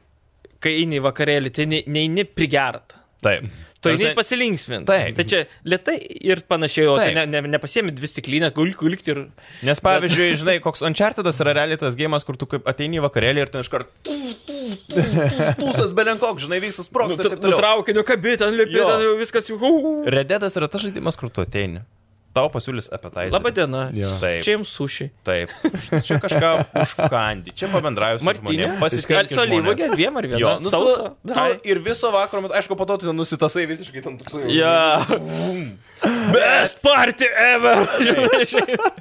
Speaker 2: kai eini į vakarėlį, tai ne- neini prigertą.
Speaker 1: Taip.
Speaker 2: Tu eini pasilinksminti.
Speaker 1: Taip.
Speaker 2: Tai čia lietai ir panašiai, o tai
Speaker 1: Taip.
Speaker 2: ne, ne, nepasiemi dvi stiklinę, kulkti ir...
Speaker 1: Nes pavyzdžiui, žinai, koks Unchartedas yra realiai tas gėjimas, kur tu kaip ateini į vakarėlį ir ten iškart pūsas belenkok, žinai, visas
Speaker 2: nu,
Speaker 1: sprogs ir taip toliau.
Speaker 2: Nutraukiniu kabitą, ant lipi,
Speaker 1: Jo.
Speaker 2: ten jau viskas jau... hau.
Speaker 1: Rededas yra tas žaidimas, kur tu ateini. Tau pasiūlys apie tai.
Speaker 2: Labą dieną.
Speaker 4: Jo.
Speaker 1: Taip.
Speaker 2: Čia jums suši.
Speaker 1: Taip. Čia kažką užkandi. Čia pabendrausiu.
Speaker 2: Martinė,
Speaker 1: pasikalbėsiu.
Speaker 2: Su alyvuogė dviem ar vienu.
Speaker 1: Jo, nu,
Speaker 2: Sausa.
Speaker 1: tu, tu ir viso vakaro, metu- aišku, po to tu ten nusitasai visiškai tam toksai.
Speaker 2: Ja. Best party ever.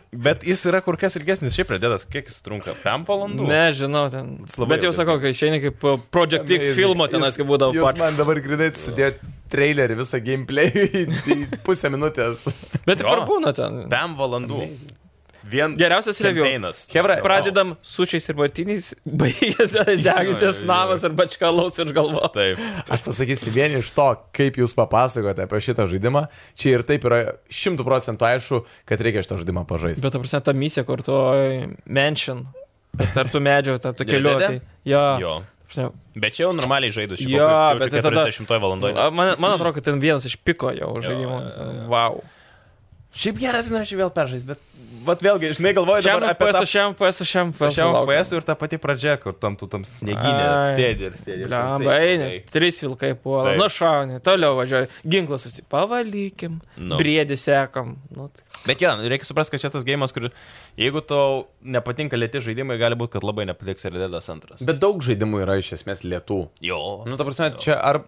Speaker 1: Bet jis yra kur kas ilgesnis. Šiaip pradėtas, kiek jis trunka? 5 valandų?
Speaker 2: Nežinau, ten.
Speaker 1: Jis labai
Speaker 2: Bet jau
Speaker 1: ilgai.
Speaker 2: sakau, kai išeini kaip uh, Project X filmo tenas, kai būdavo party.
Speaker 4: man dabar grinai sudėti trailerį visą gameplay į pusę minutės.
Speaker 2: Bet
Speaker 1: Jo.
Speaker 2: ir būna ten.
Speaker 1: 5 valandų. Vien
Speaker 2: Geriausias review.
Speaker 1: Einas.
Speaker 4: Chebra,
Speaker 2: Pradedam sučiais ir martiniais, baigėtas degintis
Speaker 1: jo, jo.
Speaker 2: namas arba čkalaus ir galvos.
Speaker 1: Taip.
Speaker 4: Aš pasakysiu vienį iš to, kaip jūs papasakote apie šitą žaidimą. Čia ir taip yra šimtų procentų aišku, kad reikia šitą žaidimą pažaisti.
Speaker 2: Bet, ta prasme, ta misija, kur tu oi, mansion, tarp tų medžių, tarp tų kelių.
Speaker 1: Dede?
Speaker 2: Tai, jo.
Speaker 1: Jo.
Speaker 2: Prasme,
Speaker 1: Bet čia jau normaliai žaidusi.
Speaker 2: Jo, bet tai tada-
Speaker 1: 40 valandoje.
Speaker 2: a, man, man atrodo, kad ten vienas iš piko jau žaidimo.
Speaker 1: Nu, jo, jo,
Speaker 2: Wow.
Speaker 1: Šiaip geras, norėčiau vėl peržaisti, bet vat vėlgi, žinai, galvoju
Speaker 2: Šiam
Speaker 1: dabar apie
Speaker 2: FPS,
Speaker 1: tą
Speaker 2: šiam FPS, šiam
Speaker 1: pačią
Speaker 2: FPS.
Speaker 1: FPS ir tą patį pradžią, kur tam tu tam snieginė
Speaker 2: Ai.
Speaker 1: sėdi ir sėdi. ir ten
Speaker 2: Bliamba,
Speaker 1: taip,
Speaker 2: eini,
Speaker 1: taip.
Speaker 2: trys vilkai puola,
Speaker 1: Taip.
Speaker 2: nušauni, toliau važiuoji, ginklas susipavalykim,
Speaker 1: Nu.
Speaker 2: no. briedį sekam. Nu, tai-
Speaker 1: Bet jo, reikia suprasti, kad čia tas gėjimas, kur jeigu tau nepatinka lėti žaidimai, gali būti, kad labai nepatiks ir Dedas antras.
Speaker 4: Bet daug žaidimų yra iš esmės lietų.
Speaker 1: Jo.
Speaker 4: Nu, ta prasme, Nu, čia ar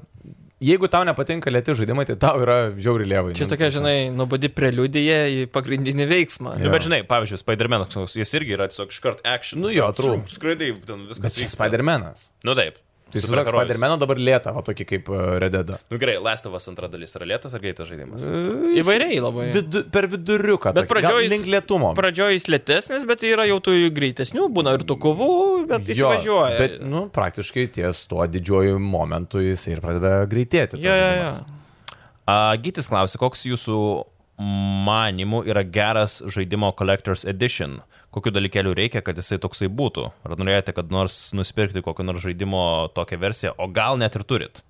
Speaker 4: jeigu tau nepatinka lėti žaidimai, tai tau yra nu, žiauri lievai.
Speaker 1: Nu,
Speaker 2: Čia tokia, žinai, nuobodi preliudija į pagrindinį veiksmą.
Speaker 1: Nu, bet žinai, pavyzdžiui, Spider-Man'as, koks nors, jis irgi yra tiesiog iškart action.
Speaker 4: Nu jo, trūk.
Speaker 1: Skraidai, ten viskas.
Speaker 4: Bet čia
Speaker 1: vyksta.
Speaker 4: Spider-Man'as.
Speaker 1: Nu taip.
Speaker 4: Tai surak
Speaker 1: Superherojus.
Speaker 4: Spider-Man'ą dabar lėtą, o tokį kaip e, Red Dead.
Speaker 1: Nu gerai, Last of Us antra dalis yra lėtas ar greitas žaidimas?
Speaker 2: Įvairiai labai.
Speaker 4: Vidu, per viduriuką.
Speaker 2: Bet
Speaker 4: tokį. Gal
Speaker 2: pradžioj jis-
Speaker 4: Link lėtumo.
Speaker 2: Pradžioje jis lėtesnis, bet yra jau tų greitesnių, būna ir tų kovų, bet jis
Speaker 4: Jo,
Speaker 2: važiuoja.
Speaker 4: Bet, nu, praktiškai ties tuo didžiuoju momentu jis ir pradeda greitėti. tas
Speaker 2: Jo, jo, jo.
Speaker 4: žaidimas.
Speaker 1: A, Gytis klausia, koks jūsų manimų yra geras žaidimo Collector's Edition? Kokiu dalykėliu reikia, kad jisai toksai būtų? Ar norėjote, kad nors nusipirkti kokią nors žaidimo tokią versiją, o gal net ir turit?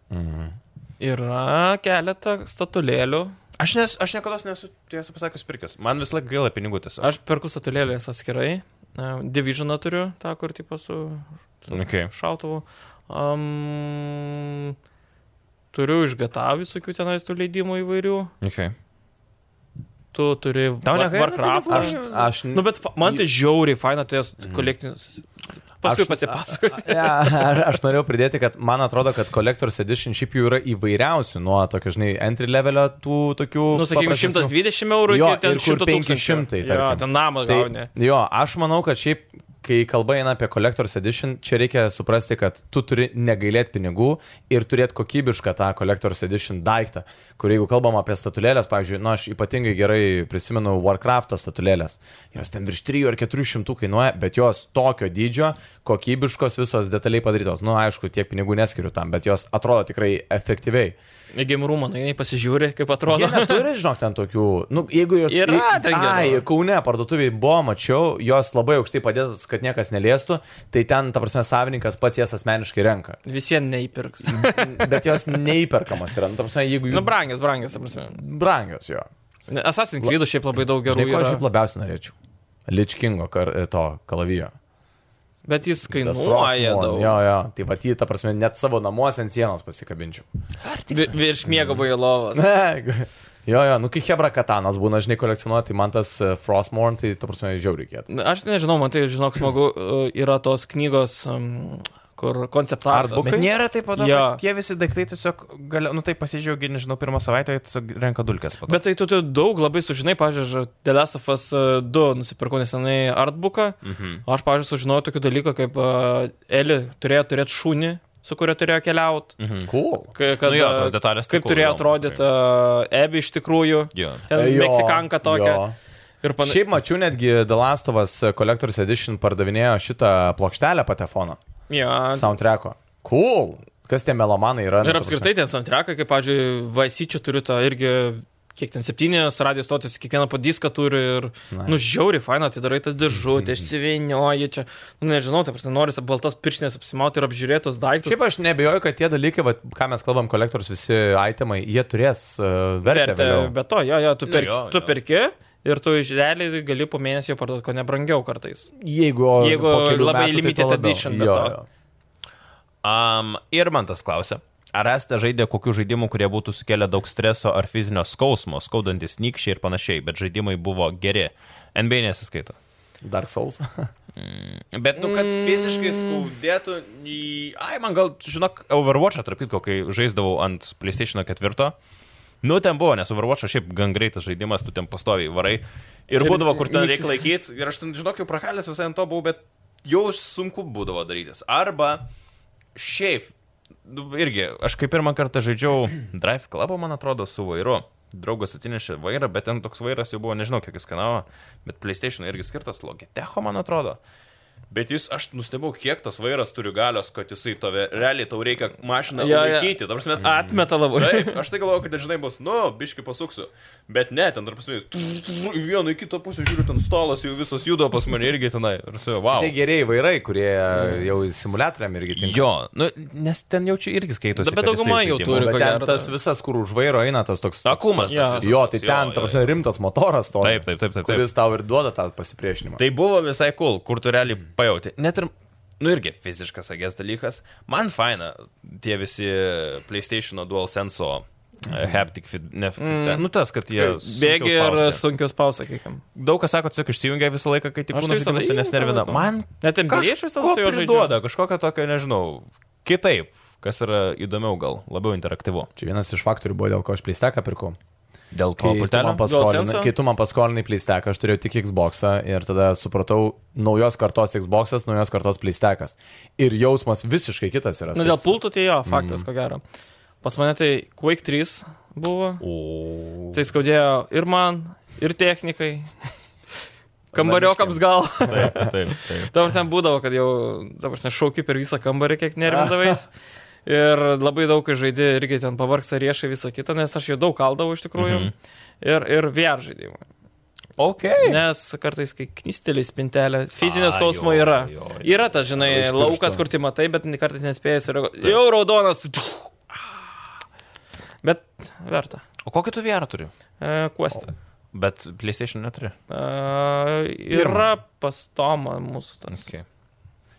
Speaker 2: Yra keletą statulėlių.
Speaker 1: Aš, nes, aš niekada nesu, tiesą pasakius, pirkęs. Man vis laik gaila pinigų tiesiog.
Speaker 2: Aš perku statulėlės atskirai. E, Divisioną turiu, tą, kur tipo su
Speaker 1: Okay.
Speaker 2: šautuvu. Um, turiu iš GTA visokių tenais tų leidimų įvairių.
Speaker 1: Okay.
Speaker 2: Tu turi
Speaker 1: Tau
Speaker 2: Wa-
Speaker 1: negaila
Speaker 2: Warcraftą.
Speaker 4: Aš, aš,
Speaker 2: Nu, bet fa- man tai žiauriai faina, tu jas kolektinis. Paskui
Speaker 4: Mm. Aš-
Speaker 2: pasipasakosiu.
Speaker 4: Ja, ar- aš norėjau pridėti, kad man atrodo, kad Collector's Edition šiaip jau yra įvairiausių nuo tokio, žinai, entry levelio tų tokių...
Speaker 2: Nu, sakykime,
Speaker 4: paprastesnių.
Speaker 2: 120 eurų
Speaker 4: Jo,
Speaker 2: iki ten
Speaker 4: ir kur
Speaker 2: 100 tūkstančių. Jo,
Speaker 4: 500, tarkim.
Speaker 2: ten namą tai... gauni.
Speaker 4: Tai, jo, aš manau, kad šiaip, kai kalba eina apie Collector's Edition, čia reikia suprasti, kad tu turi negailėti pinigų ir turėti kokybišką tą Collector's Edition daiktą, kur jeigu kalbam apie statulėlės, pavyzdžiui, nu aš ypatingai gerai prisimenu Warcraft'o statulėlės, jos ten virš 3 ar 400 kainuoja, bet jos tokio dydžio, kokybiškos visos detaliai padarytos. Nu, aišku, tiek pinigų neskiriu tam, bet jos atrodo tikrai efektyviai.
Speaker 2: Į game roomą, nu, jinai pasižiūri, kaip
Speaker 4: Jie
Speaker 2: atrodo.
Speaker 4: neturi, žinok, ten tokių, nu, jeigu ir...
Speaker 2: Yra ten gerų.
Speaker 4: Ai, Kaune parduotuviai buvo, mačiau, jos labai aukštai padėtos, kad niekas neliestų, tai ten, ta prasme, savininkas pats jas asmeniškai renka.
Speaker 2: Vis vien neįpirks.
Speaker 4: Bet jos neįperkamos yra, nu, ta prasme, jeigu
Speaker 2: nu,
Speaker 4: jų...
Speaker 2: brangės, brangės, ta prasme.
Speaker 4: Brangios jo.
Speaker 2: Ne, Assassin's Creed šiaip labai daug gerų
Speaker 4: Žinai, ko
Speaker 2: yra.
Speaker 4: aš šiaip labiausiai norėčiau? Ličkingo kar, to kalavijo.
Speaker 2: Bet jis
Speaker 4: Tas
Speaker 2: kainuoja
Speaker 4: Frostmourne.
Speaker 2: daug.
Speaker 4: Jo, jo, tai va, jį, ta prasme, net savo namuose ant sienos pasikabinčiau.
Speaker 2: Vi, virš miego bailovas.
Speaker 4: Ne, jo, jo, nu, kai Hebra Katanas būna, žinai, kolekcionuoti, tai man tas e, Frostmourne, tai, ta prasme, žiauriai reikėtų.
Speaker 2: Aš nežinau, man tai, žinok, smagu e, yra tos knygos, um, kur konceptartas.
Speaker 1: Bet nėra taip pat,
Speaker 2: Jo.
Speaker 1: kad tie visi daiktai tiesiog, gali, nu taip pasidžiaugi, nežinau, pirmą savaitę jie tiesiog renka dulkes po to.
Speaker 2: Bet tai tu, tu daug labai sužinai, pažiūrėjau, Delesafas 2 e, nusipirkau nesenai artbooką, mhm. o aš, pažiūrėjau, sužinojau tokių dalykų, kaip uh, Eli turėjo turėti šunį, su kuriuo turėjo keliauti. Mhm.
Speaker 4: Cool.
Speaker 2: Kad,
Speaker 1: Nu jo,
Speaker 2: a,
Speaker 1: tos detalės tai
Speaker 2: kaip
Speaker 1: cool,
Speaker 2: turėjo
Speaker 1: įdomu,
Speaker 2: atrodyti Ebi iš tikrųjų,
Speaker 1: Jo.
Speaker 2: ten
Speaker 4: Jo,
Speaker 2: Meksikanka tokia.
Speaker 4: jo.
Speaker 2: Ir
Speaker 4: Pana...
Speaker 2: panašiai.
Speaker 4: Šiaip mačiau netgi The Last of Us Collector's Edition pardavinėjo šitą plokštelę patefono,
Speaker 2: Ja,
Speaker 4: soundtracko. Cool. Kas tie melomanai yra? Nu,
Speaker 2: ir apskritai ten soundtrackai, kaip, pavyzdžiui, Vaisyčių turiu tą irgi, kiek ten septynės radijos stotis, kiekvieną po diską turi ir,
Speaker 4: Na.
Speaker 2: na, nu, žiauri, faina, atidarai tą
Speaker 4: Mhm.
Speaker 2: dėžutę, išsivinioji čia, nu, nežinau, tai prasme, nori baltas pirštinės apsimauti ir apžiūrėtos daiktus.
Speaker 4: Šiaip aš nebejoju, kad tie dalykai, vat, ką mes kalbam, kolektorius visi itemai, jie turės uh, vertę.
Speaker 2: vertę,
Speaker 4: vėliau.
Speaker 2: bet to, jo, jo, tu,
Speaker 1: Nu,
Speaker 2: perki,
Speaker 1: jo,
Speaker 2: tu
Speaker 1: jo.
Speaker 2: perki ir tu iš realiai gali po mėnesio parduoti, ko nebrangiau kartais.
Speaker 4: Jeigu,
Speaker 2: Jeigu
Speaker 4: po kelių
Speaker 2: labai
Speaker 4: metų,
Speaker 2: limited
Speaker 4: tai tuo labiau.
Speaker 2: edition, be
Speaker 4: Jo,
Speaker 2: to.
Speaker 4: jo.
Speaker 1: Um, ir man tas klausia. Ar esate žaidę kokių žaidimų, kurie būtų sukėlę daug streso ar fizinio skausmo, skaudantis nykščiai ir panašiai, bet žaidimai buvo geri. NBA nesiskaito.
Speaker 4: Dark Souls.
Speaker 1: Bet, nu, kad fiziškai skaudėtų, į- ai, man gal, žinok, Overwatch'ą, tarp kitko, kai žaisdavau ant PlayStation 4, nu, ten buvo, nes Overwatch'as šiaip gan greitas žaidimas, tu ten pastoviai varai. Ir būdavo, kur ten reikia laikyti, ir aš ten, žinok, jau prakalęs visai ant to buvau, bet jau sunku būdavo darytis. Arba šiaip, nu, irgi, aš kaip pirmą kartą žaidžiau Drive Club, man atrodo, su vairu. Draugas atsinešė vairą, bet ten toks vairas jau buvo, nežinau, kiek jis kanavo, bet PlayStation irgi skirtas Logitecho, man atrodo. Bet jis, aš nustebau, kiek tas vairas turi galios, kad jisai tave, realiai tau reikia mašiną
Speaker 2: Jo,
Speaker 1: ja, Mhm.
Speaker 2: jo.
Speaker 1: laikyti. Ja.
Speaker 4: Mhm.
Speaker 1: Prasme,
Speaker 2: Atmeta labai.
Speaker 1: Taip, aš tai galvoju, kad dažnai bus, nu, biški pasuksiu. Bet ne, ten, tarp smėjus, į vieną, į kitą pusę žiūriu, ten stolas jau visas juda pas mane irgi tenai. Ir su, wow.
Speaker 4: Tai geriai vairai, kurie
Speaker 2: Mm.
Speaker 4: jau simuliatoriam irgi tinka.
Speaker 1: Jo, nu, nes ten jau čia irgi skaitosi.
Speaker 2: Bet
Speaker 1: kad jisai
Speaker 2: dauguma jau
Speaker 1: žaidimų.
Speaker 2: turi.
Speaker 4: Nu, Bet
Speaker 2: ko
Speaker 4: ten
Speaker 2: gero,
Speaker 4: tas
Speaker 2: tai.
Speaker 4: visas, kur už vairo eina tas toks... toks-
Speaker 1: Akumas.
Speaker 2: Jo.
Speaker 1: tas visas
Speaker 4: Jo, tai
Speaker 1: toks,
Speaker 4: ten, ta prasme, rimtas motoras to.
Speaker 1: Taip, taip, taip, taip, taip.
Speaker 4: Kuris tau ir duoda tą pasipriešinimą.
Speaker 1: Tai buvo visai cool, kur tu realiai pajauti. Net ir, nu irgi fiziškas agės dalykas. Man faina tie visi PlayStation DualSense e, haptic feed, ne, mm. nu tas, kad jie
Speaker 2: Bėgi ir
Speaker 1: sunkiau spausti.
Speaker 2: sunkius paus, sakykime.
Speaker 1: daug kas sako, tiesiog išsijungia visą laiką, kai tik
Speaker 2: Aš
Speaker 1: būna
Speaker 2: tai visą
Speaker 1: žaidimas ir
Speaker 2: laiką
Speaker 1: nesnervina.
Speaker 2: palaikau.
Speaker 1: Man
Speaker 2: Net NBA aš visada su juo žaidžiu.
Speaker 1: duoda kažkokią tokią, nežinau, kitaip, kas yra įdomiau gal, labiau interaktyvu.
Speaker 4: Čia vienas iš faktorių buvo, dėl ko aš pleisteką pirkau.
Speaker 1: Dėl to
Speaker 4: Kai tu,
Speaker 1: pultelio.
Speaker 4: man paskolin,
Speaker 2: DualSense'o?
Speaker 4: kai tu man paskolinai pleisteką, aš turėjau tik Xboxą ir tada supratau, naujos kartos Xboxas, naujos kartos pleistekas. Ir jausmas visiškai kitas yra.
Speaker 1: Nu,
Speaker 2: Na, dėl pultų tai jo,
Speaker 4: Mhm.
Speaker 2: faktas, mm. ko gero. Pas mane tai Quake 3 buvo.
Speaker 1: O.
Speaker 2: Tai skaudėjo ir man, ir technikai. Kambariokams gal.
Speaker 1: Taip, taip, taip.
Speaker 2: Dabar ten būdavo, kad jau, dabar ten šauki per visą kambarį, kiek nervindavais. Ir labai daug, kai žaidė, irgi ten pavargsta riešai visą kitą, nes aš jau daug kaldavau iš tikrųjų.
Speaker 1: Mhm.
Speaker 2: Ir, ir VR žaidimą.
Speaker 1: Ok.
Speaker 2: Nes kartais, kai knysteliai spintelė, fizinio
Speaker 1: A,
Speaker 2: skausmo
Speaker 1: jo,
Speaker 2: yra.
Speaker 1: jo, jo.
Speaker 2: Yra tas, žinai,
Speaker 4: Iš piršto.
Speaker 2: laukas, kur tai matai, bet kartais nespėjai sureaguoti. Jau raudonas. Bet verta.
Speaker 1: O kokį tu VR turi?
Speaker 2: E, Questą.
Speaker 1: Bet PlayStation neturi.
Speaker 2: Uh, yra pastoma mūsų tas.
Speaker 1: Okay.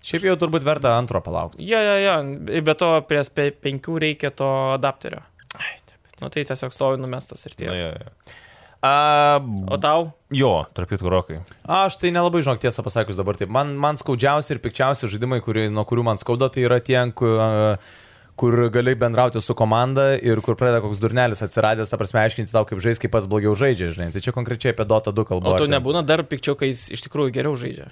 Speaker 4: Šiaip jau turbūt verta antro palaukti.
Speaker 2: Jo, jo, jo, be to prie SP5 reikia to adapterio. Nu tai tiesiog stovi numestas ir
Speaker 1: Na,
Speaker 2: tie.
Speaker 1: Nu, jo, jo. A,
Speaker 2: O tau?
Speaker 1: jo, tarp kitų rokai.
Speaker 4: Aš tai nelabai žinok tiesą pasakius dabar taip. Man, man skaudžiausi ir pikčiausi žaidimai, kuri, nuo kurių man skauda, tai yra tie, kur, kur gali bendrauti su komanda ir kur pradeda koks durnelis atsiradęs, ta prasme, aiškinti tau, kaip žais, kaip pats blogiau žaidžia, žinai. Tai čia konkrečiai apie Dota 2 kalbu.
Speaker 2: O
Speaker 4: ar
Speaker 2: tu
Speaker 4: ten-
Speaker 2: nebūna dar pikčiau, kai jis iš tikrųjų geriau žaidžia.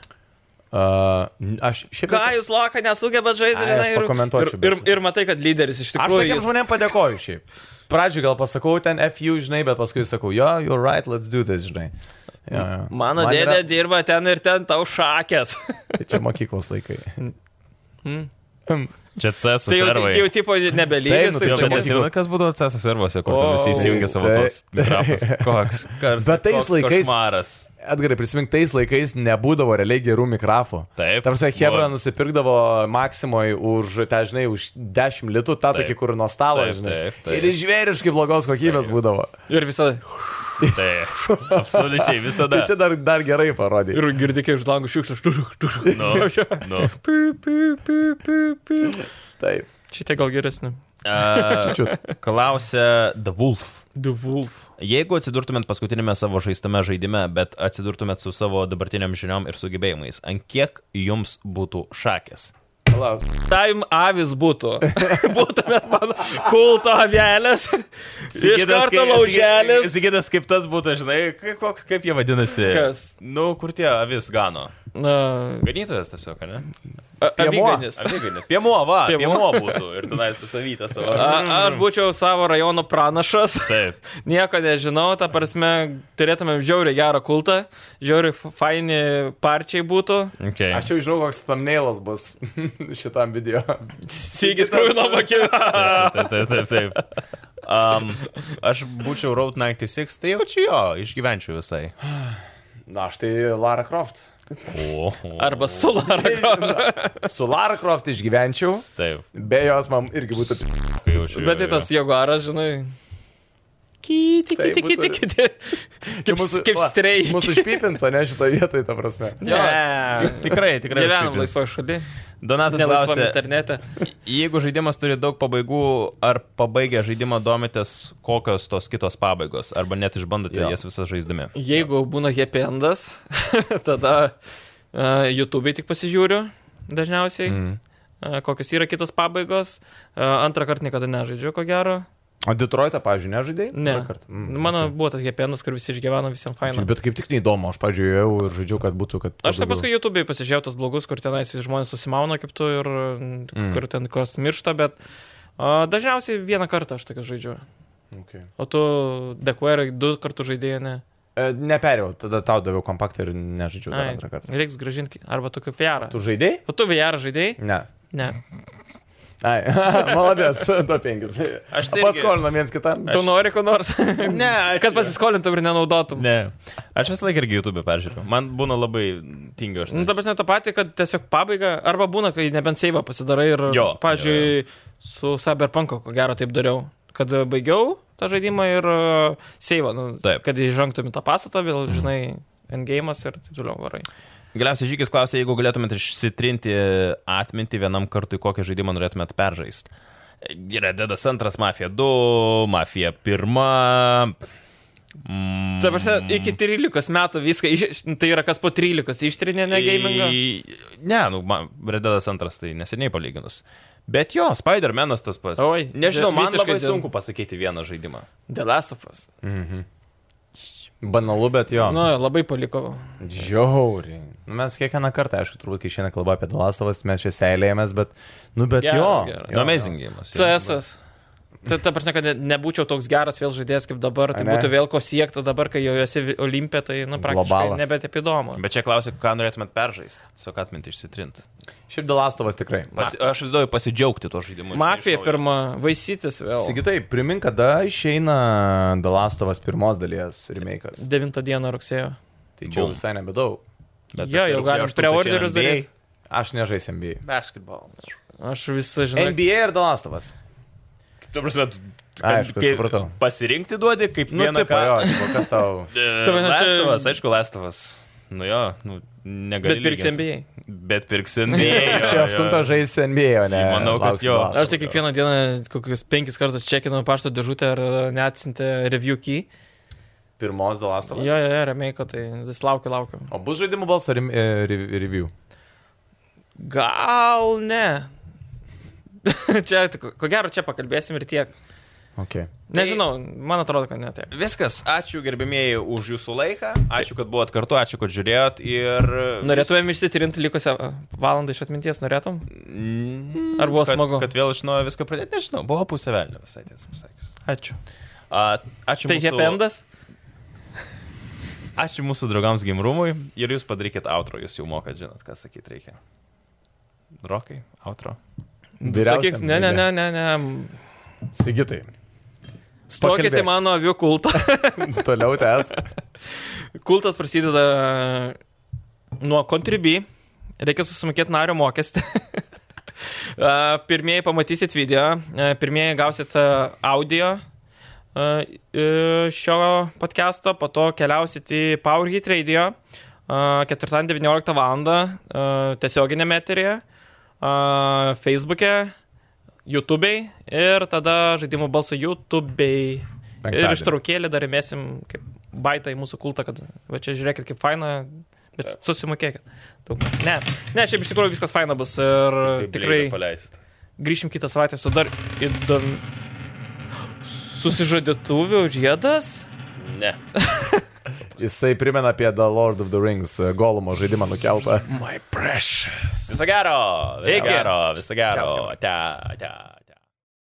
Speaker 4: A, n- aš šiaip...
Speaker 2: Ką jūs laką nesugebat žaisti,
Speaker 4: Ai, aš
Speaker 2: žinai, ir, ir,
Speaker 4: pakomentuočiau,
Speaker 2: ir,
Speaker 4: bet-
Speaker 2: ir matai, kad lyderis iš
Speaker 4: Aš
Speaker 2: tikrųjų.
Speaker 4: tokiems
Speaker 2: jis-
Speaker 4: žmonėms padėkoju šiaip. Pradžioje gal pasakau ten FU, žinai, bet paskui sakau, jo, you're right, let's do this, žinai. Jo, jo.
Speaker 2: Mano
Speaker 4: Man
Speaker 2: dėdė
Speaker 4: yra-
Speaker 2: dirba ten ir ten tau šakės.
Speaker 4: Tai čia mokyklos laikai.
Speaker 1: Čia CS
Speaker 2: tai jau,
Speaker 1: servai.
Speaker 2: jau tipo
Speaker 4: Taip,
Speaker 2: nebelygiai.
Speaker 1: Jau,
Speaker 4: nu, tai
Speaker 1: bet
Speaker 4: čia
Speaker 1: atsimenu,
Speaker 4: mokyklos-
Speaker 1: kas būdavo CS servuose, kur tu
Speaker 2: O,
Speaker 1: visi įsijungia savo
Speaker 4: tai-
Speaker 1: tos mikrofus. Koks karas.
Speaker 4: Bet tais laikais-
Speaker 1: Maras.
Speaker 4: Atgarai, prisimink, tais laikais nebūdavo realiai gerų mikrofų.
Speaker 1: Taip.
Speaker 4: Tarsi Hebra
Speaker 1: Buvo.
Speaker 4: nusipirkdavo Maksimoj už, tai žinai, už 10 litų, tą tokį, kur nuo stalo,
Speaker 1: Taip,
Speaker 4: žinai.
Speaker 1: taip, taip.
Speaker 4: Ir žvėriškai blogos kokybės taip. būdavo.
Speaker 2: Ir visada.
Speaker 1: Tai. Absoliučiai
Speaker 4: Tai
Speaker 1: visada.
Speaker 4: čia dar, dar gerai parodė.
Speaker 2: Ir girdikė iš langų šiukšlės. Tuk, tuk, tuk.
Speaker 1: Nu, nu.
Speaker 2: Piu, piu, piu, piu, piu.
Speaker 4: Taip.
Speaker 2: Šitie gal geresni.
Speaker 1: A, Klausia The Wolf.
Speaker 2: The Wolf.
Speaker 1: Jeigu atsidurtumėt paskutinėme savo žaistame žaidime, bet atsidurtumėt su savo dabartiniam žiniom ir sugebėjimais, ant kiek jums būtų šakės?
Speaker 4: Palauk.
Speaker 2: Time avis būtų. Būtumėt man kulto avelės. Iš karto lauželis.
Speaker 1: Sigitas, kaip tas būtų, žinai, kai- koks, kaip jie vadinasi?
Speaker 2: Kas?
Speaker 1: Nu, kur tie avis gano?
Speaker 2: Na,
Speaker 1: Ganytojas tiesiog, ne?
Speaker 2: a-
Speaker 4: Piemuo.
Speaker 2: Aviganis.
Speaker 1: Aviganis. Piemuo, va,
Speaker 2: Piemuo.
Speaker 1: piemuo būtų. Ir tenai susavytą savo.
Speaker 2: A- Aš būčiau savo rajono pranašas.
Speaker 1: Taip.
Speaker 2: Nieko nežinau, ta prasme, turėtumėm žiauriai gerą kultą, žiauriai f- faini parčiai būtų.
Speaker 1: Okay.
Speaker 4: Aš jau žinau, koks thumbnailas bus šitam video.
Speaker 2: Sygis krūvino bakina.
Speaker 1: Taip, taip, taip. taip. Um, aš būčiau Road 96, tai jau čia jo, išgyvenčiau visai.
Speaker 4: Na, aš tai Lara Croft.
Speaker 1: O,
Speaker 2: Arba sularako.
Speaker 4: Su Lara Croft išgyvenčiau,
Speaker 1: taip.
Speaker 4: be jos man irgi būtų... p-
Speaker 1: Jaučiu,
Speaker 2: Bet tai tas jaguaras, žinai. Kiti,
Speaker 4: Tai
Speaker 2: kiti, kiti,
Speaker 4: būtų-
Speaker 2: kiti.
Speaker 4: Čia
Speaker 2: Kaip, kaip
Speaker 4: va,
Speaker 2: strei.
Speaker 4: Mūsų išpipins, ne šitoje vietoje, ta prasme.
Speaker 1: Jo, Tikrai, tikrai.
Speaker 2: Gyvenam
Speaker 1: užpipins.
Speaker 2: laisvoje šalyje.
Speaker 1: Donatas
Speaker 2: Nelaisvame
Speaker 1: klausė,
Speaker 2: internete.
Speaker 1: jeigu žaidimas turi daug pabaigų, ar pabaigę žaidimą domitės, kokios tos kitos pabaigos, arba net išbandote
Speaker 4: Jo.
Speaker 1: jas visas žaisdami.
Speaker 2: Jeigu būna happy endas, tada uh, YouTube tik pasižiūriu dažniausiai. Mm. Kokios yra kitos pabaigos. E, Antrą kartą niekada nežaidžiu, ko gero.
Speaker 4: O Detroitą, pavyzdžiui, nežaidėjai?
Speaker 2: Ne.
Speaker 4: Antrą kartą? Mm,
Speaker 2: Mano okay. buvo tas happy-endas, kur visi išgyveno visiems fainam.
Speaker 4: Bet kaip tik neįdomu, aš, pavyzdžiui, jau ir žaidžiau, kad būtų, kad...
Speaker 2: Aš tai
Speaker 4: kuo
Speaker 2: paskui
Speaker 4: daugiau-
Speaker 2: YouTube'ai pasižiūrėjau tos blogus, kur tenais visi žmonės susimauna kaip tu ir mm. kur ten kas miršta, bet a, dažniausiai vieną kartą aš tokius žaidžiu.
Speaker 4: Okay.
Speaker 2: O tu DQR du kartus žaidėjai, ne?
Speaker 4: E, Neperėjau, tada tau daviau kompaktą ir nežaidžiau dar
Speaker 2: Ai,
Speaker 4: antrą kartą.
Speaker 2: Reiks gražinti arba tokiu VR.
Speaker 4: Tu žaidėjai?
Speaker 2: O tu VR žaidėjai?
Speaker 4: Ne.
Speaker 2: Ne.
Speaker 4: Ai, maladėt, tu penkis.
Speaker 1: Aš tai irgi-
Speaker 4: paskolinam viens kitam.
Speaker 2: Tu nu- nori ko nors?
Speaker 1: Ne,
Speaker 2: Kad pasiskolintum ir nenaudotum.
Speaker 1: Ne. Aš visą laiką irgi YouTube e peržiūriu. Man būna labai tinga aš.
Speaker 2: Nu, dabar ne tą patį, kad tiesiog pabaiga, arba būna, kai nebent seivą pasidarai ir,
Speaker 1: Jo,
Speaker 2: pavyzdžiui, su Cyberpunk, ko gero taip dariau, kad baigiau tą žaidimą ir seivą, nu,
Speaker 1: Taip.
Speaker 2: kad įžengtum į tą pastatą, vėl, žinai, endgame'as ir taip toliau varai.
Speaker 1: Galiausiai Žygis klausė, jeigu galėtumėt išsitrinti atmintį vienam kartui, kokį žaidimą norėtumėt peržaisti. Yra Dedas antras, Mafija 2, Mafija 1. Mm,
Speaker 2: Taip, aš iki 13 metų viską, iš, tai yra kas po 13 ištrinė, ne gamingą.
Speaker 1: Į- Ne, nu, man Red Dead antras tai neseniai palyginus. Bet jo, Spider-Man'as tas pats.
Speaker 2: Oi,
Speaker 1: Nežinau, man
Speaker 2: visiškai
Speaker 1: labai
Speaker 2: dėl-
Speaker 1: sunku pasakyti vieną žaidimą.
Speaker 2: The Last of Us.
Speaker 4: Banalu, bet jo.
Speaker 2: Nu, labai paliko.
Speaker 4: Žiauriai. Nu, mes kiekvieną kartą, aišku, turbūt, kai šiandien kalba apie Dalastovas, mes čia seilėjomės, bet, nu, bet
Speaker 2: Geras,
Speaker 4: jo.
Speaker 2: geras.
Speaker 4: jo.
Speaker 1: Jo, Amazing gėjimas.
Speaker 2: CS. Tai ta prasme, kad ne- nebūčiau toks geras vėl žaidėjas kaip dabar, tai
Speaker 4: Ane?
Speaker 2: būtų vėl ko siekti dabar, kai jau esi vi- olimpė, tai, nu, praktiškai
Speaker 4: Globalas.
Speaker 2: nebet apie įdomu.
Speaker 1: Bet čia klausiu, ką norėtumėt peržaisti, su ką atminti išsitrinti.
Speaker 4: Šiaip Dalastovas tikrai.
Speaker 1: Pas, aš vis daugiau pasidžiaugti tuo žaidimu. žinai, iš
Speaker 2: Mafija
Speaker 1: naujo.
Speaker 2: pirma, vaisytis vėl.
Speaker 4: Sigitai, primink, kada išeina Dalastovas pirmos dalies remake'as.
Speaker 2: 9 dieną rugsėjo.
Speaker 4: Tai čia jau
Speaker 1: Bum.
Speaker 4: visai nebedaug.
Speaker 1: Bet
Speaker 2: Jo,
Speaker 1: aš
Speaker 2: jau
Speaker 1: rugsėjo
Speaker 2: galim
Speaker 1: 8
Speaker 2: preorderius
Speaker 1: čia NBA.
Speaker 2: daryt.
Speaker 4: Aš nežaisiu NBA.
Speaker 1: Basketball.
Speaker 2: Aš visą žinau.
Speaker 4: NBA ir Dalastovas.
Speaker 1: Tu prasme,
Speaker 4: Aišku,
Speaker 1: kaip
Speaker 4: supratau.
Speaker 1: Pasirinkti duodi kaip
Speaker 4: Nu,
Speaker 1: vieną E,
Speaker 4: taip, jo, tipo, kas tau.
Speaker 2: Ta prasme, čia-
Speaker 1: Lestovas, aišku, Lestovas. Nu jo, nu, negaliu.
Speaker 2: Bet pirks NBA.
Speaker 1: Bet pirksiu NBA.
Speaker 4: Čia aštuntą žaisiu NBA, o ne?
Speaker 1: Manau, kad
Speaker 4: lauksi
Speaker 1: jo.
Speaker 4: Dalastavo.
Speaker 2: Aš tai kiekvieną dieną kokius penkis kartus čekinu pašto dėžutę ar neatsinti review key.
Speaker 4: Pirmos Dalastovas.
Speaker 2: Jo, jo, jo, remeiko, tai vis laukiu, laukiu.
Speaker 4: O bus žaidimų balso rim- e, re- review.
Speaker 2: Gal ne. čia, ko gero, čia pakalbėsim ir tiek.
Speaker 4: Okay.
Speaker 1: Tai-
Speaker 2: Nežinau, man atrodo, kad ne tiek.
Speaker 1: Viskas, ačiū gerbimieji už jūsų laiką, ačiū, kad buvot kartu, ačiū, kad žiūrėjot ir...
Speaker 2: Norėtumėm išsitrinti likusią valandą iš atminties, norėtum?
Speaker 1: Mm,
Speaker 2: Ar buvo
Speaker 1: kad,
Speaker 2: smagu?
Speaker 1: Kad vėl iš naujo viską pradėti, nežinau, buvo pusė velnio visai tiesą pasakius.
Speaker 2: Ačiū.
Speaker 1: A, Ačiū,
Speaker 2: Tai
Speaker 1: mūsų,
Speaker 2: hependas?
Speaker 1: ačiū mūsų draugams gimrumui ir jūs padarykit outro, jūs jau mokat, žinot, ką sakyti reikia. Rokai, outro.
Speaker 2: Sakyks, ne, ne, ne, ne, ne.
Speaker 4: Sigitai,
Speaker 2: Stokit į
Speaker 4: Pakalbėk.
Speaker 2: mano avių kultą.
Speaker 4: toliau tęs.
Speaker 2: Kultas prasideda nuo Contribui. Reikia susimokėti nario mokestį. A, Pirmieji pamatysit video, a, pirmieji gausit a, audio a, i- šio podcast'o, po to keliausit į PowerHit Radio a, ketvirtadienį 19 val. tiesioginėme eterėje, a, Facebook'e, YouTube'ei ir tada žaidimų balso YouTube'ei. Ir
Speaker 4: Penktadienį.
Speaker 2: ištraukėlį dar įmėsim kaip baitą į mūsų kultą, kad va čia žiūrėkit kaip faina, bet susimokėkit. Daug. Ne, ne, šiaip iš tikrųjų viskas faina bus ir tikrai
Speaker 1: paleisti.
Speaker 2: grįšim kitą savaitę su dar įdomiu. Susižadėtuvių žiedas?
Speaker 1: Ne.
Speaker 4: Jisai primena apie The Lord of the Rings e, Golumo žaidimą nukeltą.
Speaker 2: My precious.
Speaker 1: Viso gero. Viso
Speaker 2: Iki.
Speaker 1: gero. Viso gero.
Speaker 2: Čiau.
Speaker 1: Ate, ate.